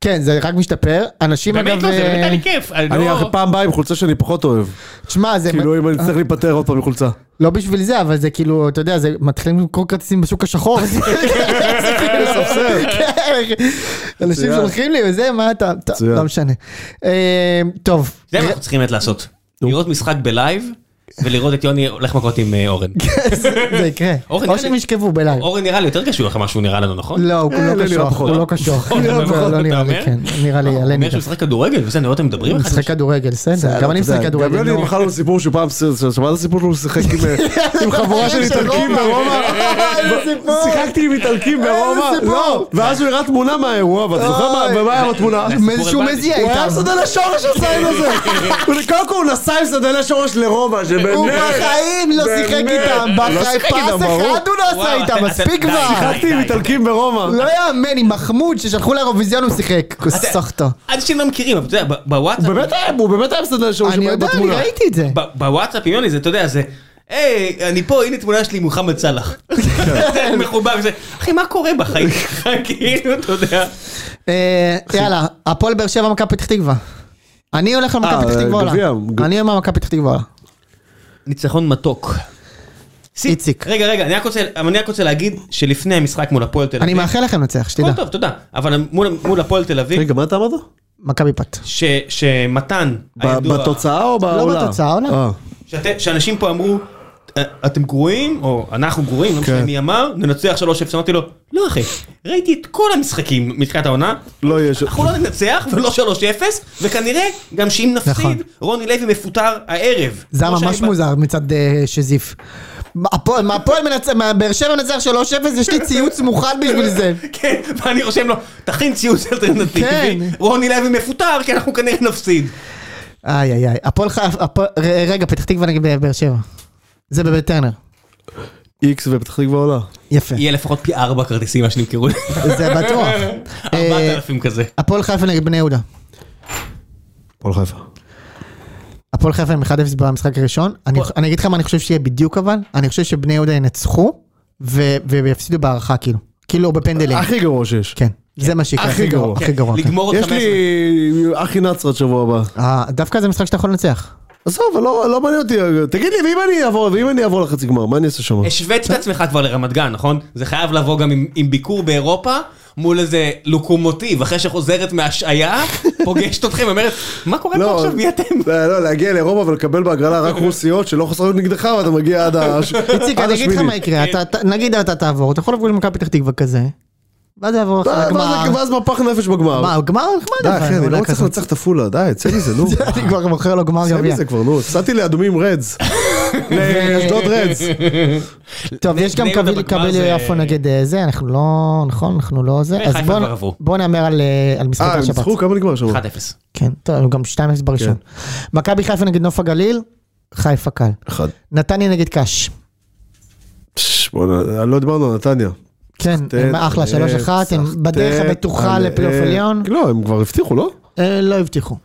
B: כן, זה רק משתפר. אנשים אגב...
C: באמת לא, זה
B: אה,
C: באמת כן- היה לי כיף.
A: אני
C: לא-
A: פעם באה עם חולצה שאני פחות אוהב.
B: תשמע, זה...
A: כאילו אם אני צריך להיפטר עוד פעם מחולצה.
B: לא בשביל זה, אבל זה כאילו, אתה יודע, זה מתחילים למכור כרטיסים בשוק
A: (laughs)
B: השחור. זה כאילו- כן. אנשים
A: מצוין.
B: שולחים לי וזה, מה אתה... טוב,
A: מצוין.
B: לא משנה. אה, טוב.
C: זה מה אנחנו צריכים באמת לעשות. לראות משחק בלייב, ולראות את יוני הולך מכות עם אה, אורן.
B: (laughs) זה יקרה.
C: (laughs) אורן,
B: או
C: נראה לי-
B: שהם ישכבו בלילה.
C: אורן נראה לי יותר קשור לך ממה שהוא נראה לנו, נכון?
B: לא, הוא
A: אה,
B: לא
A: נראה לי
B: קשוח,
A: פחות.
B: הוא לא קשוח.
C: נראה
B: לא,
C: פחות,
B: לא
C: אתה
B: נראה לי,
C: אומר?
B: כן. נראה לי,
C: הוא
B: עלינו.
C: אומר שהוא משחק כדורגל, וזה, אני רואה אותם מדברים אחד עם
B: משחק כדורגל, בסדר. גם אני לא- משחק
A: גם לא
B: כדורגל.
A: יוני
B: נו.
A: מכר לנו סיפור שהוא פעם, שמעת סיפור שהוא שיחק עם,
B: (laughs)
A: אה, עם חבורה של
B: של
A: איטלקים
B: רומא. (laughs)
A: ברומא? שיחקתי עם איטלקים ברומא?
B: איזה סיפור.
A: לא. ואז הוא הראה תמונה מהאירוע, ואתה זוכר מה-
B: אוי.
A: במה היה
B: (laughs)
A: בתמונה?
C: הסיפור
B: שהוא
C: הבנתי.
B: מזיע
A: הוא היה
B: איתם.
A: מסעדן השורש עשה עם
B: (laughs)
A: הזה. הוא- קודם כל הוא נסע עם סעדן השורש לרומא,
B: הוא
A: שבאמת...
B: בחיים לא
A: באמת.
B: שיחק איתם,
A: לא
B: בחיים
A: שיחק
B: פס
A: איתם, ברור.
B: אחד הוא לא עשה
C: וואו,
B: איתם,
C: אתה-
B: מספיק
C: אתה- די,
B: כבר.
A: שיחקתי עם איטלקים ברומא.
B: לא יאמן, עם מחמוד ששלחו לאירוויזיון הוא שיחק. סחטה.
C: אנשים לא מכירים, אבל אתה יודע, ב- בוואטסאפ...
A: הוא באמת היה- הוא באמת היה מסעדן השורש
B: אני יודע, אני
A: בתמונה.
B: ראיתי את זה.
C: ב- בוואטסאפ עם יוני זה, אתה יודע, זה... היי, אני פה, הנה תמונה שלי עם מוחמד סאלח. זה (laughs) מחובר, זה... אחי, מה קורה בחיים (laughs) שלך? כאילו, אתה יודע.
B: אה, יאללה, הפועל באר שבע מכבי פתח תקווה. אני הולך על מכבי
A: אה,
B: פתח תקווה עולה.
A: גביע, גב-
B: אני אומר מכבי פתח תקווה עולה.
C: ניצחון מתוק. סי-
B: איציק.
C: רגע, רגע, אני רק רוצה- אני רק רוצה להגיד שלפני המשחק מול הפועל תל אביב...
B: אני מאחל לכם לנצח,
C: הכל
B: שתדע.
C: טוב, תודה. אבל מול- מול הפועל תל אביב,
A: רגע, מה אתה אמרת?
B: מכבי פת.
C: ש- שמתן,
A: ב-
C: הידוע,
A: בתוצאה או בעולם?
B: לא בתוצאה, העולם.
A: אה.
C: שאתם- שאנשים פה אמרו, "אה, אתם גרועים, או אנחנו גרועים, לא משנה
A: כן.
C: מי אמר, ננצח 3-0, אמרתי לו, לא אחי, ראיתי את כל המשחקים מתחילת העונה,
A: לא (laughs) יש...
C: אנחנו לא ננצח ולא 3-0, וכנראה גם שאם
B: נכון.
C: נפסיד, רוני לוי מפוטר הערב.
B: זה היה
C: כמו
B: ממש
C: שאני-
B: מוזר מצד אה, שזיף. הפועל- מהפועל מנצח, מהבאר שבע מנצח 3-0, יש לי ציוץ מוכן בשביל זה.
C: (laughs) כן, ואני רושם לו, תכין ציוץ
B: כן.
C: אלטרנטיבי, רוני לוי מפוטר, כי אנחנו כנראה נפסיד.
B: איי איי איי, הפועל חיפה, הפועל- ר- רגע, פתח תקווה נגד באר שבע. זה בבית טרנר.
A: איקס ופתח תקווה עולה.
B: יפה,
C: יהיה לפחות פי ארבע כרטיסים, מה שנמכרו לי.
B: זה
A: (laughs)
B: בטוח. אה,
C: 4,000 כזה.
B: הפועל חיפה נגד בני יהודה.
A: הפועל חיפה.
B: הפועל חיפה עם 1-0 במשחק הראשון. אני- אני אגיד לך מה אני חושב שיהיה בדיוק אבל, אני חושב שבני יהודה ינצחו ו- ויפסידו בהערכה כאילו.
A: (laughs)
B: כאילו בפנדלים.
A: הכי גרוע שיש.
B: כן, זה מה שיקרה.
A: הכי גרוע.
B: הכי גרוע. כן.
C: לגמור את
A: יש
C: 15.
A: לי אחי נצרת שבוע הבא.
B: אה, דווקא זה משחק שאתה
A: (laughs)
B: יכול לנצח.
A: עזוב, אבל לא לא מעניין אותי. תגיד לי, ואם אני אעבור, ואם אני אעבור לחצי גמר, מה אני אעשה שם?
C: השווית את עצמך כבר לרמת גן, נכון? זה חייב לבוא גם עם- עם ביקור באירופה, מול איזה לוקומוטיב, אחרי שחוזרת מהשעיה, פוגשת אתכם, אומרת, מה קורה פה עכשיו, מי אתם?
A: לא, לא, להגיע לאירופה ולקבל בהגרלה רק רוסיות שלא חסרות נגדך ואתה מגיע עד הש-
B: (laughs) איציק,
A: עד
B: אני אגיד לך
A: השמיני.
B: מה יקרה, אתה- אתה- נגיד אתה תעבור, אתה יכול לבוא למכבי פתח תקווה כזה, ואז יעבור לך
A: ואז-
B: לגמר.
A: ואז מפח נפש בגמר.
B: מה, גמר?
A: די,
B: נחמד
A: אחי,
B: אבל,
A: אני לא
B: אולי
A: רוצה
B: כזה.
A: לנצח את עפולה, די, צא מזה,
B: (laughs)
A: נו.
B: אני כבר מוכר לו גמר
A: צא
B: גביע.
A: מזה כבר, נו. סעתי לאדומים
B: (laughs)
A: רדס. לאשדוד רדס.
B: טוב, יש גם
C: בני יהודה
B: קביל-
C: בגמר
B: קביל
C: זה-
B: יפו נגד אה, זה, אנחנו לא, נכון, אנחנו לא זה.
C: בני
B: אז
C: חיפה
B: בוא-
C: כבר עברו.
B: בוא נאמר על, אה, על משחק
A: אה, הם
B: השבת.
A: ניצחו? כמה נגמר שם?
C: 1-0.
B: כן, טוב, גם 2-0 בראשון.
A: כן.
B: מכבי חיפה נגד נוף הגליל, חיפה קל.
A: אחד.
B: נתניה נגד קאש.
A: פש, בוא'נה, לא דיברנו על נתניה.
B: כן, הם אחלה, 3-1, הם בדרך
A: סחטט
B: הבטוחה
A: על-
B: לפלייאוף
A: אה,
B: עליון.
A: לא, הם כבר הבטיחו, לא?
B: אה, לא הבטיחו.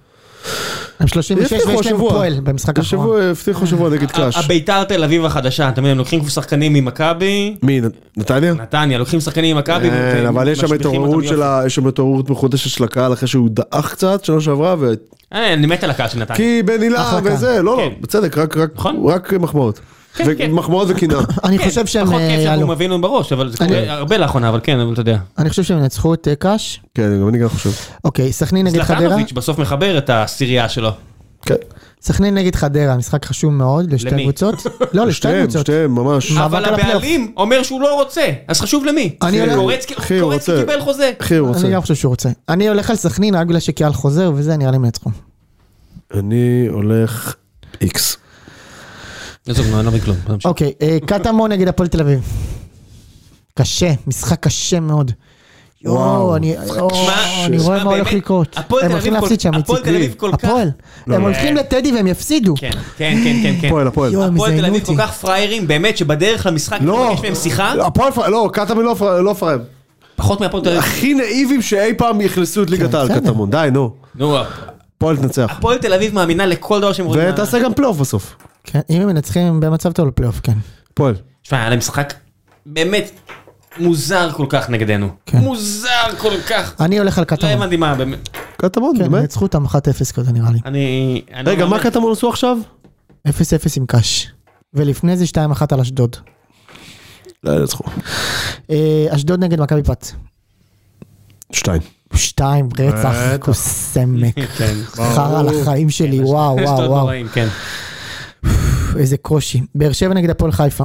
B: הם 36
A: הבטיחו
B: ויש להם
A: השבוע.
B: פועל במשחק האחרון.
A: השבוע הבטיחו שבוע
C: אה,
A: נגד קאש.
C: הביתר תל אביב החדשה, אתה מבין, הם לוקחים שחקנים ממכבי,
A: מי, נ- נתניה?
C: נתניה, לוקחים שחקנים ממכבי,
A: כן, אבל יש שם
C: ומשביחים אותם
A: התעוררות
C: יופי.
A: של ה... יש שם התעוררות מחודשת של הקהל אחרי שהוא דעך קצת שנה שעברה, ו...
C: אה, אני מת על הקהל של נתניה.
A: כי בן הילה
B: אחלה קהל.
A: וזה, לא, לא,
C: כן.
A: בצדק, רק- רק-
C: נכון.
A: רק מחמאות. ו-
C: כן.
A: מחמאות
B: (laughs)
A: וקינה.
B: אני
C: כן,
B: חושב שהם
C: פחות
B: אה,
C: כיף שאנחנו
B: יעלו.
C: מביאים לנו בראש, אבל זה
B: אני-
C: קורה הרבה לאחרונה, אבל כן, אבל אתה יודע.
B: אני חושב שהם ינצחו את אה, קאש.
A: כן, גם אני גם חושב.
B: אוקיי, סכנין נגד חדרה.
C: זלטנוביץ' בסוף מחבר את הסירייה שלו.
A: כן.
B: סכנין נגד חדרה, משחק חשוב מאוד לשתי
C: למי? (laughs)
B: קבוצות. לא, לשתי
A: שתיהם,
B: קבוצות. אה,
A: שתיהם, ממש.
B: מאבק
C: אבל
B: על הפלייאוף.
C: הבעלים אומר שהוא לא רוצה, אז חשוב למי.
B: אני הולך-
C: קורצקי
A: אחי, הוא
C: קורצקי
A: רוצה.
C: קיבל חוזה.
A: אחי, הוא רוצה.
B: אני גם חושב שהוא רוצה. אני הולך על סכנין רק בגלל שקיאל חוזר וזה, נראה לי מנצחו. לא-
A: אני הולך איקס.
C: כן. עזוב, נו, אני לא מבין כלום. בוא נמשיך.
B: אוקיי, אה, קטמון נגד הפועל תל אביב. קשה, משחק קשה מאוד. יואו,
A: וואו.
B: אני יואו,
C: שמע,
B: אני רואה
C: שמע,
B: מה הולך
C: באמת,
B: לקרות.
C: הפועל
B: הם
C: תל
B: הולכים
C: אביב
B: להפסיד
C: כל-
B: שם,
C: הפועל
B: איציק.
C: תל אביב כל כך-
B: הפועל.
A: לא.
B: הם הולכים לטדי והם יפסידו.
C: כן, כן, כן, כן, כן.
A: הפועל, הפועל.
B: יואו, הם
C: הפועל תל
B: יזיינו
C: אביב כל
B: לא, אותי.
C: כך פראיירים, באמת שבדרך למשחק
A: לא.
C: יש מהם שיחה,
A: הפועל, פר- לא, קטמון לא פר- לא פראייר.
C: פחות מהפועל תל אביב.
A: הכי נאיבים שאי פעם יכנסו את ליגת העל,
B: בסדר.
A: קטמון, די, נו.
C: נו,
A: הפועל תנצח.
C: הפועל תל אביב מאמינה לכל דבר שהם
B: אה,
C: רואים.
A: ותעשה גם פלייאוף בסוף.
B: כן, אם הם מנצחים הם במצב טוב לפלייאוף, כן.
A: הפועל.
C: תשמע, היה להם משחק באמת מוזר כל כך נגדנו.
B: כן.
C: מוזר כל כך.
B: אני הולך על
C: לא
B: קטמון.
C: הבנתי מה, באמת.
A: קטמון,
B: כן,
A: באמת.
B: ניצחו אותם 1-0 כזה נראה לי.
C: אני... אני
A: רגע,
C: לא
A: מה
C: מאמין.
A: קטמון עשו עכשיו?
B: 0-0 עם קאש. ולפני זה 2-1 על אשדוד.
A: לא, ינצחו.
B: אה, אשדוד נגד מכבי פת.
A: שתיים.
B: שתיים רצח, קוסמק. (laughs)
C: כן.
B: חרא על החיים שלי, וואו,
C: יש
B: וואו,
C: עוד
B: וואו.
C: נוראים, כן.
B: איזה קושי. באר שבע נגד הפועל חיפה.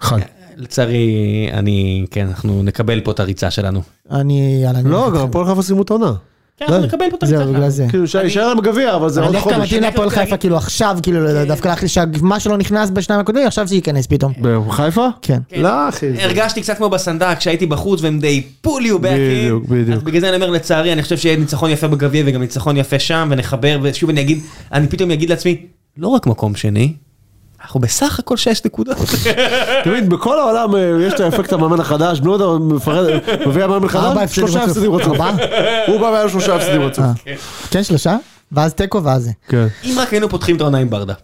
A: אחד.
C: לצערי, אני... כן, אנחנו נקבל פה את הריצה שלנו.
B: אני, יאללה. אני
A: לא,
B: הולך
A: גם
B: איתכם.
A: הפועל חיפה סיימו את העונה.
C: כן, אנחנו
A: די.
C: נקבל פה את הריצה
B: זהו,
C: שלנו.
B: בגלל לא, זה.
A: כאילו, יישאר להם גביע, אבל זה
B: אני לא
A: עוד
B: דווקא
A: חודש.
B: מתאים
C: אני כן.
B: להפועל
C: דווקא
B: חיפה
C: אגיד-
B: כאילו עכשיו, כאילו, לא, דווקא הלכתי שמה שלא נכנס בשניים הקודמים, עכשיו זה ייכנס פתאום.
A: בחיפה?
B: כן.
A: לא, אחי. זה-
C: הרגשתי קצת כמו בסנדק, שהייתי בחוץ והם די פול יו באקינג.
A: בדיוק, בדיוק.
C: אז בגלל זה אני אומר לצערי, אני חושב שיהיה ניצחון יפה בגביע וגם ניצחון יפה שם, ונחבר, ושוב אני אגיד, אני פתאום אגיד לעצמי, לא רק מקום שני, אנחנו בסך הכל שש נקודות.
A: תמיד, בכל העולם אה, יש את האפקט המאמן החדש, בני יהודה מפרד, מביא המאמן
C: כן.
B: ארבע
A: חדש,
B: הפסדים
A: שלושה
B: רצוף.
A: הפסדים (laughs) רצוף.
B: ארבעה?
A: הוא בא והיה לו שלושה הפסדים רצוף.
B: אה. כן, שלושה? ואז תיקו ואז זה.
A: כן.
C: אם רק היינו פותחים את העונה עם ברדה.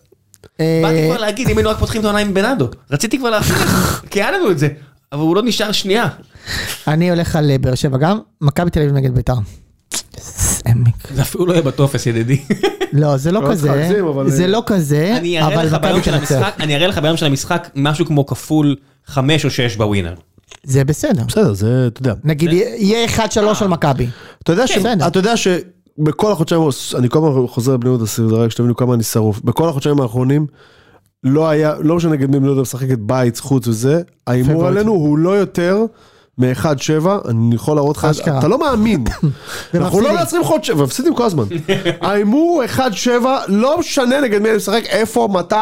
A: אה.
C: באתי
B: אה,
C: כבר להגיד, אם היינו רק פותחים את העונה עם בנאדו. רציתי
A: (laughs)
C: כבר להפריך, כי היה לנו את זה. אבל הוא לא נשאר שנייה.
B: אני הולך על אה, באר שבע גם, מכבי תל אביב נגד ביתר. עמק.
C: זה אפילו לא יהיה בטופס ידידי.
B: לא, זה לא
A: לא צריך
B: כזה,
A: להגזים, אבל-
B: זה לא כזה,
C: (laughs) אני אראה
B: אבל
C: לך
B: מכבי
C: ביום של
B: תנצח.
C: המשחק, אני אראה לך ביום של המשחק משהו כמו כפול חמש או שש בווינר.
B: זה בסדר.
A: בסדר, זה, אתה יודע.
B: נגיד, יהיה 1-3 על מכבי.
A: אתה יודע ש...
B: בסדר.
A: אתה יודע ש... בכל החודשיים, אני כל הזמן חוזר לבני יהודה סביב רק שתבינו כמה אני שרוף. בכל החודשיים האחרונים, לא היה, לא משנה נגד מי בני יהודה משחקת בית, חוץ וזה, ההימור
B: פייבוריט.
A: עלינו הוא לא יותר מ-1-7, אני יכול להראות לך,
B: אשכרה.
A: אתה לא מאמין. אנחנו לא
B: ומפסידים.
A: מנצחים חודשיים, מפסידים כל הזמן. ההימור הוא 1-7, לא משנה נגד מי אני משחק, איפה, מתי.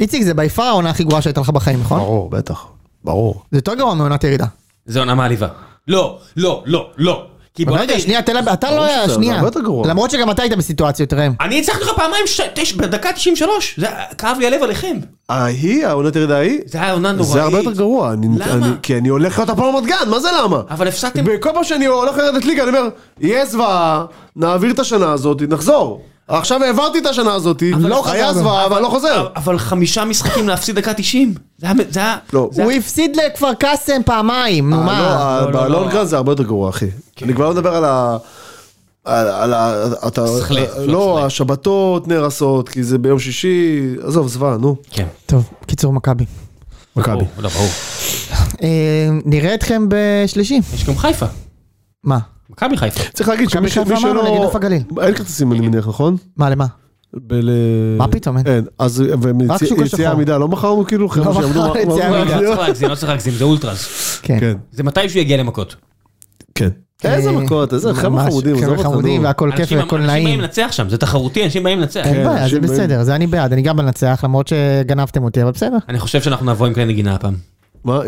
B: איציק, זה ביפר העונה הכי גרועה שהייתה לך בחיים, נכון?
A: ברור, בטח, ברור.
B: זה יותר גרוע מעונת ירידה.
C: זה עונה מעליבה. לא, לא, לא, לא. כי בוא
B: רגע, שנייה, תן לה... אתה לא
A: ברור שזה,
B: היה...
A: זה
B: שנייה.
A: הרבה יותר גרוע.
B: למרות שגם אתה היית בסיטואציות, ראם.
C: אני הצלחתי לך פעמיים ש... תש... בדקה 93, זה כאב לי הלב עליכם.
A: ההיא, העונת ירידה ההיא,
C: זה היה עונה נוראית.
A: זה הרבה יותר גרוע. אני-
C: למה?
A: אני- כי אני הולך להיות הפועל רמת גן, מה זה למה?
C: אבל הפסקתם,
A: בכל פעם שאני הולך לרדת ליגה, אני אומר, יהיה זוועה, נעביר את השנה הזאת, נחזור. עכשיו העברתי את השנה הזאת,
B: לא חזר
A: היה
B: גם.
A: זוועה, אבל לא חוזר.
C: אבל חמישה משחקים להפסיד דקה 90. זה היה... זה היה...
A: לא,
C: זה
B: הוא
C: היה...
B: הפסיד לכפר קאסם פעמיים, נו
A: אה,
B: מה?
A: לא, בלונגרן זה הרבה יותר גרוע, אחי. אני כבר לא מדבר על ה... על- על ה... אתה-
C: שכלי,
A: לא, השבתות נהרסות, כי זה ביום שישי, עזוב, זוועה, נו.
C: כן.
B: טוב, קיצור, מכבי.
A: מכבי.
C: ברור, לא, ברור.
B: אה, נראה אתכם בשלישי.
C: יש גם חיפה.
B: מה?
C: מכבי חיפה.
A: צריך להגיד
B: מכבי
A: שמי ש-
B: חיפה
A: מי
B: אמרנו,
A: שלא...
B: נגד נוף הגליל.
A: אין כרטיסים, אני מניח, נכון?
B: מה, למה?
A: בל...
B: מה פתאום, אין.
A: אין. אז
B: רק שוק השחור.
A: ויציאה עמידה לא מכרנו כאילו? חבר'ה
B: מכרנו
A: שיעמדו-
B: יציאה
A: מה-
C: לא
A: מה-
B: עמידה.
C: לא צריך להגזים, לא צריך להגזים, זה אולטרס.
B: כן.
A: כן.
C: זה מתי שהוא יגיע למכות.
A: כן. איזה מכות, איזה חבר'ה
B: אה, ממש,
A: חמודים, עזוב
B: חבר'ה
A: אותנו.
B: חמודים והכל כיף
C: אנשים-
B: והכל
C: אנשים באים
B: נעים. כן.
C: לנצח שם, זה תחרותי, אנשים באים לנצח.
B: אין בעיה, זה
A: אנשים באים.
B: בסדר, זה אני בעד, אני גם בנצח, למרות שגנבתם אותי, אבל בסדר.
C: אני חושב שאנחנו נבוא עם כלי נגינה הפעם.
A: מה?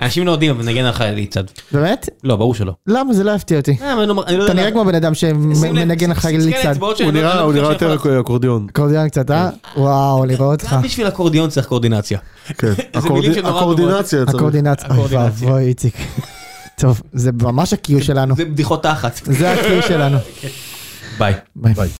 C: אנשים לא יודעים, אבל נגן על חיילי צד.
B: באמת?
C: לא, ברור שלא.
B: למה זה לא יפתיע אותי?
C: אה, אבל אני לא- אני לא
B: אתה
C: יודע-
B: נראה כמו בן אדם
C: שים לב,
B: שמנגן לך
C: תסתכל על
B: לצד.
C: האצבעות שלי,
A: הוא
C: אני לא-
A: נראה
C: אני לא
A: הוא
C: חושב
A: נראה
C: שיכול
A: יותר אקורדיון.
B: אקורדיון קצת, אה? וואו, לראות אותך.
C: גם בשביל אקורדיון צריך קורדינציה.
B: אה.
A: כן.
C: מילים
A: הקורדי-
C: שנורא
A: הקורדינציה צריך.
B: הקורדינציה. אוי
C: הקורדינציה.
B: ואבוי, איציק. טוב, זה ממש ה-Q שלנו.
C: זה בדיחות תחת.
B: זה ה-Q שלנו.
C: ביי.
B: ביי.